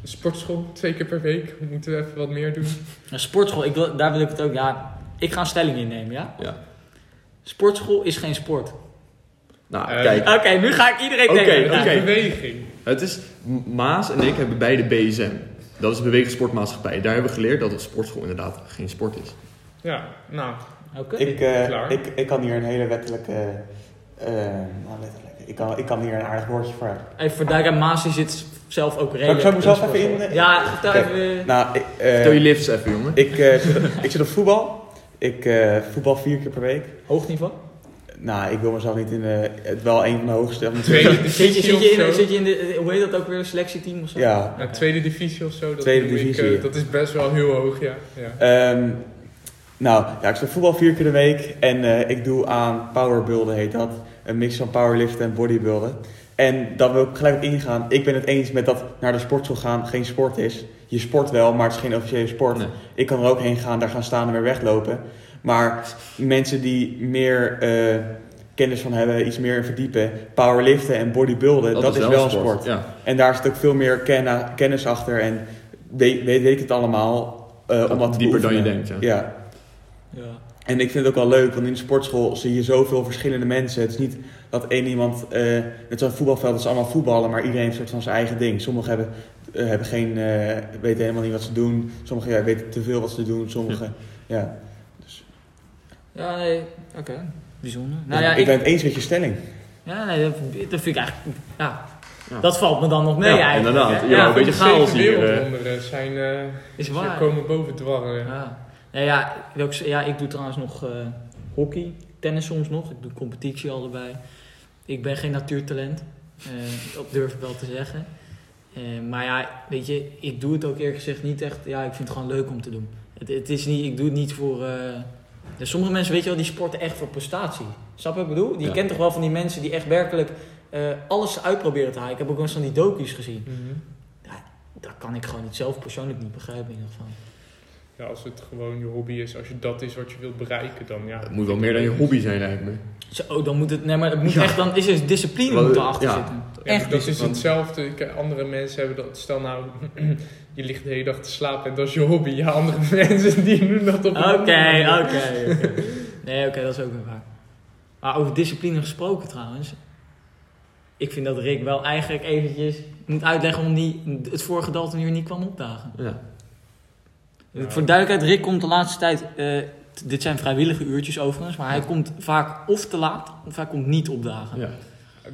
Speaker 4: sportschool twee keer per week. We moeten even wat meer doen.
Speaker 1: Nou, sportschool, ik wil, daar wil ik het ook. Ja, ik ga een stelling innemen, ja?
Speaker 3: Ja.
Speaker 1: Sportschool is geen sport.
Speaker 3: Nou,
Speaker 4: Eh,
Speaker 3: kijk,
Speaker 1: Oké, nu ga ik iedereen
Speaker 3: Oké,
Speaker 1: tegen.
Speaker 4: Het
Speaker 1: Nou,
Speaker 4: is
Speaker 3: oké.
Speaker 4: beweging.
Speaker 3: Het is, M- Maas en ik hebben beide BSM. Dat is de Bewegende Sportmaatschappij. Daar hebben we geleerd dat een sportschool inderdaad geen sport is.
Speaker 4: Ja, nou,
Speaker 1: Oké.
Speaker 2: Ik, eh,
Speaker 4: Klaar.
Speaker 2: ik, ik kan hier een hele wettelijke... eh, nou, letterlijk. Ik kan, ik kan hier een aardig woordje voor hebben.
Speaker 1: Even voor duidelijkheid, Maas die zit zelf ook
Speaker 2: Zal ik
Speaker 1: redelijk.
Speaker 2: zo mezelf
Speaker 1: in
Speaker 2: even in...
Speaker 1: sport.
Speaker 2: eh,
Speaker 1: Ja, vertel
Speaker 2: Oké.
Speaker 1: even.
Speaker 2: Nou, ik, eh,
Speaker 3: Stel je lifts even, jongen.
Speaker 2: ik, eh, zit op- ik zit op voetbal. Ik eh, voetbal vier keer per week.
Speaker 1: Hoog niveau.
Speaker 2: Nou, ik wil mezelf niet in eh, het wel een van de hoogste. maar-
Speaker 4: tweede
Speaker 1: Zit je,
Speaker 4: divisie
Speaker 1: zit,
Speaker 4: of
Speaker 1: je in,
Speaker 4: zo.
Speaker 1: zit je in de, hoe heet dat ook weer, selectieteam of zo?
Speaker 2: Ja,
Speaker 4: Nou, tweede divisie of zo, dat,
Speaker 2: Tweede
Speaker 4: noem ik,
Speaker 2: divisie,
Speaker 4: eh,
Speaker 2: ja.
Speaker 4: dat is best wel heel hoog, ja. ja.
Speaker 2: Ehm, nou, ja, ik speel voetbal vier keer de week en eh, ik doe aan powerbuilden heet dat. Eh, Een mix van powerliften en bodybuilden. En daar wil ik gelijk op ingaan. Ik ben het eens met dat naar de sportschool gaan geen sport is. Je sport wel, maar het is geen officiële sport.
Speaker 3: Nee.
Speaker 2: Ik kan er ook heen gaan, daar gaan staan en weer weglopen. Maar mensen die meer eh, kennis van hebben, iets meer in verdiepen, powerliften en
Speaker 1: Eh,
Speaker 2: bodybuilden, dat, is, wel een sport.
Speaker 3: Ja.
Speaker 2: En daar zit ook veel meer kenna- kennis achter en weet, weet, weet ik het allemaal. eh om dat te
Speaker 3: Dieper dan je
Speaker 2: beoefenen.
Speaker 3: denkt, ja.
Speaker 2: ja.
Speaker 1: Ja.
Speaker 2: En ik vind het ook wel leuk, want in de sportschool zie je zoveel verschillende mensen. Het is niet dat één iemand, eh net zo'n voetbalveld, dat ze allemaal voetballen, maar iedereen heeft soort van zijn eigen ding. Sommigen hebben, eh, hebben geen, eh, weten helemaal niet wat ze doen. Sommigen ja, weten te veel wat ze doen. Sommigen, ja.
Speaker 1: Ja, nee, oké. Bijzonder.
Speaker 2: Dus
Speaker 1: Nou ja,
Speaker 2: ik,
Speaker 1: ik,
Speaker 2: ben het eens met je stelling.
Speaker 1: ja nee, dat, dat vind ik eigenlijk... Ja,
Speaker 3: Ja.
Speaker 1: dat valt me dan nog mee
Speaker 3: Ja,
Speaker 1: eigenlijk.
Speaker 3: inderdaad.
Speaker 1: hè?
Speaker 3: Ja,
Speaker 1: Ja,
Speaker 3: een beetje
Speaker 4: de zeven
Speaker 3: chaos hier, eh.
Speaker 4: wereldwonderen zijn, eh,
Speaker 1: is
Speaker 4: ze
Speaker 1: waar.
Speaker 4: komen boven eh. dwarren.
Speaker 1: Ja. Nee, ja, ik, wil ook z- ja, ik doe trouwens nog eh, hockey, tennis soms nog. Ik doe competitie allebei. Ik ben geen natuurtalent. Eh, dat durf ik wel te zeggen. Eh, maar ja, weet je, ik doe het ook eerlijk gezegd niet echt. Ja, ik vind het gewoon leuk om te doen. Het, het is niet, ik doe het niet voor. eh, dus sommige mensen, weet je wel, die sporten echt voor prestatie. Snap je wat ik bedoel? Je
Speaker 3: Ja.
Speaker 1: kent toch wel van die mensen die echt werkelijk eh, alles uitproberen te halen. Ik heb ook wel eens van die docu's gezien.
Speaker 4: Mhm.
Speaker 1: Dat kan ik gewoon niet zelf persoonlijk niet begrijpen in ieder geval.
Speaker 4: Ja, als het gewoon je hobby is, als je dat is wat je wilt bereiken, dan ja.
Speaker 3: Het moet wel meer dan je hobby zijn, lijkt me.
Speaker 1: Zo, oh, dan moet het, nee, maar het moet echt, dan is er discipline
Speaker 3: Wel,
Speaker 1: moet erachter
Speaker 3: ja.
Speaker 1: zitten.
Speaker 4: Ja,
Speaker 1: Echt
Speaker 4: dat is
Speaker 3: want-
Speaker 4: hetzelfde. Kijk, Andere mensen hebben dat. Stel nou, je ligt de hele dag te slapen en dat is je hobby. Ja, andere mensen die doen dat op een
Speaker 1: Oké,
Speaker 4: andere
Speaker 1: oké.
Speaker 4: manier.
Speaker 1: oké. Nee, oké, dat is ook weer waar. Maar over discipline gesproken trouwens. Ik vind dat Rick wel eigenlijk eventjes moet uitleggen om die, het vorige Dalton hier niet kwam opdagen.
Speaker 3: Ja.
Speaker 4: Ja.
Speaker 1: Voor duidelijkheid, Rick komt de laatste tijd, eh, t- dit zijn vrijwillige uurtjes overigens, maar hij komt vaak of te laat of hij komt niet opdagen.
Speaker 3: ja.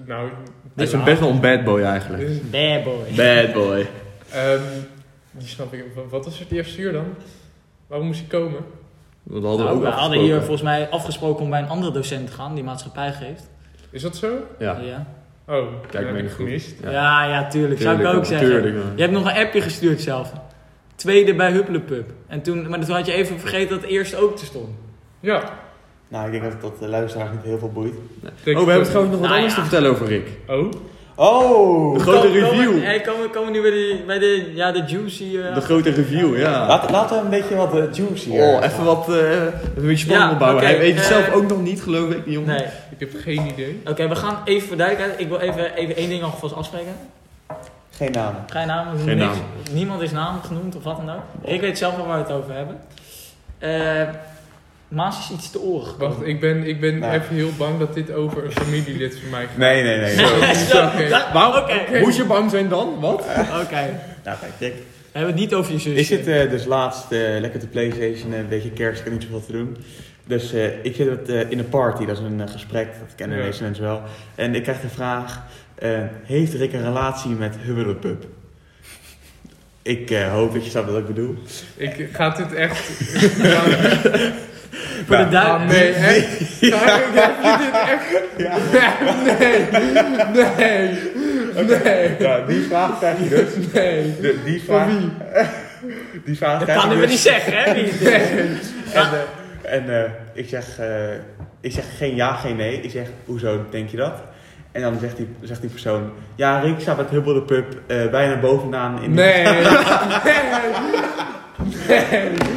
Speaker 4: Nou,
Speaker 3: Dit is een best wel een bad boy eigenlijk.
Speaker 4: dus,
Speaker 1: Bad boy.
Speaker 3: Bad boy.
Speaker 4: ehm, die snap ik. Wa- Wat was het eerste uur dan? Waarom moest hij komen?
Speaker 3: Dat hadden we
Speaker 1: Nou,
Speaker 3: ook
Speaker 1: we hadden
Speaker 3: afgesproken.
Speaker 1: hier volgens mij afgesproken om bij een andere docent te gaan die maatschappij geeft.
Speaker 4: Is dat zo?
Speaker 3: Ja,
Speaker 1: ja.
Speaker 4: Oh,
Speaker 3: kijk
Speaker 4: dat
Speaker 3: me
Speaker 4: heb ik
Speaker 3: niet goed.
Speaker 4: gemist.
Speaker 1: Ja, ja, tuurlijk. Zou ik
Speaker 3: Tuurlijk,
Speaker 1: ook zeggen.
Speaker 3: tuurlijk, man.
Speaker 1: Je hebt nog een appje gestuurd zelf. Tweede bij Hupplepup. En toen, maar toen had je even vergeten dat het eerst ook te stond.
Speaker 4: Ja.
Speaker 2: Nou, ik denk dat dat de luisteraars niet heel veel boeit.
Speaker 4: denk
Speaker 3: Oh, we
Speaker 4: ik
Speaker 3: hebben trouwens nog wat
Speaker 1: Nou
Speaker 3: anders
Speaker 1: ja.
Speaker 3: te vertellen over Rick.
Speaker 4: Oh,
Speaker 2: Oh!
Speaker 3: De grote
Speaker 1: Komen- komen-
Speaker 3: review.
Speaker 1: hey, Komen komen we nu bij de, bij de, ja, de juicy... eh,
Speaker 3: De grote review, ja.
Speaker 2: Laat- Laten we een beetje wat eh, juice hier.
Speaker 3: Oh, even wat eh, even een beetje spanning
Speaker 1: Ja,
Speaker 3: opbouwen.
Speaker 1: oké,
Speaker 3: Hij weet het
Speaker 1: eh,
Speaker 3: zelf ook nog niet, geloof ik, die jongen.
Speaker 1: nee.
Speaker 4: ik heb geen idee.
Speaker 1: Oké, we gaan even voor duidelijkheid. Ik wil even, even één ding alvast afspreken.
Speaker 2: Geen namen.
Speaker 1: Geen namen, we doen
Speaker 3: Geen
Speaker 1: niks.
Speaker 3: namen.
Speaker 1: Niemand is naam genoemd of wat dan ook. Ik weet zelf wel waar we het over hebben. Eh, Maas is iets te oren gekomen.
Speaker 4: Wacht, ik ben, ik ben
Speaker 2: Nou.
Speaker 4: even heel bang dat dit over een familielid van mij gaat.
Speaker 2: Nee, nee, nee.
Speaker 1: Zo,
Speaker 4: Oké.
Speaker 1: dat-
Speaker 3: Waarom?
Speaker 1: Oké, oké.
Speaker 3: Moest je bang zijn dan? Wat?
Speaker 2: Nou, kijk, kijk.
Speaker 1: We hebben het niet over je zus.
Speaker 2: Ik zit eh, dus laatst eh, lekker te Playstation, eh, een beetje kerst, ik heb niet zoveel te doen. Dus eh, ik zit met, eh, in een party, dat is een eh, gesprek, dat kennen
Speaker 4: Ja.
Speaker 2: deze mensen wel. En ik krijg de vraag, eh, heeft Rick een relatie met Hubblepup? Ik eh, hoop dat je snapt wat ik bedoel.
Speaker 4: Ik ga dit echt.
Speaker 1: voor de duid-
Speaker 4: Ah, nee, echt. Ga- Heb je dit echt?
Speaker 2: Ja.
Speaker 4: Nee, nee, nee,
Speaker 2: Nou, die vraag krijg je dus.
Speaker 4: nee.
Speaker 2: De- die vraag... Die vraag
Speaker 1: Dat
Speaker 2: krijg je
Speaker 1: kan ik me
Speaker 2: dus.
Speaker 1: niet zeggen, hè? wie het is.
Speaker 2: En, eh, en eh, ik, zeg, eh, ik zeg geen ja, geen nee. Ik zeg, hoezo denk je dat? En dan zegt die, zegt die persoon, ja, Rick staat met Hubble de Pub eh, bijna bovenaan in de...
Speaker 4: Nee. Nee.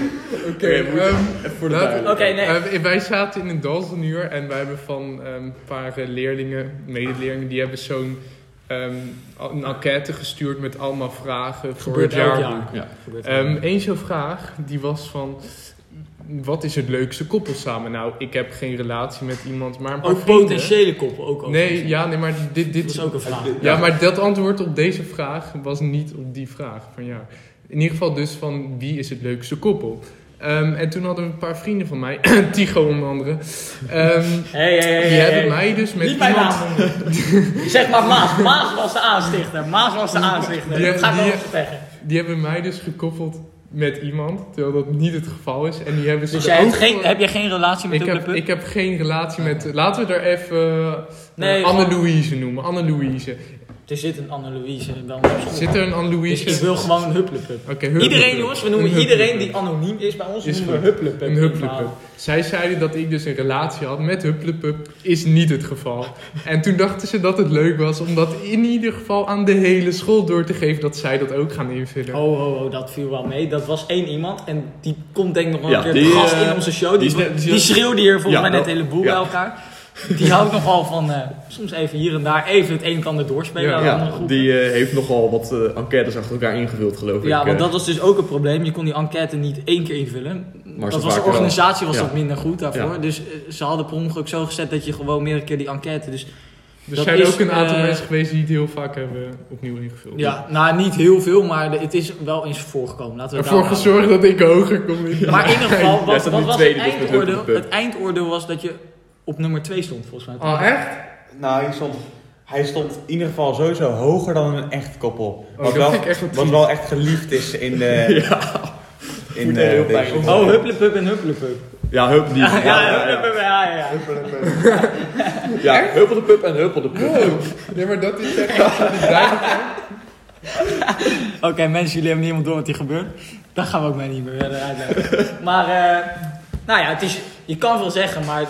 Speaker 4: Oké, ehm,
Speaker 3: Voor
Speaker 4: laten-
Speaker 1: Oké, nee.
Speaker 4: ehm, wij zaten in een dansenuur en wij hebben van ehm, een paar eh, leerlingen, medeleerlingen, die hebben zo'n ehm, al- een enquête gestuurd met allemaal vragen voor het
Speaker 1: Gebeurt elk
Speaker 4: jaar.
Speaker 1: jaar.
Speaker 3: Ja.
Speaker 1: Gebeurt elk
Speaker 4: Eén zo'n Ehm, vraag, die was van... Wat is het leukste koppel samen? Nou, ik heb geen relatie met iemand, maar een paar
Speaker 1: Ook
Speaker 4: vrienden.
Speaker 1: potentiële Oh, koppel, ook
Speaker 4: Nee,
Speaker 1: overigens.
Speaker 4: ja, nee, maar dit,
Speaker 1: Dat
Speaker 4: dit
Speaker 1: is ook een vraag.
Speaker 4: Ja, maar dat antwoord op deze vraag was niet op die vraag. Van ja. In ieder geval dus van wie is het leukste koppel? Ehm, en toen hadden we een paar vrienden van mij, Tycho onder andere. ehm,
Speaker 1: Hey, hey, hey,
Speaker 4: die
Speaker 1: hey,
Speaker 4: hebben
Speaker 1: hey.
Speaker 4: mij dus met
Speaker 1: Niet mijn
Speaker 4: iemand...
Speaker 1: naam noemen. zeg maar Maas. Maas was de aanstichter. Maas was de aanstichter.
Speaker 4: Die-
Speaker 1: dat ga ik
Speaker 4: die-
Speaker 1: wel zeggen.
Speaker 4: Die hebben mij dus gekoppeld met iemand, terwijl dat niet het geval is. En die hebben ze
Speaker 1: Dus
Speaker 4: er
Speaker 1: jij hebt
Speaker 4: ook
Speaker 1: geen,
Speaker 4: voor-
Speaker 1: heb jij geen relatie met
Speaker 4: Ik
Speaker 1: Dubbele
Speaker 4: heb,
Speaker 1: Pup?
Speaker 4: ik heb geen relatie met. Laten we daar even eh,
Speaker 1: Nee,
Speaker 4: Anne-Louise noemen. Anne-Louise.
Speaker 1: Er zit een Anne-Louise bij ons op school.
Speaker 4: Zit er een
Speaker 1: Dus
Speaker 4: Anne-Louise?
Speaker 1: ik wil gewoon een hupplepup.
Speaker 4: Oké, hupplepup.
Speaker 1: Iedereen jongens, we noemen
Speaker 4: Een
Speaker 1: iedereen die
Speaker 4: hupplepup.
Speaker 1: anoniem is bij ons,
Speaker 4: Is
Speaker 1: noemen we
Speaker 4: goed.
Speaker 1: hupplepup.
Speaker 4: Een hupplepup. Zij zeiden dat ik dus een relatie had met hupplepup, is niet het geval. En toen dachten ze dat het leuk was om dat in ieder geval aan de hele school door te geven dat zij dat ook gaan invullen.
Speaker 1: Oh, oh, oh, dat viel wel mee. Dat was één iemand en die komt denk ik nog wel
Speaker 3: Ja,
Speaker 1: een keer
Speaker 3: die,
Speaker 1: gast
Speaker 3: eh,
Speaker 1: in onze show. Die,
Speaker 3: die is
Speaker 1: die,
Speaker 3: net- die-
Speaker 1: schreeuwde hier volgens
Speaker 3: Ja,
Speaker 1: mij net een
Speaker 3: wel,
Speaker 1: heleboel
Speaker 3: ja.
Speaker 1: bij elkaar. Die houdt nogal van eh, soms even hier en daar even het een en ander doorspelen
Speaker 4: Ja,
Speaker 1: aan andere
Speaker 3: Ja,
Speaker 1: groepen.
Speaker 3: die eh, heeft nogal wat eh, enquêtes achter elkaar ingevuld, geloof ik.
Speaker 1: ja, want
Speaker 3: eh.
Speaker 1: dat was dus ook een probleem. Je kon die enquête niet één keer invullen.
Speaker 3: Maar
Speaker 1: dat
Speaker 3: ze
Speaker 1: was de
Speaker 3: vaker wel.
Speaker 1: organisatie was
Speaker 3: Ja.
Speaker 1: dat minder goed daarvoor.
Speaker 3: Ja.
Speaker 1: Dus eh, ze hadden per ongeluk zo gezet dat je gewoon meerdere keer die enquête... Dus
Speaker 4: er
Speaker 1: dat
Speaker 4: zijn
Speaker 1: is,
Speaker 4: ook een aantal
Speaker 1: eh,
Speaker 4: mensen geweest die het heel vaak hebben opnieuw ingevuld.
Speaker 1: ja, nou niet heel veel, maar de- het is wel eens voorgekomen. Laten we het
Speaker 4: Ervoor
Speaker 1: daarop houden.
Speaker 4: gezorgd dat ik hoger kom. in de-
Speaker 1: Maar in ieder geval,
Speaker 3: Jij
Speaker 1: wat,
Speaker 3: staat
Speaker 1: wat
Speaker 3: nu
Speaker 1: was
Speaker 3: tweede,
Speaker 1: het
Speaker 3: dus met
Speaker 1: eindoordeel?
Speaker 3: Hupplepup.
Speaker 1: Het eindoordeel was dat je op nummer 2 stond, volgens mij.
Speaker 4: Oh, echt?
Speaker 2: Nou, hij stond, hij stond in ieder geval sowieso hoger dan een echt koppel. wat,
Speaker 4: Oh, dat
Speaker 2: wel,
Speaker 4: vind ik echt wel
Speaker 2: wat wel echt geliefd is in de... In
Speaker 3: Voelt heel
Speaker 2: de,
Speaker 3: pijn.
Speaker 2: deze-
Speaker 1: Oh, hupplepup en hupplepup.
Speaker 3: Ja, hup, die.
Speaker 1: Ja, ja, hupplepup, ja, ja, ja.
Speaker 3: Ja, huppel de pup en huppel de pup.
Speaker 4: Oh, nee, maar dat is echt... Ja.
Speaker 1: Oké, mensen, jullie hebben niet helemaal door wat hier gebeurt. Daar gaan we ook mee niet meer verder uitleggen. Maar, eh, nou ja, het is, je kan veel zeggen, maar
Speaker 4: Ja,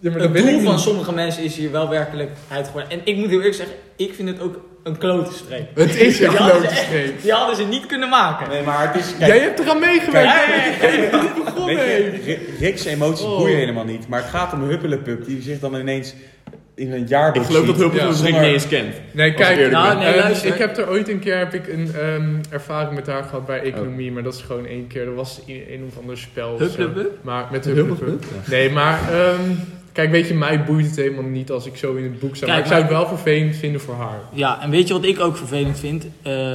Speaker 4: maar dat
Speaker 1: het
Speaker 4: wil ik
Speaker 1: doel van
Speaker 4: niet.
Speaker 1: sommige mensen is hier wel werkelijkheid geworden. En ik moet heel eerlijk zeggen, ik vind het ook een klote streep.
Speaker 4: Het is een
Speaker 1: Die hadden
Speaker 4: grote
Speaker 1: ze echt-
Speaker 4: streep.
Speaker 1: Die hadden ze niet kunnen maken.
Speaker 2: Nee, maar het is...
Speaker 4: Jij
Speaker 2: Kijk,
Speaker 4: hebt eraan meegewerkt.
Speaker 1: Ja, ja, ja.
Speaker 4: begonnen.
Speaker 2: weet je, Ri- Rick's emoties
Speaker 4: Oh.
Speaker 2: boeien helemaal niet. Maar het gaat om Huppelepup, die zich dan ineens in een jaarboek
Speaker 3: Ik geloof dat
Speaker 2: ziet.
Speaker 3: Huppel
Speaker 4: Ja,
Speaker 3: de
Speaker 2: zonder-
Speaker 3: niet eens kent.
Speaker 4: Nee,
Speaker 3: Als ik
Speaker 4: kijk,
Speaker 3: eerlijk
Speaker 1: Nou,
Speaker 3: ben.
Speaker 1: nee,
Speaker 4: ehm,
Speaker 1: luister.
Speaker 4: ik heb er ooit een keer heb ik een ehm, ervaring met haar gehad bij economie, maar dat is gewoon één keer. Dat was in een of ander spel. of zo.
Speaker 1: Hupplepup?
Speaker 4: Maar met hupplepup. Nee, maar ehm, kijk, weet je, mij boeit het helemaal niet als ik zo in het boek
Speaker 1: Kijk,
Speaker 4: zou. maar ik zou het wel vervelend vinden voor haar.
Speaker 1: Ja, en weet je wat ik ook vervelend vind? Eh,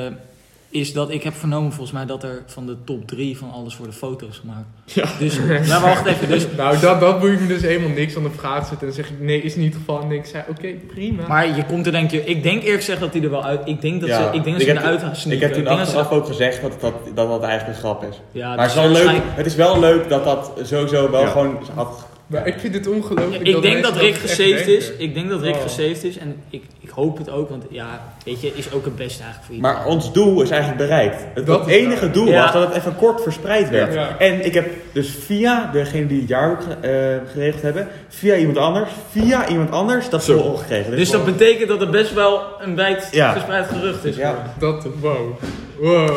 Speaker 1: is dat ik heb vernomen volgens mij dat er van de top 3 van alles worden foto's gemaakt. Dus, nou maar wacht even. Dus,
Speaker 4: Nou, dat, dat boeit me dus helemaal niks. Dan op vraag zitten en dan zeg ik nee, is niet het geval. En ik zei oké, prima.
Speaker 1: maar je komt er denk je, ik denk eerlijk gezegd dat die er wel uit, ik denk dat
Speaker 2: Ja,
Speaker 1: ze, ik denk dat
Speaker 2: ik
Speaker 1: ze
Speaker 2: heb-
Speaker 1: eruit gaan
Speaker 2: Ik
Speaker 1: sneaken.
Speaker 2: heb toen
Speaker 1: denk dat ze-
Speaker 2: achteraf ook gezegd dat dat, dat, dat eigenlijk een grap is.
Speaker 1: ja,
Speaker 2: maar
Speaker 1: dat
Speaker 2: het is, wel
Speaker 1: ze
Speaker 2: leuk,
Speaker 1: waarschijnlijk-
Speaker 2: het is wel leuk dat dat sowieso wel
Speaker 3: Ja.
Speaker 2: gewoon had...
Speaker 4: Maar ik vind het ongelooflijk.
Speaker 1: Ik denk dat Rick
Speaker 4: gesaved
Speaker 1: gesaved is. Ik denk dat Rick
Speaker 4: Oh.
Speaker 1: gesaved is. En ik, ik hoop het ook, want ja, weet je, is ook het beste eigenlijk voor iedereen.
Speaker 2: Maar ons doel is eigenlijk bereikt. Het
Speaker 4: Dat
Speaker 2: het
Speaker 4: is
Speaker 2: enige
Speaker 4: waar.
Speaker 2: doel
Speaker 1: Ja.
Speaker 2: was dat het even kort verspreid werd.
Speaker 4: Ja.
Speaker 2: En ik heb dus via degene die het jaarboek eh, geregeld hebben, via iemand anders, via iemand anders, dat
Speaker 3: Zo.
Speaker 2: zo gekregen.
Speaker 1: Dus dat betekent dat het best wel een wijd
Speaker 2: Ja.
Speaker 1: verspreid gerucht is.
Speaker 2: Ja.
Speaker 1: geworden.
Speaker 4: Dat, wow. Wow.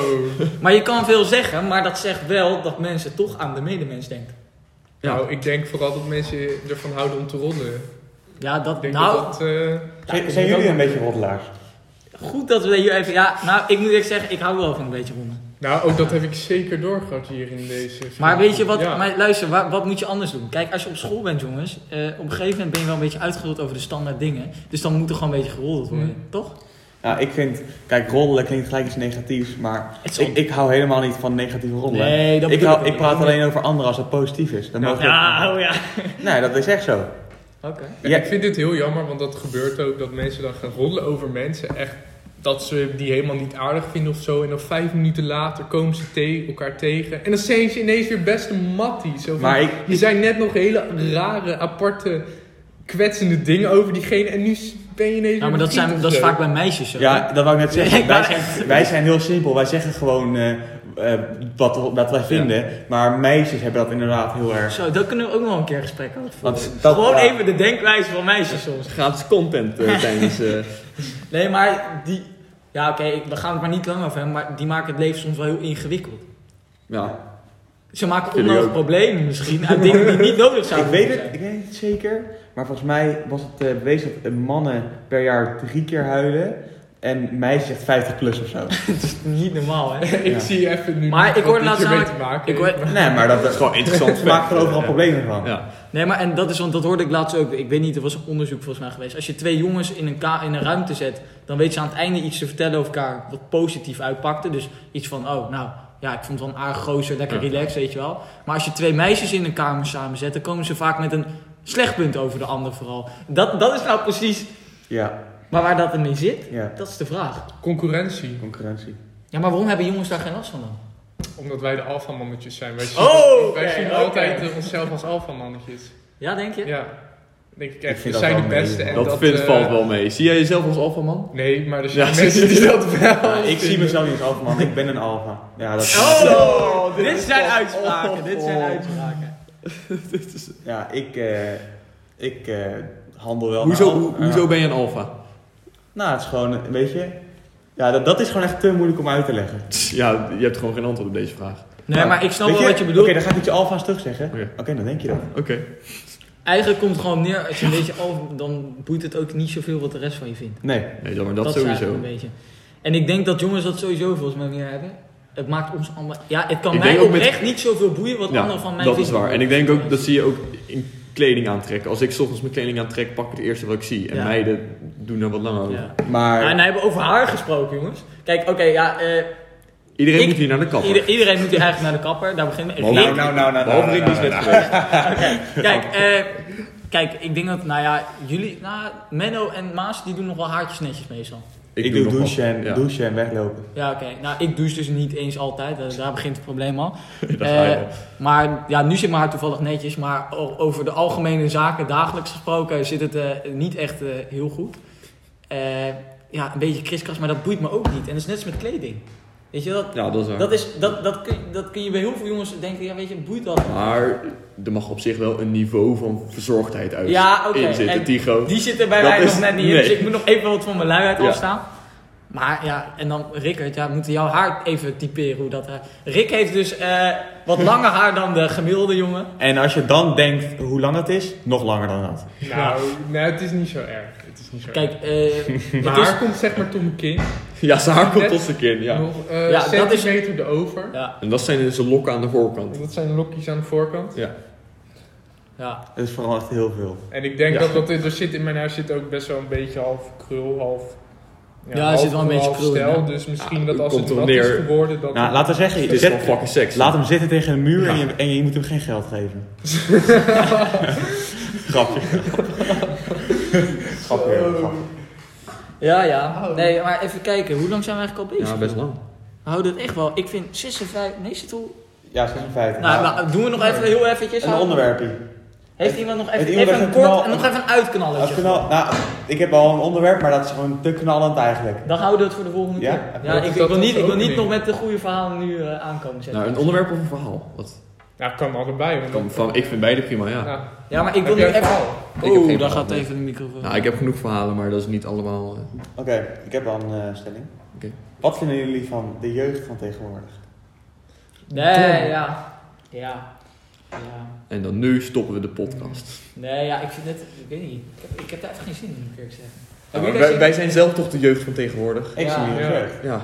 Speaker 1: Maar je kan veel zeggen, maar dat zegt wel dat mensen toch aan de medemens denken.
Speaker 3: Ja.
Speaker 4: Nou, ik denk vooral dat mensen ervan houden om te roddelen.
Speaker 1: Ja, dat,
Speaker 4: Ik denk
Speaker 1: nou,
Speaker 4: dat dat... eh,
Speaker 1: Ja,
Speaker 2: Zijn, zijn jullie een beetje roddelaars?
Speaker 1: Goed dat we hier even. Ja, nou, ik moet eerlijk zeggen, ik hou wel van een beetje rommel.
Speaker 4: nou, ook dat heb ik zeker doorgehad hier in deze...
Speaker 1: Maar weet je wat,
Speaker 4: Ja.
Speaker 1: maar luister, wa- wat moet je anders doen? Kijk, als je op school bent, jongens, eh, op een gegeven moment ben je wel een beetje uitgeruld over de standaard dingen. Dus dan moet er gewoon een beetje geroddeld worden,
Speaker 4: Hmm.
Speaker 1: toch?
Speaker 2: Nou, ik vind, kijk, roddelen klinkt gelijk iets negatiefs, maar
Speaker 1: Het is on-
Speaker 2: ik, ik hou helemaal niet van negatieve roddelen.
Speaker 1: Nee, dat
Speaker 2: ik,
Speaker 1: bedoel
Speaker 2: hou,
Speaker 1: ik
Speaker 2: ik praat
Speaker 1: niet.
Speaker 2: alleen over anderen als het positief is. Dan mogen we-
Speaker 1: Ja, oh ja.
Speaker 2: Nee, dat is echt zo.
Speaker 1: Oké.
Speaker 4: Ja,
Speaker 2: Ja.
Speaker 4: Ik vind dit heel jammer, want dat gebeurt ook. Dat mensen dan gaan roddelen over mensen. Echt dat ze die helemaal niet aardig vinden of zo. En dan vijf minuten later komen ze te- elkaar tegen. En dan zijn ze ineens weer beste mattie. Zo van,
Speaker 2: Maar ik-
Speaker 4: je zei net nog hele rare, aparte, kwetsende dingen over diegene. En nu s- ben je ineens
Speaker 1: Nou, maar
Speaker 4: weer
Speaker 1: dat, zijn,
Speaker 4: vriend
Speaker 1: dat is
Speaker 4: of
Speaker 1: vaak
Speaker 4: zo.
Speaker 1: bij meisjes zo.
Speaker 2: Ja, dat wou ik net zeggen.
Speaker 1: Ja, ik
Speaker 2: wij,
Speaker 1: wou-
Speaker 2: zijn, wij zijn heel simpel. Wij zeggen gewoon eh, eh, wat, wat wij vinden. Maar meisjes hebben dat inderdaad heel erg.
Speaker 1: Zo, daar kunnen we ook nog een keer een gesprek over voeren.
Speaker 2: Want dat-
Speaker 1: Gewoon
Speaker 2: ja.
Speaker 1: even de denkwijze van meisjes soms.
Speaker 3: Gratis content eh, tijdens... eh,
Speaker 1: Nee, maar die. Ja, oké, ik- we gaan het maar niet lang over hebben, maar die maken het leven soms wel heel ingewikkeld.
Speaker 3: ja.
Speaker 1: Ze maken
Speaker 3: Vind ik
Speaker 1: onnodige
Speaker 3: ook.
Speaker 1: problemen misschien uit dingen die niet nodig
Speaker 2: Ik
Speaker 1: zouden
Speaker 2: weet
Speaker 1: moeten
Speaker 2: het, ik weet het niet zeker. Maar volgens mij was het eh, bewezen dat eh, mannen per jaar drie keer huilen. En meisjes echt 50 plus of zo.
Speaker 1: zijn. Niet normaal, hè?
Speaker 4: ik
Speaker 2: Ja.
Speaker 4: zie even nu
Speaker 1: Maar
Speaker 4: niet
Speaker 1: ik
Speaker 4: wat
Speaker 1: hoor
Speaker 4: dit
Speaker 1: laatst
Speaker 4: hiermee
Speaker 1: namelijk-
Speaker 4: te maken
Speaker 1: ik
Speaker 4: heeft,
Speaker 1: hoor-
Speaker 4: maar-
Speaker 2: Nee, maar dat,
Speaker 3: Dat is gewoon interessant.
Speaker 2: ze maken er overal problemen van.
Speaker 3: Ja.
Speaker 1: Nee, maar en dat is, want dat hoorde ik laatst ook. Ik weet niet, er was een onderzoek volgens mij geweest. Als je twee jongens in een, ka- in een ruimte zet, dan weten ze aan het einde iets te vertellen over elkaar wat positief uitpakte. Dus iets van, oh, nou, ja, ik vond het wel een aardig gozer, lekker
Speaker 3: Ja.
Speaker 1: relaxed, weet je wel. Maar als je twee meisjes in een kamer samenzet, dan komen ze vaak met een slecht punt over de ander vooral. Dat, dat is nou precies,
Speaker 2: Ja,
Speaker 1: maar waar dat ermee zit,
Speaker 2: ja.
Speaker 1: dat is de vraag.
Speaker 4: Concurrentie.
Speaker 2: Concurrentie.
Speaker 1: Ja, maar waarom hebben jongens daar geen last van dan?
Speaker 4: Omdat wij de alfamannetjes zijn. Wij zien,
Speaker 1: Oh,
Speaker 4: wij
Speaker 1: oké,
Speaker 4: zien
Speaker 1: oké.
Speaker 4: altijd eh, onszelf als alfamannetjes.
Speaker 1: Ja, denk je?
Speaker 4: Ja. denk ik echt,
Speaker 2: vind dat
Speaker 4: we zijn de
Speaker 2: wel mee,
Speaker 4: beste. en
Speaker 3: dat vindt
Speaker 4: eh,
Speaker 3: valt wel mee. Zie jij jezelf als alfaman?
Speaker 4: Nee, maar er zijn
Speaker 3: Ja,
Speaker 4: mensen die dat wel
Speaker 2: Ja, ik zie
Speaker 4: vinden.
Speaker 2: mezelf niet als alfa man, ik ben een alfa. Ja, dat
Speaker 1: Oh,
Speaker 3: dit
Speaker 1: dit
Speaker 3: is
Speaker 1: zijn
Speaker 3: wel-
Speaker 1: uitspraken, dit zijn
Speaker 2: oh.
Speaker 1: uitspraken.
Speaker 3: Dit is-
Speaker 2: ja ik, eh, ik eh, handel wel.
Speaker 3: hoezo,
Speaker 2: naar
Speaker 3: hoe-
Speaker 2: alfa.
Speaker 3: hoezo ben je een alfa?
Speaker 2: Nou, het is gewoon, weet je, ja, dat, dat is gewoon echt te moeilijk om uit te leggen.
Speaker 3: Ja, je hebt gewoon geen antwoord op deze vraag.
Speaker 1: Nee, maar ik snap
Speaker 2: Weet
Speaker 1: wel wat je
Speaker 2: Oké,
Speaker 1: bedoelt.
Speaker 2: dan ga ik iets alfa's terugzeggen. Oké,
Speaker 3: Oké.
Speaker 2: dan denk je dat.
Speaker 3: Oké.
Speaker 1: Eigenlijk komt het gewoon neer, als je een beetje al, dan boeit het ook niet zoveel wat de rest van je vindt.
Speaker 2: Nee,
Speaker 3: Nee, dan maar dat,
Speaker 1: is
Speaker 3: sowieso.
Speaker 1: eigenlijk een beetje. En ik denk dat jongens dat sowieso volgens mij meer hebben. Het maakt ons allemaal... Ja, het kan
Speaker 3: Ik
Speaker 1: mij
Speaker 3: denk ook met-
Speaker 1: oprecht niet zoveel boeien wat
Speaker 3: Ja,
Speaker 1: anderen van mij
Speaker 3: dat is
Speaker 1: vinden.
Speaker 3: waar. En ik denk ook, dat zie je ook in kleding aantrekken. Als ik 's ochtends mijn kleding aantrek, pak ik het eerste wat ik zie. En
Speaker 1: Ja.
Speaker 3: meiden doen er wat langer over.
Speaker 1: Ja. Ja,
Speaker 2: maar...
Speaker 1: en dan hebben we over haar gesproken, jongens. Kijk, oké, ja, eh,
Speaker 3: Iedereen
Speaker 1: Ik-
Speaker 3: moet hier naar de kapper.
Speaker 1: ieder- iedereen moet hier eigenlijk naar de kapper. Daar beginnen we.
Speaker 3: Maar
Speaker 1: Rick-
Speaker 2: nou, nou, nou, nou,
Speaker 3: Behalve
Speaker 2: nou,
Speaker 3: Rick,
Speaker 2: nou,
Speaker 3: die is net
Speaker 2: nou,
Speaker 3: geweest.
Speaker 1: Kijk, eh, kijk, ik denk dat, nou ja, jullie, nou, Menno en Maas, die doen nog wel haartjes netjes meestal.
Speaker 2: Ik, doe,
Speaker 3: nog
Speaker 2: douchen,
Speaker 3: wat.
Speaker 2: en,
Speaker 3: Ja.
Speaker 2: douchen en weglopen.
Speaker 1: Ja, oké. Nou, ik douche dus niet eens altijd. eh, daar begint het probleem al.
Speaker 3: Daar ga je
Speaker 1: Eh,
Speaker 3: al.
Speaker 1: maar ja, nu zit mijn haar toevallig netjes. Maar o- over de algemene zaken, dagelijks gesproken, zit het eh, niet echt eh, heel goed. Eh, ja, een beetje kriskras, maar dat boeit me ook niet. En dat is net als met kleding. Weet je, dat,
Speaker 3: Ja, dat is waar.
Speaker 1: dat, is, dat, dat, kun, dat kun je bij heel veel jongens denken, ja, weet je, boeit dat.
Speaker 3: Maar er mag op zich wel een niveau van verzorgdheid uit
Speaker 1: Ja, oké.
Speaker 3: in zitten,
Speaker 1: En
Speaker 3: Tigo.
Speaker 1: Die zit er bij
Speaker 3: Dat
Speaker 1: mij
Speaker 3: is-
Speaker 1: nog net niet in,
Speaker 3: nee.
Speaker 1: dus ik moet nog even wat van mijn luiheid
Speaker 3: Ja.
Speaker 1: afstaan. Maar ja, en dan Rickert, ja, we moeten jouw haar even typeren hoe dat... eh, Rick heeft dus eh, wat langer haar dan de gemiddelde jongen.
Speaker 2: En als je dan denkt hoe lang het is, nog langer dan dat.
Speaker 4: Nou, nou, het is niet zo erg. Het is niet zo
Speaker 1: Kijk,
Speaker 4: erg.
Speaker 1: eh,
Speaker 4: Maar
Speaker 1: het is...
Speaker 4: komt zeg maar tot mijn kin.
Speaker 3: Ja, zijn haar komt
Speaker 4: Net-
Speaker 3: tot zijn kin, ja.
Speaker 4: Nog
Speaker 1: Ja,
Speaker 4: eh
Speaker 1: dat is-
Speaker 4: centimeter de over.
Speaker 1: Ja,
Speaker 3: En dat zijn dus de lokken aan de voorkant.
Speaker 4: Dat zijn de lokjes aan de voorkant.
Speaker 3: Ja.
Speaker 1: ja.
Speaker 2: Het is vooral echt heel veel.
Speaker 4: En ik denk
Speaker 3: Ja.
Speaker 4: dat, dat er er zit in mijn huis zit ook best wel een beetje half krul, half...
Speaker 1: Ja, er zit wel een beetje
Speaker 4: half
Speaker 1: krul in,
Speaker 4: stijl,
Speaker 1: ja.
Speaker 4: Dus misschien
Speaker 3: Ja,
Speaker 4: dat als
Speaker 3: komt
Speaker 4: het
Speaker 3: erop
Speaker 4: nat
Speaker 3: neer.
Speaker 4: is geworden, dat...
Speaker 2: Nou, laten we zeggen,
Speaker 3: Het
Speaker 2: je
Speaker 3: is gewoon
Speaker 2: zet,
Speaker 3: fucking seks.
Speaker 2: laat hem zitten tegen een muur en,
Speaker 3: Ja.
Speaker 2: je, en je moet hem geen geld geven. grapje. grapje,
Speaker 4: Zo.
Speaker 2: grapje.
Speaker 1: ja, ja. Oh. Nee, maar even kijken, hoe lang zijn we eigenlijk al bezig?
Speaker 3: Ja, best lang.
Speaker 1: We houden het echt wel. Ik vind 56... Nee, zit hoe...
Speaker 2: Ja, 56.
Speaker 1: Nou, nou, doen we nog even heel eventjes.
Speaker 2: een onderwerpje.
Speaker 1: Heeft iemand nog even,
Speaker 2: Heeft iemand
Speaker 1: even een
Speaker 2: een
Speaker 1: kort
Speaker 2: knal-
Speaker 1: en nog even een
Speaker 2: Als
Speaker 1: uitknalletje?
Speaker 2: knal, nou, ik heb al een onderwerp, maar dat is gewoon te knallend eigenlijk.
Speaker 1: Dan houden we het voor de volgende
Speaker 2: Ja?
Speaker 1: keer.
Speaker 4: Dat
Speaker 1: Ja, ik,
Speaker 4: is
Speaker 1: ik
Speaker 4: dat
Speaker 1: wil niet,
Speaker 4: onze
Speaker 1: ik wil niet
Speaker 4: opening.
Speaker 1: nog met de goede verhalen nu eh, aankomen zetten.
Speaker 3: Nou, een onderwerp of een verhaal? Wat?
Speaker 4: Nou, kan allebei. Want
Speaker 3: Kan
Speaker 4: dan,
Speaker 3: Van, ik vind beide prima, ja.
Speaker 4: Nou,
Speaker 1: ja, maar ik wil
Speaker 4: heb
Speaker 1: nu
Speaker 4: jij een
Speaker 1: even...
Speaker 4: verhaal?
Speaker 3: Ik heb geen
Speaker 1: Oeh, daar
Speaker 3: verhaal,
Speaker 1: gaat
Speaker 3: nee.
Speaker 1: even de microfoon.
Speaker 3: Nou, ik heb genoeg verhalen, maar dat is niet allemaal... eh,
Speaker 2: Oké, ik heb al een eh, stelling.
Speaker 3: Oké.
Speaker 2: Wat vinden jullie van de jeugd van tegenwoordig?
Speaker 1: Nee, ja. Ja. Ja.
Speaker 3: En dan nu stoppen we de podcast.
Speaker 1: Nee, ja, ik vind het... Ik weet niet. Ik heb, ik heb daar even geen zin in, moet ik eerlijk zeggen.
Speaker 3: Ja,
Speaker 1: Heb
Speaker 3: maar
Speaker 1: jij
Speaker 3: wij,
Speaker 1: zin
Speaker 3: wij
Speaker 1: in?
Speaker 3: zijn zelf toch de jeugd van tegenwoordig?
Speaker 2: Ik
Speaker 1: Ja.
Speaker 2: zie jullie
Speaker 4: Ja.
Speaker 2: als jeugd.
Speaker 3: Ja,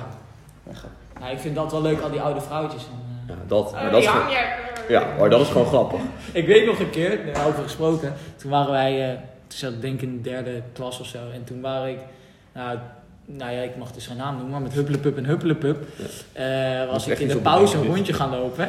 Speaker 1: Nou, ik vind dat wel leuk, al die oude vrouwtjes. en, eh.
Speaker 3: ja dat, maar dat is gewoon, ja, maar dat is gewoon grappig.
Speaker 1: Ik weet nog een keer, daarover gesproken. Toen waren wij, eh, toen zat ik denk in de derde klas of zo. En toen waren ik, nou, nou ja, ik mag dus geen naam noemen, maar met Huppelepup en Huppelepup. eh,
Speaker 3: Dat is
Speaker 1: was ik
Speaker 3: echt
Speaker 1: in
Speaker 3: iets
Speaker 1: de
Speaker 3: op de
Speaker 1: pauze
Speaker 3: bank
Speaker 1: een
Speaker 3: zitten.
Speaker 1: rondje gaan lopen.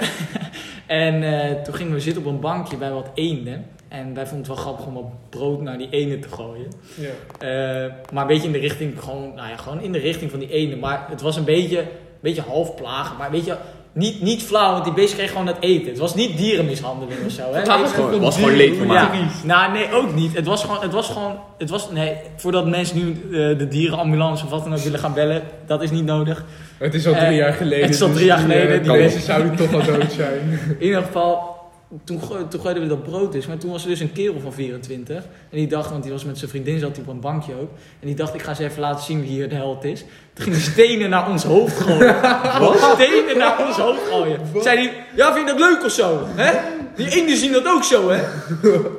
Speaker 1: en eh, toen gingen we zitten op een bankje bij wat eenden. En wij vonden het wel grappig om wat brood naar die eenden te gooien.
Speaker 4: Ja.
Speaker 1: Eh, maar een beetje in de richting, gewoon, nou ja, gewoon in de richting van die ene. Maar het was een beetje, een beetje half plagen. Maar weet je, niet, niet flauw, want die beest kreeg gewoon het eten. Het was niet dierenmishandeling of zo. Hè?
Speaker 4: Het was
Speaker 1: Even-
Speaker 3: gewoon- was gewoon leedvermaak.
Speaker 1: ja. Nou, nee, ook niet. Het was gewoon, het was gewoon, het was, nee, voordat mensen nu eh, de dierenambulance of wat dan ook willen gaan bellen, dat is niet nodig.
Speaker 4: Het is al drie
Speaker 1: Eh,
Speaker 4: jaar geleden.
Speaker 1: het is al
Speaker 4: dus
Speaker 1: drie jaar
Speaker 4: die, eh,
Speaker 1: geleden,
Speaker 4: Die
Speaker 3: die-
Speaker 4: mensen zouden toch al dood zijn.
Speaker 1: In ieder geval, toen, goo- toen gooiden we dat brood dus. Maar toen was er dus een kerel van 24. En die dacht, want die was met zijn vriendin, zat hij op een bankje ook. En die dacht, ik ga ze even laten zien wie hier de held is. Toen ging hij stenen naar ons hoofd gooien. Wat? Stenen naar ons hoofd gooien.
Speaker 4: Wat?
Speaker 1: Zei hij, ja vind je dat leuk of zo? Hè? Die Inden zien dat ook zo, hè?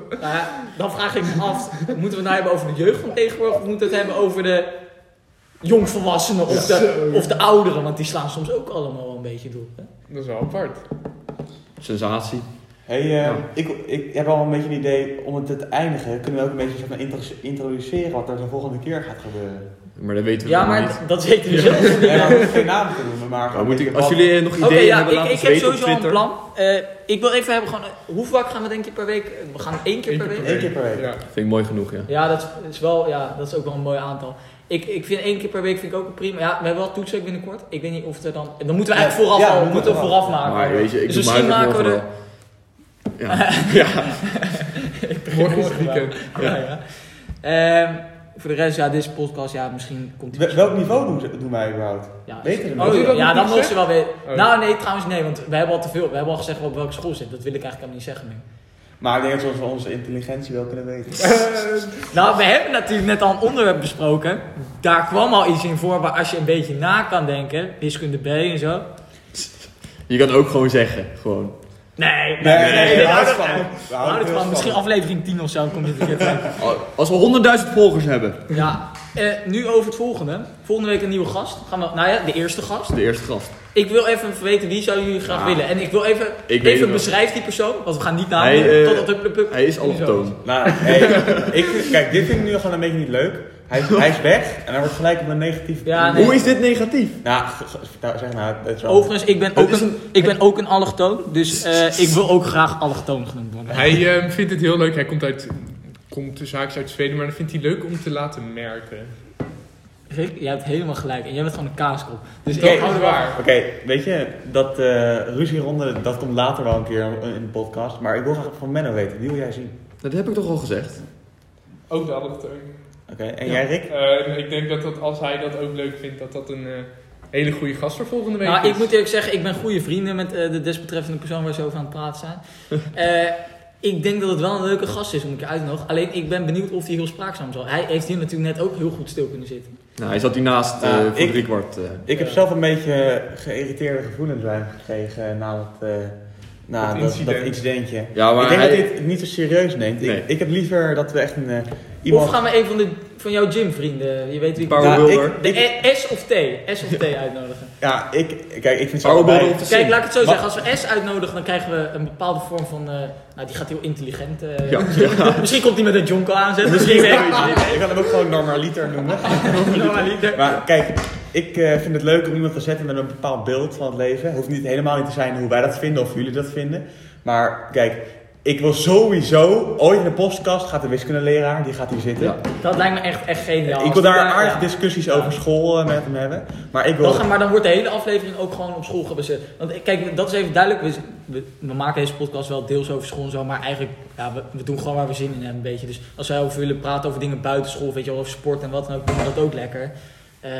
Speaker 1: nou ja, dan vraag ik me af, moeten we het nou hebben over de jeugd van tegenwoordig? Of moeten we het hebben over de jongvolwassenen of, de,
Speaker 4: Zo.
Speaker 1: of de ouderen? Want die slaan soms ook allemaal wel een beetje door. Hè?
Speaker 4: Dat is wel apart.
Speaker 3: Sensatie.
Speaker 2: Hey, eh,
Speaker 3: Ja.
Speaker 2: ik, ik heb al een beetje een idee om het te eindigen. Kunnen we ook een beetje zeg maar, intro- introduceren wat er de volgende keer gaat gebeuren?
Speaker 3: Maar dat weten we
Speaker 1: Ja,
Speaker 3: nog
Speaker 1: maar
Speaker 3: niet.
Speaker 1: dat weten we zelf niet.
Speaker 2: Nee, maar we hoeven geen naam te noemen, maar
Speaker 3: Maar
Speaker 2: gewoon
Speaker 3: moet ik,
Speaker 2: een beetje
Speaker 3: als
Speaker 2: wat-
Speaker 3: jullie eh, nog
Speaker 1: Oké,
Speaker 3: ideeën
Speaker 1: ja,
Speaker 3: hebben,
Speaker 1: ik,
Speaker 3: laat
Speaker 1: ik
Speaker 3: ons
Speaker 1: heb
Speaker 3: weten op
Speaker 1: sowieso al een
Speaker 3: Twitter.
Speaker 1: plan. Eh, ik wil even hebben, gewoon, eh, hoe vaak gaan we denk je per week? eh, We gaan één keer per week.
Speaker 2: Eén keer per week.
Speaker 4: Ja.
Speaker 3: Vind ik mooi genoeg, ja.
Speaker 1: Ja, dat is- is wel, ja, dat is ook wel een mooi aantal. Ik, ik vind één keer per week vind ik ook een prima. Ja, we hebben wel toetsen binnenkort. Ik weet niet of er dan. Dan moeten we eigenlijk
Speaker 2: Ja,
Speaker 1: vooraf
Speaker 2: ja,
Speaker 1: al. We
Speaker 2: we
Speaker 1: moeten we
Speaker 2: moeten vooraf.
Speaker 1: vooraf maken.
Speaker 3: Maar weet je, ik
Speaker 1: Dus
Speaker 3: doe mijn
Speaker 1: misschien
Speaker 3: huiswerk
Speaker 1: maken we
Speaker 3: morgen wel. Ja. ja.
Speaker 1: ik
Speaker 4: Morgen is het weekend.
Speaker 1: Ja, ja. Ehm, voor de rest, ja, deze podcast, ja, misschien komt die...
Speaker 2: Wel- Welk niveau doen, ze- doen wij überhaupt?
Speaker 1: Ja,
Speaker 2: Weten we
Speaker 1: Oh,
Speaker 4: Doe je dat
Speaker 1: ja,
Speaker 4: niet
Speaker 1: dan mogen ze
Speaker 4: zeggen?
Speaker 1: wel weer.
Speaker 4: Oh.
Speaker 1: Nou, nee, trouwens, nee, want we hebben al te veel. We hebben al gezegd op welke school ze zit. Dat wil ik eigenlijk helemaal niet zeggen nu.
Speaker 2: Maar ik denk dat we onze intelligentie wel kunnen weten.
Speaker 1: Nou, we hebben natuurlijk net al een onderwerp besproken. Daar kwam al iets in voor waar als je een beetje na kan denken, wiskunde B en zo.
Speaker 3: Je kan ook gewoon zeggen, gewoon.
Speaker 1: Nee, nee,
Speaker 2: Nee, nee, nee,
Speaker 1: we houden
Speaker 2: van.
Speaker 1: het-
Speaker 2: We
Speaker 1: we houden het
Speaker 2: heel
Speaker 1: van. Misschien
Speaker 2: van.
Speaker 1: aflevering 10 of zo komt dit een keer terug.
Speaker 3: Als we 100.000 volgers hebben.
Speaker 1: Ja, eh, nu over het volgende. Volgende week een nieuwe gast. Gaan we, nou ja, de eerste gast.
Speaker 3: De eerste gast.
Speaker 1: Ik wil even weten wie zou jullie graag
Speaker 3: Ja.
Speaker 1: willen. En ik wil even,
Speaker 3: weet het
Speaker 1: even
Speaker 3: wel.
Speaker 1: beschrijf die persoon, want we gaan niet
Speaker 3: Hij,
Speaker 1: namen.
Speaker 3: eh,
Speaker 1: totdat hup, hup, hup.
Speaker 3: Hij is
Speaker 1: Wie zou het
Speaker 3: allochtoon.
Speaker 2: Nou, hey, ik, kijk, dit vind ik nu gewoon een beetje niet leuk. Hij, is- hij is weg en hij wordt gelijk op een negatief.
Speaker 1: Ja, nee.
Speaker 3: Hoe is dit negatief?
Speaker 2: Nou, g- g- nou, zeg nou, het is wel-
Speaker 1: Overigens, ik ben,
Speaker 3: Het
Speaker 1: ook
Speaker 3: is
Speaker 1: een, ik ben ook een allochtoon, dus eh, ik wil ook graag allochtoon genoemd worden.
Speaker 4: Hij eh, vindt het heel leuk. Hij komt uit, komt de zaak uit Zweden, maar dat vindt hij leuk om te laten merken.
Speaker 1: Rick, jij hebt helemaal gelijk en jij bent gewoon een kaaskop. Dus
Speaker 4: Dat
Speaker 1: ik
Speaker 4: is waar.
Speaker 2: Oké, weet je, dat eh ruzieronde, dat komt later wel een keer in de podcast. Maar ik wil graag van Menno weten, die wil jij zien.
Speaker 3: Dat heb ik toch al gezegd?
Speaker 4: Ook de allochtoon.
Speaker 2: Oké, en jij Rick?
Speaker 4: Eh, ik denk dat, dat als hij dat ook leuk vindt, dat dat een eh, hele goede gast voor volgende week
Speaker 1: Nou,
Speaker 4: is.
Speaker 1: ik moet eerlijk zeggen, ik ben goede vrienden met eh, de desbetreffende persoon waar ze over aan het praten zijn. Eh, ik denk dat het wel een leuke gast is om een keer uit te nodigen. Alleen ik ben benieuwd of hij heel spraakzaam zal. Hij heeft hier natuurlijk net ook heel goed stil kunnen zitten.
Speaker 3: Nou, hij zat hiernaast eh
Speaker 2: Nou,
Speaker 3: voor
Speaker 2: ik-
Speaker 3: driekwart. eh.
Speaker 2: Ik heb zelf een beetje geïrriteerde gevoelens bij hem gekregen na dat, eh, na
Speaker 4: Dat
Speaker 2: dat, dat
Speaker 4: incident.
Speaker 2: incidentje.
Speaker 3: Ja, maar
Speaker 2: ik denk
Speaker 3: hij-
Speaker 2: dat hij het niet zo serieus neemt.
Speaker 3: Nee.
Speaker 2: Ik, ik heb liever dat we echt een, eh, iemand...
Speaker 1: Of gaan we een van, de, van jouw gymvrienden, je weet wie ik
Speaker 3: Paul
Speaker 1: bedoel.
Speaker 2: Nou,
Speaker 3: Wilder.
Speaker 2: ik-
Speaker 1: De
Speaker 2: ik-
Speaker 1: E- S of T, S of T uitnodigen.
Speaker 2: Ja, ik, kijk, ik vind het
Speaker 3: Arno
Speaker 2: zo
Speaker 3: Beulen of de
Speaker 1: Kijk,
Speaker 3: Sim.
Speaker 1: laat ik het zo
Speaker 2: Wat-
Speaker 1: zeggen. Als we S uitnodigen, dan krijgen we een bepaalde vorm van... eh, nou, die gaat heel intelligent. eh,
Speaker 3: Ja,
Speaker 1: Misschien komt hij met een jonko aanzetten. Misschien weet ik het
Speaker 2: Ik kan hem ook gewoon normaliter noemen.
Speaker 1: niet. Normaliter.
Speaker 2: Maar kijk, ik eh, vind het leuk om iemand te zetten met een bepaald beeld van het leven. Het hoeft niet helemaal niet te zijn hoe wij dat vinden of jullie dat vinden. Maar kijk, ik wil sowieso, ooit in de podcast gaat de wiskundeleraar, die gaat hier zitten.
Speaker 3: Ja.
Speaker 1: Dat lijkt me echt, echt geniaal.
Speaker 2: Ik
Speaker 1: Als
Speaker 2: wil daar
Speaker 1: ja.
Speaker 2: aardige discussies over school eh, met hem hebben. Maar ik wil...
Speaker 1: Dan gaan- maar dan wordt de hele aflevering ook gewoon op school gebaseerd. Want eh, kijk, dat is even duidelijk. We, we, we maken deze podcast wel deels over school en zo. Maar eigenlijk, ja, we, we doen gewoon waar we zin in hebben een beetje. Dus als wij over willen praten over dingen buiten school, weet je wel, over sport en wat dan ook, doen we dat ook lekker. Eh,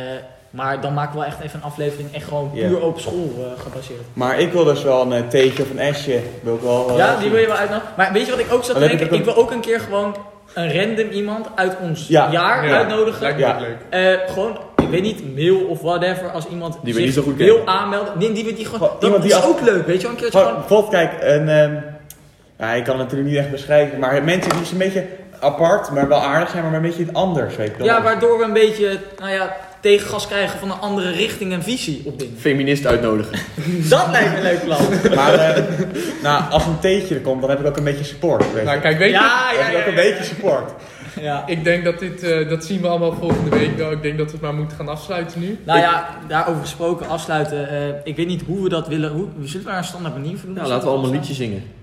Speaker 1: maar dan maken we wel echt even een aflevering echt gewoon
Speaker 2: Ja.
Speaker 1: puur op school eh, gebaseerd.
Speaker 2: Maar ik wil dus wel een eh, theetje of een esje. Wil ik wel, eh,
Speaker 1: Ja, die wil je wel uitnodigen. Maar weet je wat ik ook zat te
Speaker 2: Dan heb
Speaker 1: denken?
Speaker 2: ik
Speaker 1: Ik wil ook een keer gewoon een random iemand uit ons
Speaker 2: Ja.
Speaker 1: jaar
Speaker 4: Ja,
Speaker 1: uitnodigen.
Speaker 4: Lijkt me
Speaker 2: Ja.
Speaker 4: ook leuk.
Speaker 1: Eh, gewoon, ik weet niet, mail of whatever, als iemand
Speaker 3: Die we
Speaker 1: zich
Speaker 3: niet zo goed
Speaker 1: wil
Speaker 3: kennen.
Speaker 1: aanmelden. Nee, die we die gewoon,
Speaker 2: Gewoon
Speaker 1: dat
Speaker 2: iemand die
Speaker 1: is
Speaker 2: af-
Speaker 1: ook leuk, weet je wel, een keertje
Speaker 2: Gewoon,
Speaker 1: gewoon...
Speaker 2: bijvoorbeeld, kijk, een... ehm, ja, ik kan het natuurlijk niet echt beschrijven. Maar mensen die is een beetje apart, maar wel aardig zijn, maar een beetje iets anders. Weet ik wel.
Speaker 1: Ja, waardoor we een beetje, nou ja, tegengas krijgen van een andere richting en visie op dingen.
Speaker 3: Feminist uitnodigen.
Speaker 1: Dat lijkt me een leuk plan.
Speaker 2: Maar eh, nou, als een theetje er komt, dan heb ik ook een beetje support. Weet je.
Speaker 4: Nou, kijk, weet je,
Speaker 1: Ja,
Speaker 2: Dan
Speaker 1: ja,
Speaker 2: heb ik
Speaker 1: ja.
Speaker 2: ook een beetje support.
Speaker 1: ja.
Speaker 4: ik denk dat dit, eh, dat zien we allemaal volgende week. Nou, ik denk dat we het maar moeten gaan afsluiten nu.
Speaker 1: Nou ja, daarover gesproken, afsluiten. eh, ik weet niet hoe we dat willen. Hoe, we zullen daar een standaard manier voor doen.
Speaker 3: Nou, laten we allemaal liedjes zingen.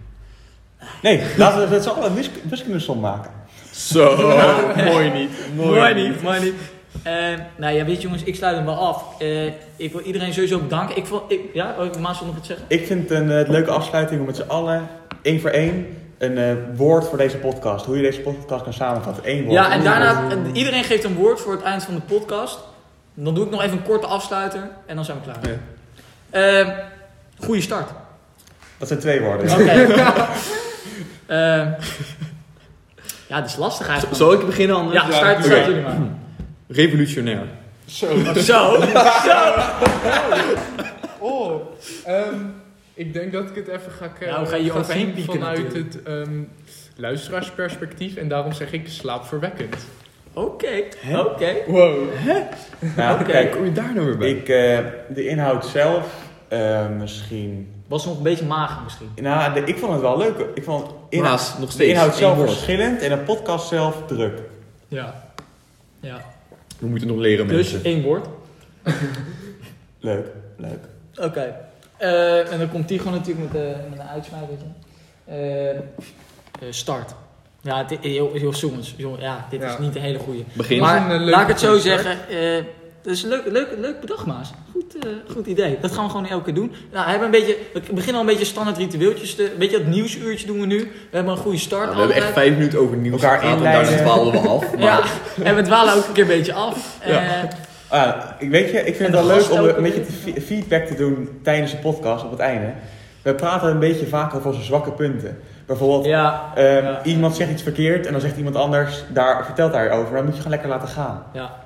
Speaker 2: Nee, laten we met z'n allen een wisk- wiskundesom maken.
Speaker 3: Zo, mooi niet.
Speaker 1: Mooi niet, mooi niet. Eh, nou ja, weet je jongens, ik sluit hem wel af. Eh, ik wil iedereen sowieso bedanken. Ik vond, ik, ja, oh, Maas wil nog iets zeggen.
Speaker 2: Ik vind het een eh, leuke afsluiting om met z'n allen, één voor één, een eh, woord voor deze podcast. Hoe je deze podcast kan samenvatten. Eén woord.
Speaker 1: Ja, en daarna, eh, iedereen geeft een woord voor het eind van de podcast. Dan doe ik nog even een korte afsluiter en dan zijn we klaar.
Speaker 2: Ja.
Speaker 1: Eh, goeie start.
Speaker 2: Dat zijn twee woorden.
Speaker 1: Oké. Eh, ja, dat is lastig eigenlijk.
Speaker 3: Zal ik beginnen anders?
Speaker 1: Ja, start,
Speaker 3: Oké.
Speaker 1: start jullie maar.
Speaker 3: Revolutionair.
Speaker 4: Zo.
Speaker 1: Zo.
Speaker 4: Oh, ehm, ik denk dat ik het even ga kijken.
Speaker 1: Nou, ga je overheen
Speaker 4: zien
Speaker 1: pieken
Speaker 4: vanuit
Speaker 1: natuurlijk.
Speaker 4: het ehm, luisteraarsperspectief. En daarom zeg ik slaapverwekkend.
Speaker 1: Oké, oké.
Speaker 4: Wow.
Speaker 2: Nou,
Speaker 1: Oké.
Speaker 2: kijk,
Speaker 3: Kom je daar nou weer bij?
Speaker 2: ik, eh, de inhoud zelf eh, misschien...
Speaker 1: Was nog een beetje mager misschien.
Speaker 2: Nou, de- ik vond het wel leuk. Ik vond inhoud,
Speaker 3: Helaas, nog
Speaker 2: de
Speaker 3: steeds.
Speaker 2: inhoud
Speaker 3: Eén
Speaker 2: zelf
Speaker 3: woord.
Speaker 2: verschillend en de podcast zelf druk.
Speaker 1: Ja. Ja.
Speaker 3: We moeten nog leren
Speaker 1: Dus
Speaker 3: mensen.
Speaker 1: één woord.
Speaker 2: Leuk, leuk.
Speaker 1: Oké. Eh, en dan komt Tigo natuurlijk met, eh, met een uitsmijtertje. Eh, eh, start. Ja, het, heel, heel, jongens, jongen, ja, dit
Speaker 4: Ja.
Speaker 1: is niet een hele goede.
Speaker 3: Begin.
Speaker 4: Maar-
Speaker 1: Maar
Speaker 4: een, eh, leuke
Speaker 1: laat ik het zo
Speaker 4: start.
Speaker 1: zeggen. eh, Dus leuk, leuk, leuk bedacht, Maas. Goed, eh, goed idee. Dat gaan we gewoon elke keer doen. Nou, we, hebben een beetje, we beginnen al een beetje standaard ritueeltjes. Te, een beetje dat nieuwsuurtje doen we nu. We hebben een goede start.
Speaker 3: Nou, we hebben echt
Speaker 1: altijd.
Speaker 3: vijf minuten over nieuws
Speaker 2: Elkaar
Speaker 3: gehad en
Speaker 2: inleiden.
Speaker 3: daarna dwaalden we af. Maar
Speaker 1: Ja, en we dwalen ook een keer een beetje af.
Speaker 3: Ja.
Speaker 1: Eh,
Speaker 2: Ah, ik weet je, ik vind
Speaker 1: En
Speaker 2: het
Speaker 1: de
Speaker 2: wel leuk
Speaker 1: gast
Speaker 2: om eh,
Speaker 1: ook
Speaker 2: een beetje
Speaker 1: weer.
Speaker 2: te fe- feedback te doen tijdens de podcast op het einde. We praten een beetje vaak over onze zwakke punten. Bijvoorbeeld,
Speaker 1: ja,
Speaker 2: ehm,
Speaker 1: ja.
Speaker 2: iemand zegt iets verkeerd en dan zegt iemand anders, daar vertelt hij over. Dan moet je gewoon lekker laten gaan.
Speaker 1: ja.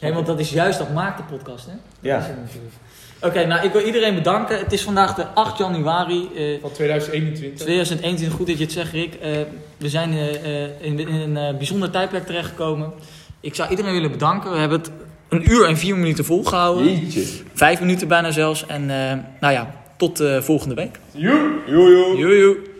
Speaker 1: Nee, want dat is juist dat maakt de podcast, hè?
Speaker 2: Ja.
Speaker 1: Dat is het natuurlijk. Oké, nou ik wil iedereen bedanken. Het is vandaag de 8 januari. eh,
Speaker 4: Van 2021.
Speaker 1: 2021, goed dat je het zegt, Rick. Eh, we zijn eh, eh, in, in een eh, bijzonder tijdperk terechtgekomen. Ik zou iedereen willen bedanken. We hebben het een uur en vier minuten volgehouden.
Speaker 3: Jeetje.
Speaker 1: Vijf minuten bijna zelfs. En eh, nou ja, tot eh, volgende week.
Speaker 4: Joe!
Speaker 3: Joe, joe.
Speaker 1: Joe, joe.